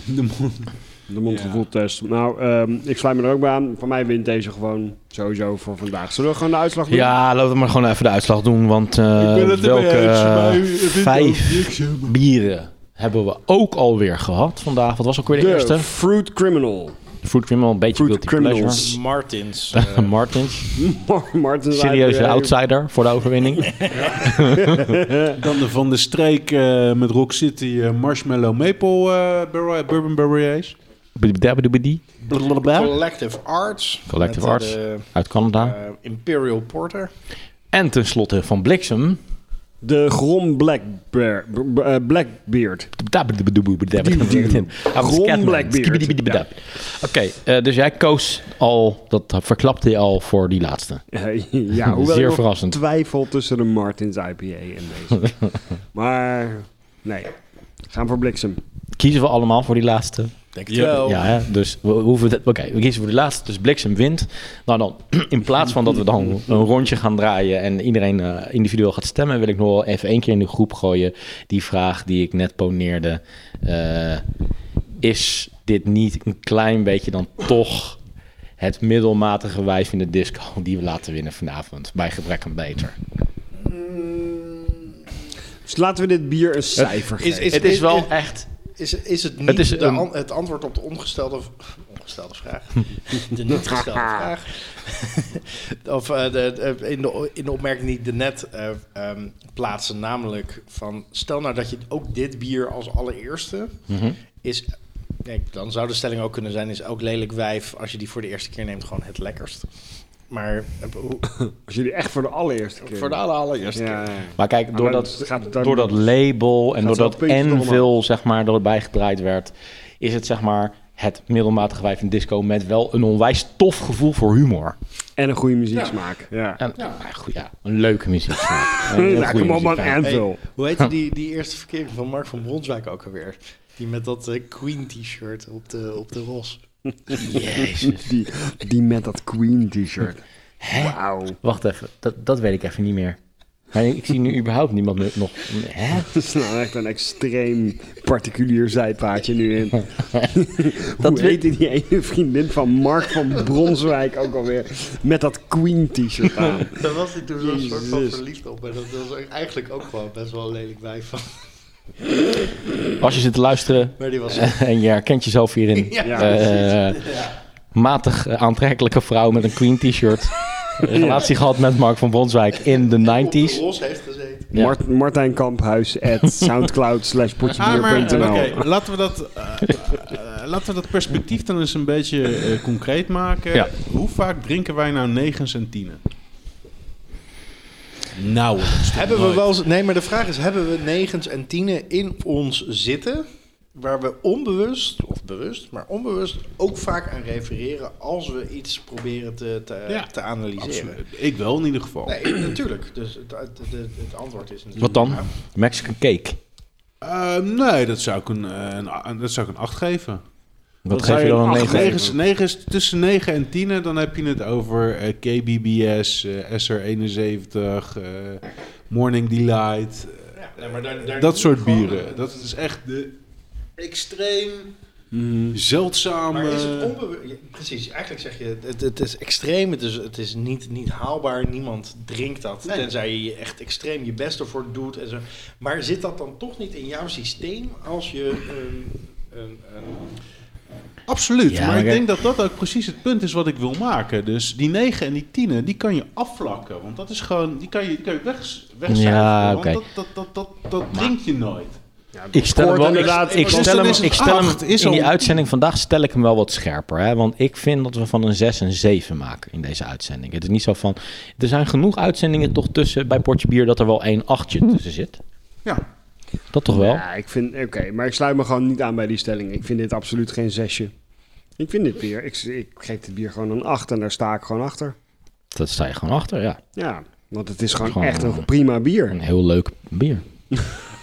Speaker 2: De mond.
Speaker 4: De mondgevoeltest. Nou, ehm, ik sluit me er ook bij aan. Van mij wint deze gewoon sowieso voor vandaag. Zullen we gewoon de uitslag doen?
Speaker 1: Ja, laten we maar gewoon even de uitslag doen. Want eh,
Speaker 2: Ik ben het ermee
Speaker 1: welke
Speaker 2: eens, maar u
Speaker 1: eh,
Speaker 2: vindt ook
Speaker 1: vijf
Speaker 2: niks, hè, maar-
Speaker 1: bieren hebben we ook alweer gehad vandaag? Wat was ook weer de,
Speaker 4: De
Speaker 1: eerste?
Speaker 4: Fruit Criminal.
Speaker 1: Fruit Criminal, een beetje guilty
Speaker 4: Fruit Criminals.
Speaker 3: Martins. eh,
Speaker 1: pleasure. Martins,
Speaker 4: Martin is eigenlijk,
Speaker 1: serieuze
Speaker 4: eh,
Speaker 1: outsider voor de overwinning.
Speaker 2: Dan de Van de Streek eh, met Rock City eh, Marshmallow Maple eh, Barrel- Bourbon Barrel Aged.
Speaker 1: Bidabidabidi,
Speaker 7: eh,
Speaker 3: Collective Arts.
Speaker 1: Collective
Speaker 3: Met, eh,
Speaker 1: Arts.
Speaker 3: de,
Speaker 1: Uit Canada.
Speaker 3: eh, Imperial Porter.
Speaker 1: En tenslotte van Bliksem.
Speaker 4: De Grom Black Bear- b- b- eh, Blackbeard. Ron Blackbeard.
Speaker 1: Oké, eh, dus jij koos al, dat verklapte je al voor die laatste.
Speaker 4: Eh, ja, hoewel
Speaker 1: Zeer
Speaker 4: ik nog
Speaker 1: verrassend.
Speaker 4: twijfel tussen de Martins IPA en deze. maar nee, gaan voor Bliksem.
Speaker 1: Kiezen we allemaal voor die laatste?
Speaker 3: Denk het wel.
Speaker 1: Ja, hè? dus we hoeven het. Oké, we kiezen voor de laatste. Dus Bliksem wint. Nou dan, in plaats van dat we dan een rondje gaan draaien en iedereen eh, individueel gaat stemmen, wil ik nog wel even één keer in de groep gooien die vraag die ik net poneerde. Eh, is dit niet een klein beetje dan toch het middelmatige wijf in de disco die we laten winnen vanavond bij gebrek aan beter?
Speaker 4: Dus laten we dit bier een cijfer
Speaker 3: Is,
Speaker 4: geven.
Speaker 3: is,
Speaker 1: Het is wel echt.
Speaker 3: Is, is het niet
Speaker 1: Het is
Speaker 3: de
Speaker 1: een-
Speaker 3: an- het antwoord op de ongestelde, ongestelde vraag? De niet gestelde vraag. of eh, de, de- in, de, in de opmerking die ik daarnet eh ehm, plaatste, namelijk van... Stel nou dat je ook dit bier als allereerste
Speaker 1: Mhm.
Speaker 3: is... Kijk, dan zou de stelling ook kunnen zijn, is ook lelijk wijf... als je die voor de eerste keer neemt, gewoon het lekkerst. Maar eh, hoe-
Speaker 4: Als jullie echt voor de allereerste keer.
Speaker 3: voor de aller- allereerste
Speaker 4: ja, ja.
Speaker 1: Maar kijk, door
Speaker 4: Maar
Speaker 1: dat,
Speaker 4: het gaat het daar-
Speaker 1: door dat label en
Speaker 4: Gaat
Speaker 1: door
Speaker 4: wel
Speaker 1: dat
Speaker 4: puntjes
Speaker 1: Envil,
Speaker 4: eromhoog.
Speaker 1: zeg maar, erbij gedraaid werd, is het zeg maar het middelmatige wijf in disco met wel een onwijs tof gevoel voor humor.
Speaker 4: En een goede muzieksmaak. Ja.
Speaker 1: En, ja. goed, ja, een leuke muziek. Een
Speaker 4: Nou,
Speaker 1: goede
Speaker 4: kom op man,
Speaker 1: muzieksmaak.
Speaker 3: Hey,
Speaker 4: Anvil.
Speaker 3: hoe heette die, die eerste verkering van Mark van Bronswijk ook alweer? Die met dat eh, Queen t-shirt op de, op de ros.
Speaker 1: Jezus.
Speaker 4: Die, die met dat Queen t-shirt.
Speaker 1: Eh?
Speaker 4: Wauw.
Speaker 1: Wacht even, dat, dat weet ik even niet meer. Maar ik zie nu überhaupt niemand meer nog. Hè?
Speaker 4: Dat is nou echt een extreem particulier zijpaadje nu in. Hoe
Speaker 1: Dat weet-
Speaker 4: heette die ene vriendin van Mark van Bronswijk ook alweer? Met dat Queen t-shirt aan.
Speaker 3: Daar was hij toen zo'n soort van
Speaker 4: Jezus.
Speaker 3: verliefd op. En dat was eigenlijk ook gewoon best wel een lelijk wijf van.
Speaker 1: Als je zit te luisteren
Speaker 3: Maar die was...
Speaker 1: en je herkent jezelf hierin.
Speaker 3: Ja,
Speaker 4: Ja,
Speaker 1: eh, matig eh, aantrekkelijke vrouw met een Queen t-shirt. Een relatie gehad met Mark van Bronswijk in de
Speaker 3: op de
Speaker 1: 90s.
Speaker 3: ros heeft gezeten.
Speaker 1: Ja.
Speaker 4: Mart- Martijn Kamphuis at soundcloud slash
Speaker 1: Eh,
Speaker 2: Ah, maar
Speaker 4: potjebier.nl.
Speaker 2: oké, laten, we dat, eh, eh, laten we dat perspectief dan eens een beetje eh, concreet maken.
Speaker 1: Ja.
Speaker 2: Hoe vaak drinken wij nou negens en tienen? Nou,
Speaker 3: Hebben we wel... Nee, maar de vraag is, hebben we negens en tienen in ons zitten... waar we onbewust, of bewust, maar onbewust ook vaak aan refereren... als we iets proberen te, te, eh,
Speaker 2: Ja,
Speaker 3: te analyseren.
Speaker 2: Ik wel in ieder geval.
Speaker 3: Nee, natuurlijk. Dus het, het, het- het antwoord is
Speaker 1: Wat
Speaker 3: natuurlijk...
Speaker 1: dan?
Speaker 3: ja.
Speaker 1: Mexican cake.
Speaker 2: Eh, nee, dat zou ik een, eh, een, a- dat zou ik een 8 geven.
Speaker 1: Wat
Speaker 4: zou
Speaker 1: geef je
Speaker 4: je
Speaker 1: dan
Speaker 4: een
Speaker 1: een
Speaker 4: acht
Speaker 1: negen?
Speaker 4: geven?
Speaker 2: Negens, negens, tussen 9 en 10, dan heb je het over eh, KBBS, eh, SR71, eh, Morning Delight. eh,
Speaker 3: Ja, nee, maar daar- daar-
Speaker 2: dat soort
Speaker 3: gewoon- eh,
Speaker 2: bieren. Dat is echt de extreem zeldzame...
Speaker 3: Maar is het onbewust? ja, Precies, eigenlijk zeg je, het, het is extreem, het is, het is niet, niet haalbaar, niemand drinkt dat.
Speaker 2: Nee.
Speaker 3: Tenzij je je echt extreem je best ervoor doet. En zo. Maar zit dat dan toch niet in jouw systeem als je... ehm, een- een-
Speaker 2: Absoluut,
Speaker 1: Ja,
Speaker 2: maar
Speaker 1: maar
Speaker 2: ik
Speaker 1: kijk-
Speaker 2: denk dat dat ook precies het punt is wat ik wil maken. Dus die 9 en die 10, die kan je afvlakken. Want dat is gewoon, die kan je, die kan je weg, wegzuiveren.
Speaker 1: Ja,
Speaker 2: want
Speaker 1: oké.
Speaker 2: dat, dat, dat, dat, dat drink je nooit.
Speaker 1: Ik stel hem,
Speaker 4: scoort
Speaker 1: wel,
Speaker 4: inderdaad-
Speaker 1: ik, ik
Speaker 2: Dus
Speaker 1: stel
Speaker 2: dan
Speaker 1: hem,
Speaker 2: is het
Speaker 1: ik stel hem
Speaker 2: acht, is
Speaker 1: in die
Speaker 2: al-
Speaker 1: uitzending vandaag stel ik hem wel wat scherper. Hè? Want ik vind dat we van een 6 een 7 maken in deze uitzending. Het is niet zo van... Er zijn genoeg uitzendingen toch tussen bij Portje Bier dat er wel één achtje tussen zit.
Speaker 2: Ja,
Speaker 1: Dat toch wel?
Speaker 4: Ja, ik vind, oké, maar ik sluit me gewoon niet aan bij die stelling. Ik vind dit absoluut geen zesje. Ik vind dit bier, ik, ik geef dit bier gewoon een 8 en daar sta ik gewoon achter.
Speaker 1: Dat sta je gewoon achter, ja.
Speaker 4: Ja, Want het is gewoon,
Speaker 1: Gewoon,
Speaker 4: echt
Speaker 1: eh,
Speaker 4: een prima bier.
Speaker 1: Een heel leuk bier.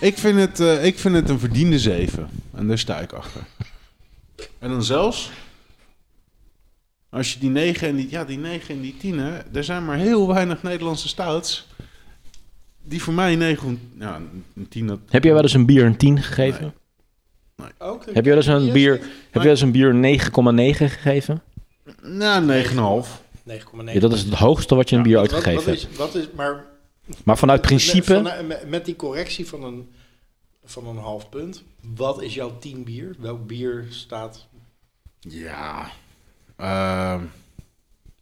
Speaker 2: Ik vind, het, eh, ik vind het een verdiende 7. En daar sta ik achter. En dan zelfs. Als je die 9 en die, ja, die, 9 en die 10. Hè, er zijn maar heel weinig Nederlandse stouts. Die voor mij 9. Ja, een 10 dat.
Speaker 1: Heb jij wel eens een bier een 10 gegeven?
Speaker 3: Ook
Speaker 1: Heb je wel eens een
Speaker 2: Yes.
Speaker 1: bier, heb je wel eens een bier 9,9 gegeven?
Speaker 2: Nou, 9,5.
Speaker 3: 9,9.
Speaker 1: Ja, dat is het hoogste wat je een bier ooit
Speaker 3: Wat-
Speaker 1: gegeven
Speaker 3: Wat
Speaker 1: hebt.
Speaker 3: is, wat is, maar
Speaker 1: Maar vanuit principe,
Speaker 3: Met, van- eh, met- met die correctie van een, van een half punt. Wat is jouw team bier? Welk bier staat...
Speaker 2: Ja. Ehm,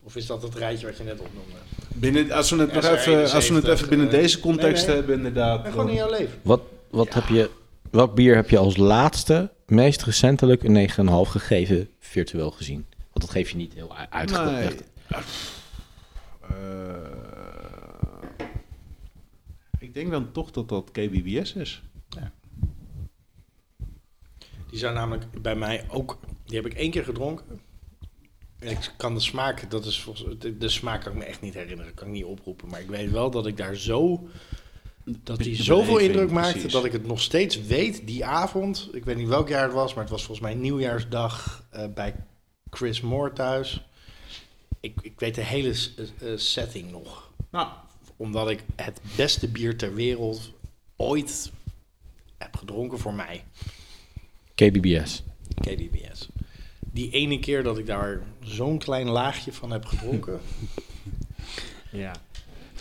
Speaker 3: Of is dat het rijtje wat je net opnoemde?
Speaker 2: binnen, als we het,
Speaker 3: Ja,
Speaker 2: nog
Speaker 3: zo'n
Speaker 2: even, als we het
Speaker 3: 71,
Speaker 2: even binnen
Speaker 3: eh,
Speaker 2: deze context
Speaker 3: nee, nee.
Speaker 2: hebben, inderdaad.
Speaker 3: En gewoon in
Speaker 2: dan-
Speaker 3: jouw leven.
Speaker 1: wat, wat heb je, welk bier heb je als laatste, meest recentelijk een 9,5 gegeven, virtueel gezien? Want dat geef je niet heel u- uitgelegd.
Speaker 2: Eh, ik denk dan toch dat dat KBBS is.
Speaker 3: Die zijn namelijk bij mij ook... Die heb ik één keer gedronken. En Ik kan de smaak, dat is volgens, de, de smaak kan ik me echt niet herinneren, kan ik niet oproepen. Maar ik weet wel dat ik daar zo, dat die
Speaker 2: Beetje
Speaker 3: zoveel
Speaker 2: beleving,
Speaker 3: indruk maakte
Speaker 2: precies.
Speaker 3: dat ik het nog steeds weet die avond. Ik weet niet welk jaar het was, maar het was volgens mij nieuwjaarsdag eh, bij Chris Moore thuis. Ik, ik weet de hele s- eh, eh, setting nog,
Speaker 2: Nou,
Speaker 3: omdat ik het beste bier ter wereld ooit heb gedronken voor mij.
Speaker 1: KBBS.
Speaker 3: KDBS. Die ene keer dat ik daar zo'n klein laagje van heb gedronken.
Speaker 4: Ja.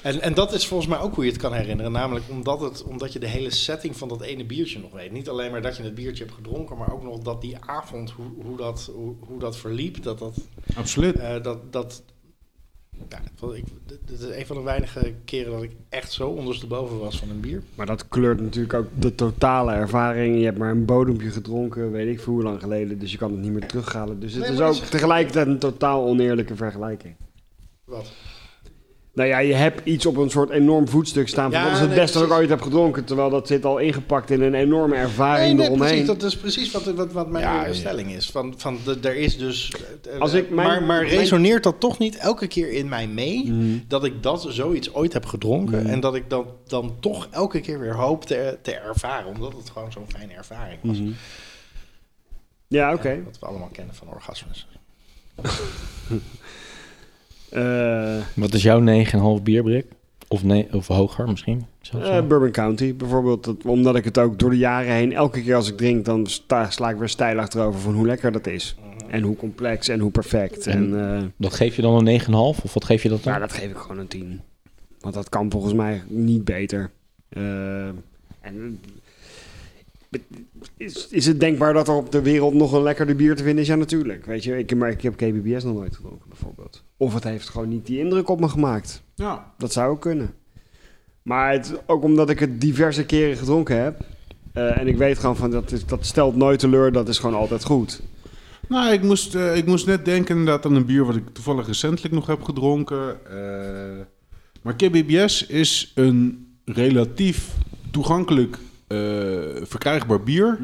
Speaker 3: En, en dat is volgens mij ook hoe je het kan herinneren. Namelijk omdat, het, omdat je de hele setting van dat ene biertje nog weet. Niet alleen maar dat je het biertje hebt gedronken, maar ook nog dat die avond, hoe, hoe, dat, hoe, hoe dat verliep. Dat dat.
Speaker 2: absoluut.
Speaker 3: eh, dat, dat ja, wel, ik, dit- dit is een van de weinige keren dat ik echt zo ondersteboven was van een bier.
Speaker 4: Maar dat kleurt natuurlijk ook de totale ervaring. Je hebt maar een bodempje gedronken, weet ik veel hoe lang geleden. Dus je kan het niet meer terughalen. Dus het
Speaker 3: Nee,
Speaker 4: is
Speaker 3: maar
Speaker 4: ook
Speaker 3: dat is-
Speaker 4: tegelijkertijd een totaal oneerlijke vergelijking.
Speaker 3: Wat?
Speaker 4: Nou ja, je hebt iets op een soort enorm voetstuk staan. Van,
Speaker 3: Ja,
Speaker 4: dat is het
Speaker 3: nee,
Speaker 4: beste wat ik
Speaker 3: precies.
Speaker 4: ooit heb gedronken. Terwijl dat zit al ingepakt in een enorme
Speaker 3: Nee,
Speaker 4: ervaring
Speaker 3: nee,
Speaker 4: eromheen.
Speaker 3: precies. Dat is precies wat, wat, wat mijn
Speaker 2: Ja,
Speaker 3: eerdere
Speaker 2: ja.
Speaker 3: stelling is. Van, van de, er is dus. eh,
Speaker 4: Als ik mijn-
Speaker 3: maar, maar
Speaker 4: mijn-
Speaker 3: resoneert dat toch niet elke keer in mij mee?
Speaker 4: Mhm.
Speaker 3: Dat ik dat zoiets ooit heb gedronken.
Speaker 4: Mhm.
Speaker 3: En dat ik dat dan toch elke keer weer hoop te, te ervaren. Omdat het gewoon zo'n fijne ervaring was.
Speaker 4: Mhm. Ja, oké.
Speaker 3: Wat we allemaal kennen van orgasmes.
Speaker 4: Eh,
Speaker 1: Wat is jouw 9,5 bier, Brik? Of, nee, of hoger misschien? zelfs
Speaker 4: eh,
Speaker 1: wel?
Speaker 4: Bourbon County bijvoorbeeld. Dat, omdat ik het ook door de jaren heen, elke keer als ik drink, dan sta, sla ik weer stijl achterover van hoe lekker dat is. En hoe complex en hoe perfect. Mhm. En, eh,
Speaker 1: dat geef je dan een 9,5? Of wat geef je dat dan?
Speaker 4: Nou, dat geef ik gewoon een 10. Want dat kan volgens mij niet beter. Eh, en, eh, is, is het denkbaar dat er op de wereld nog een lekkerder bier te vinden is? Ja, natuurlijk. Weet je, ik, maar ik heb KBBS nog nooit gedronken, bijvoorbeeld. Of het heeft gewoon niet die indruk op me gemaakt.
Speaker 2: ja.
Speaker 4: Dat zou ook kunnen. Maar het, ook omdat ik het diverse keren gedronken heb. eh, en ik weet gewoon van dat, is, dat stelt nooit teleur, dat is gewoon altijd goed.
Speaker 2: Nou, ik moest, eh, ik moest net denken inderdaad aan een bier wat ik toevallig recentelijk nog heb gedronken. Eh, maar KBBS is een relatief toegankelijk eh, verkrijgbaar bier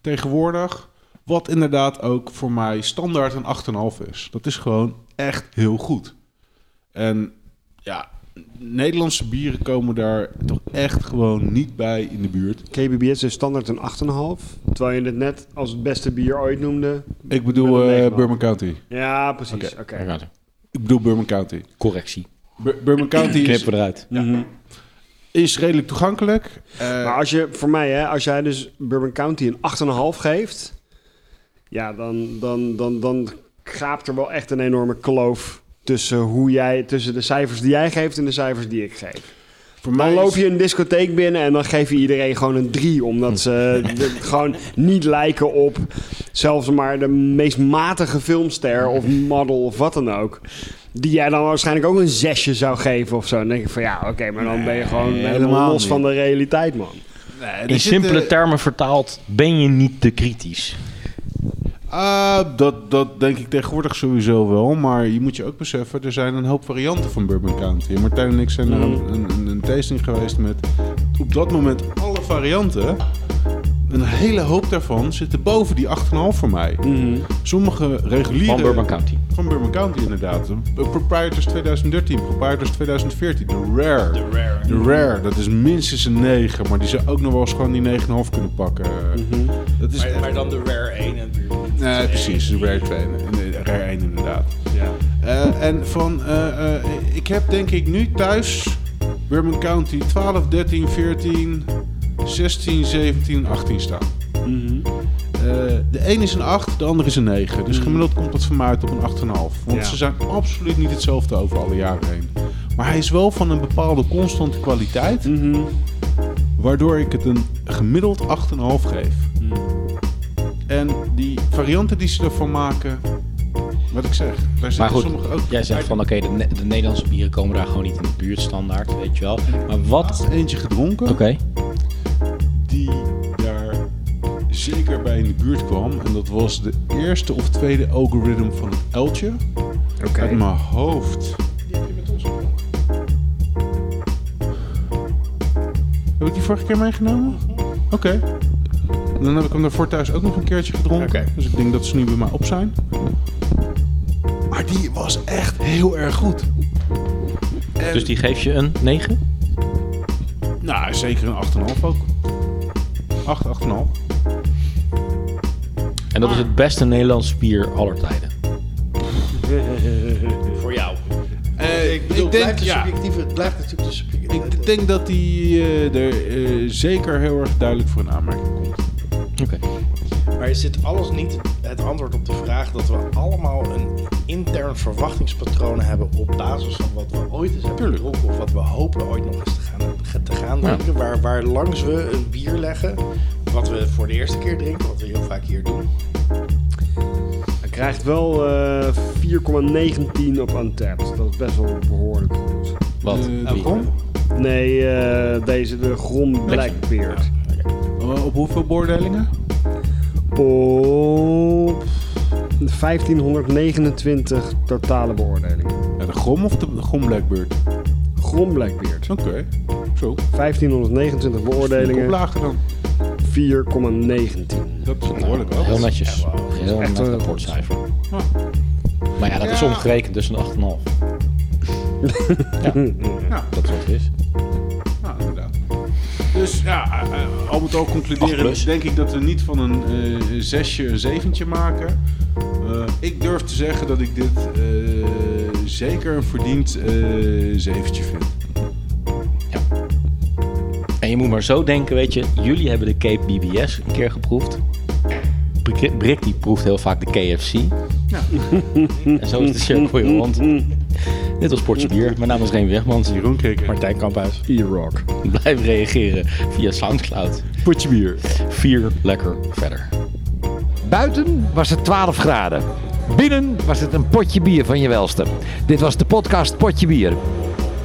Speaker 2: tegenwoordig. Wat inderdaad ook voor mij standaard een 8,5 is. Dat is gewoon echt heel goed. En ja, Nederlandse bieren komen daar toch echt gewoon niet bij in de buurt.
Speaker 4: KBBS is standaard een 8,5. Terwijl je het net als het beste bier ooit noemde.
Speaker 2: Ik
Speaker 4: Met een
Speaker 2: bedoel eh
Speaker 4: negen.
Speaker 2: Burma County.
Speaker 4: Ja, precies. Oké.
Speaker 1: Inderdaad.
Speaker 2: Ik bedoel Burma County.
Speaker 1: Correctie.
Speaker 2: Bur- Burma County is,
Speaker 1: Knippen we eruit.
Speaker 2: is redelijk toegankelijk. Eh,
Speaker 4: Maar als je, voor mij, hè, als jij dus Bourbon County een 8,5 geeft, ja, dan, dan, dan, dan graapt er wel echt een enorme kloof tussen, hoe jij, tussen de cijfers die jij geeft en de cijfers die ik geef.
Speaker 2: voor
Speaker 4: Dan
Speaker 2: mij
Speaker 4: loop
Speaker 2: is-
Speaker 4: je een discotheek binnen en dan geef je iedereen gewoon een 3, omdat ze de- gewoon niet lijken op zelfs maar de meest matige filmster of model of wat dan ook. Die jij dan waarschijnlijk ook een zesje zou geven of zo. Dan denk ik van ja, oké, maar dan ben je gewoon
Speaker 2: Nee,
Speaker 4: helemaal
Speaker 2: helemaal
Speaker 4: los
Speaker 2: niet.
Speaker 4: van de realiteit, man.
Speaker 2: Nee, er
Speaker 1: In
Speaker 2: zitten-
Speaker 1: simpele termen vertaald, ben je niet te kritisch?
Speaker 2: Ah, dat, dat denk ik tegenwoordig sowieso wel. Maar je moet je ook beseffen, er zijn een hoop varianten van Bourbon County. Martijn en ik zijn
Speaker 1: Mm.
Speaker 2: naar een, een, een tasting geweest met op dat moment alle varianten. Nou, Een hele hoop daarvan zitten boven die 8,5 voor mij. Sommige reguliere...
Speaker 1: Mm. Van Bourbon County.
Speaker 2: Van Bourbon County inderdaad. De Proprietors 2013, Proprietors 2014, de Rare. De Rare. dat is minstens een 9, maar die zou ook nog wel eens gewoon die 9,5 kunnen pakken.
Speaker 1: Mm-hmm.
Speaker 2: Dat is
Speaker 6: Maar,
Speaker 2: echt-
Speaker 6: maar dan de Rare 1 natuurlijk.
Speaker 2: Nee, Eh, precies, de Rare 2. Nee, de Rare 1 inderdaad.
Speaker 6: Ja.
Speaker 2: Eh, en van, eh, eh, ik heb denk ik nu thuis Bourbon County 12, 13, 14, 16, 17, 18 staan. Eh, de een is een 8, de ander is een 9. Dus gemiddeld komt dat van mij uit op een 8,5. Want
Speaker 4: Ja.
Speaker 2: ze zijn absoluut niet hetzelfde over alle jaren heen. Maar hij is wel van een bepaalde constante kwaliteit. Waardoor ik het een gemiddeld 8,5 geef. En die varianten die ze ervan maken, wat ik zeg, daar
Speaker 1: Maar
Speaker 2: zitten
Speaker 1: goed,
Speaker 2: sommige ook.
Speaker 1: jij zegt van oké, de, Ne- de Nederlandse bieren komen daar gewoon niet in de buurt standaard, weet je wel. Maar wat...
Speaker 2: laatst eentje gedronken
Speaker 1: Oké,
Speaker 2: die daar zeker bij in de buurt kwam. En dat was de eerste of tweede algoritme van het Eltje. Uit mijn hoofd. Die heb je met ons gedronken. Heb ik die vorige keer meegenomen?
Speaker 6: Mhm.
Speaker 2: Oké. En Dan heb ik hem daarvoor thuis ook nog een keertje gedronken.
Speaker 6: Oké.
Speaker 2: Dus ik denk dat ze nu bij mij op zijn. Maar die was echt heel erg goed. En-
Speaker 1: dus die geef je een 9?
Speaker 2: nou, zeker een 8,5 ook. 8, 8,5.
Speaker 1: En dat is het beste Nederlandse bier aller tijden.
Speaker 6: Voor jou.
Speaker 2: Eh,
Speaker 6: Ik bedoel, dus het, blijft een
Speaker 2: ja,
Speaker 6: subjectieve, het blijft natuurlijk de subjectieve.
Speaker 2: ik denk dat die eh, er eh, zeker heel erg duidelijk voor een aanmerking komt.
Speaker 1: Oké.
Speaker 6: Maar is dit alles niet het antwoord op de vraag dat we allemaal een intern verwachtingspatroon hebben op basis van wat we ooit eens hebben
Speaker 2: Tuurlijk.
Speaker 6: gedronken of wat we hopen ooit nog eens te gaan, te gaan
Speaker 1: Ja.
Speaker 6: drinken, waar, waar langs we een bier leggen, wat we voor de eerste keer drinken, wat we heel vaak hier doen.
Speaker 4: Hij krijgt wel eh 4,19 op Untapped. Dat is best wel behoorlijk goed.
Speaker 1: Wat?
Speaker 2: Eh,
Speaker 1: Wie?
Speaker 2: Bron?
Speaker 4: Nee, eh, deze de Grom Blackbeard.
Speaker 2: Eh, op hoeveel beoordelingen?
Speaker 4: Op 1529 totale beoordelingen.
Speaker 2: Ja, de Grom of de, de Grom Blackbird?
Speaker 4: Grom Blackbeard.
Speaker 2: Oké, zo.
Speaker 4: 1529
Speaker 2: Kom
Speaker 4: beoordelingen,
Speaker 2: lager dan.
Speaker 4: 4,19.
Speaker 2: Dat is behoorlijk wel.
Speaker 1: Heel netjes. Heel
Speaker 4: Echt
Speaker 1: net
Speaker 4: een-
Speaker 1: rapportcijfer. Maar ja, dat is omgerekend dus een 8,5. ja,
Speaker 2: Ja.
Speaker 1: dat is wat het is.
Speaker 2: Nou, inderdaad. Dus ja, eh, eh, al met al
Speaker 1: Acht plus.
Speaker 2: concluderen denk ik dat we niet van een eh, zesje een zeventje maken. Eh, ik durf te zeggen dat ik dit eh, zeker een verdiend eh, zeventje vind.
Speaker 1: En je moet maar zo denken, weet je, jullie hebben de Cape BBS een keer geproefd. Brik, Brik die proeft heel vaak de KFC. en zo is de cirkel, joh, want dit was Sportse Bier. Mijn naam is Reen Wegmans.
Speaker 2: Jeroen Krikker.
Speaker 6: Martijn Kamphuis.
Speaker 4: E-Rock.
Speaker 1: Blijf reageren via Soundcloud.
Speaker 2: Potje bier.
Speaker 1: Vier lekker verder.
Speaker 8: Buiten was het 12 graden. Binnen was het een potje bier van je welste. Dit was de podcast Potje Bier.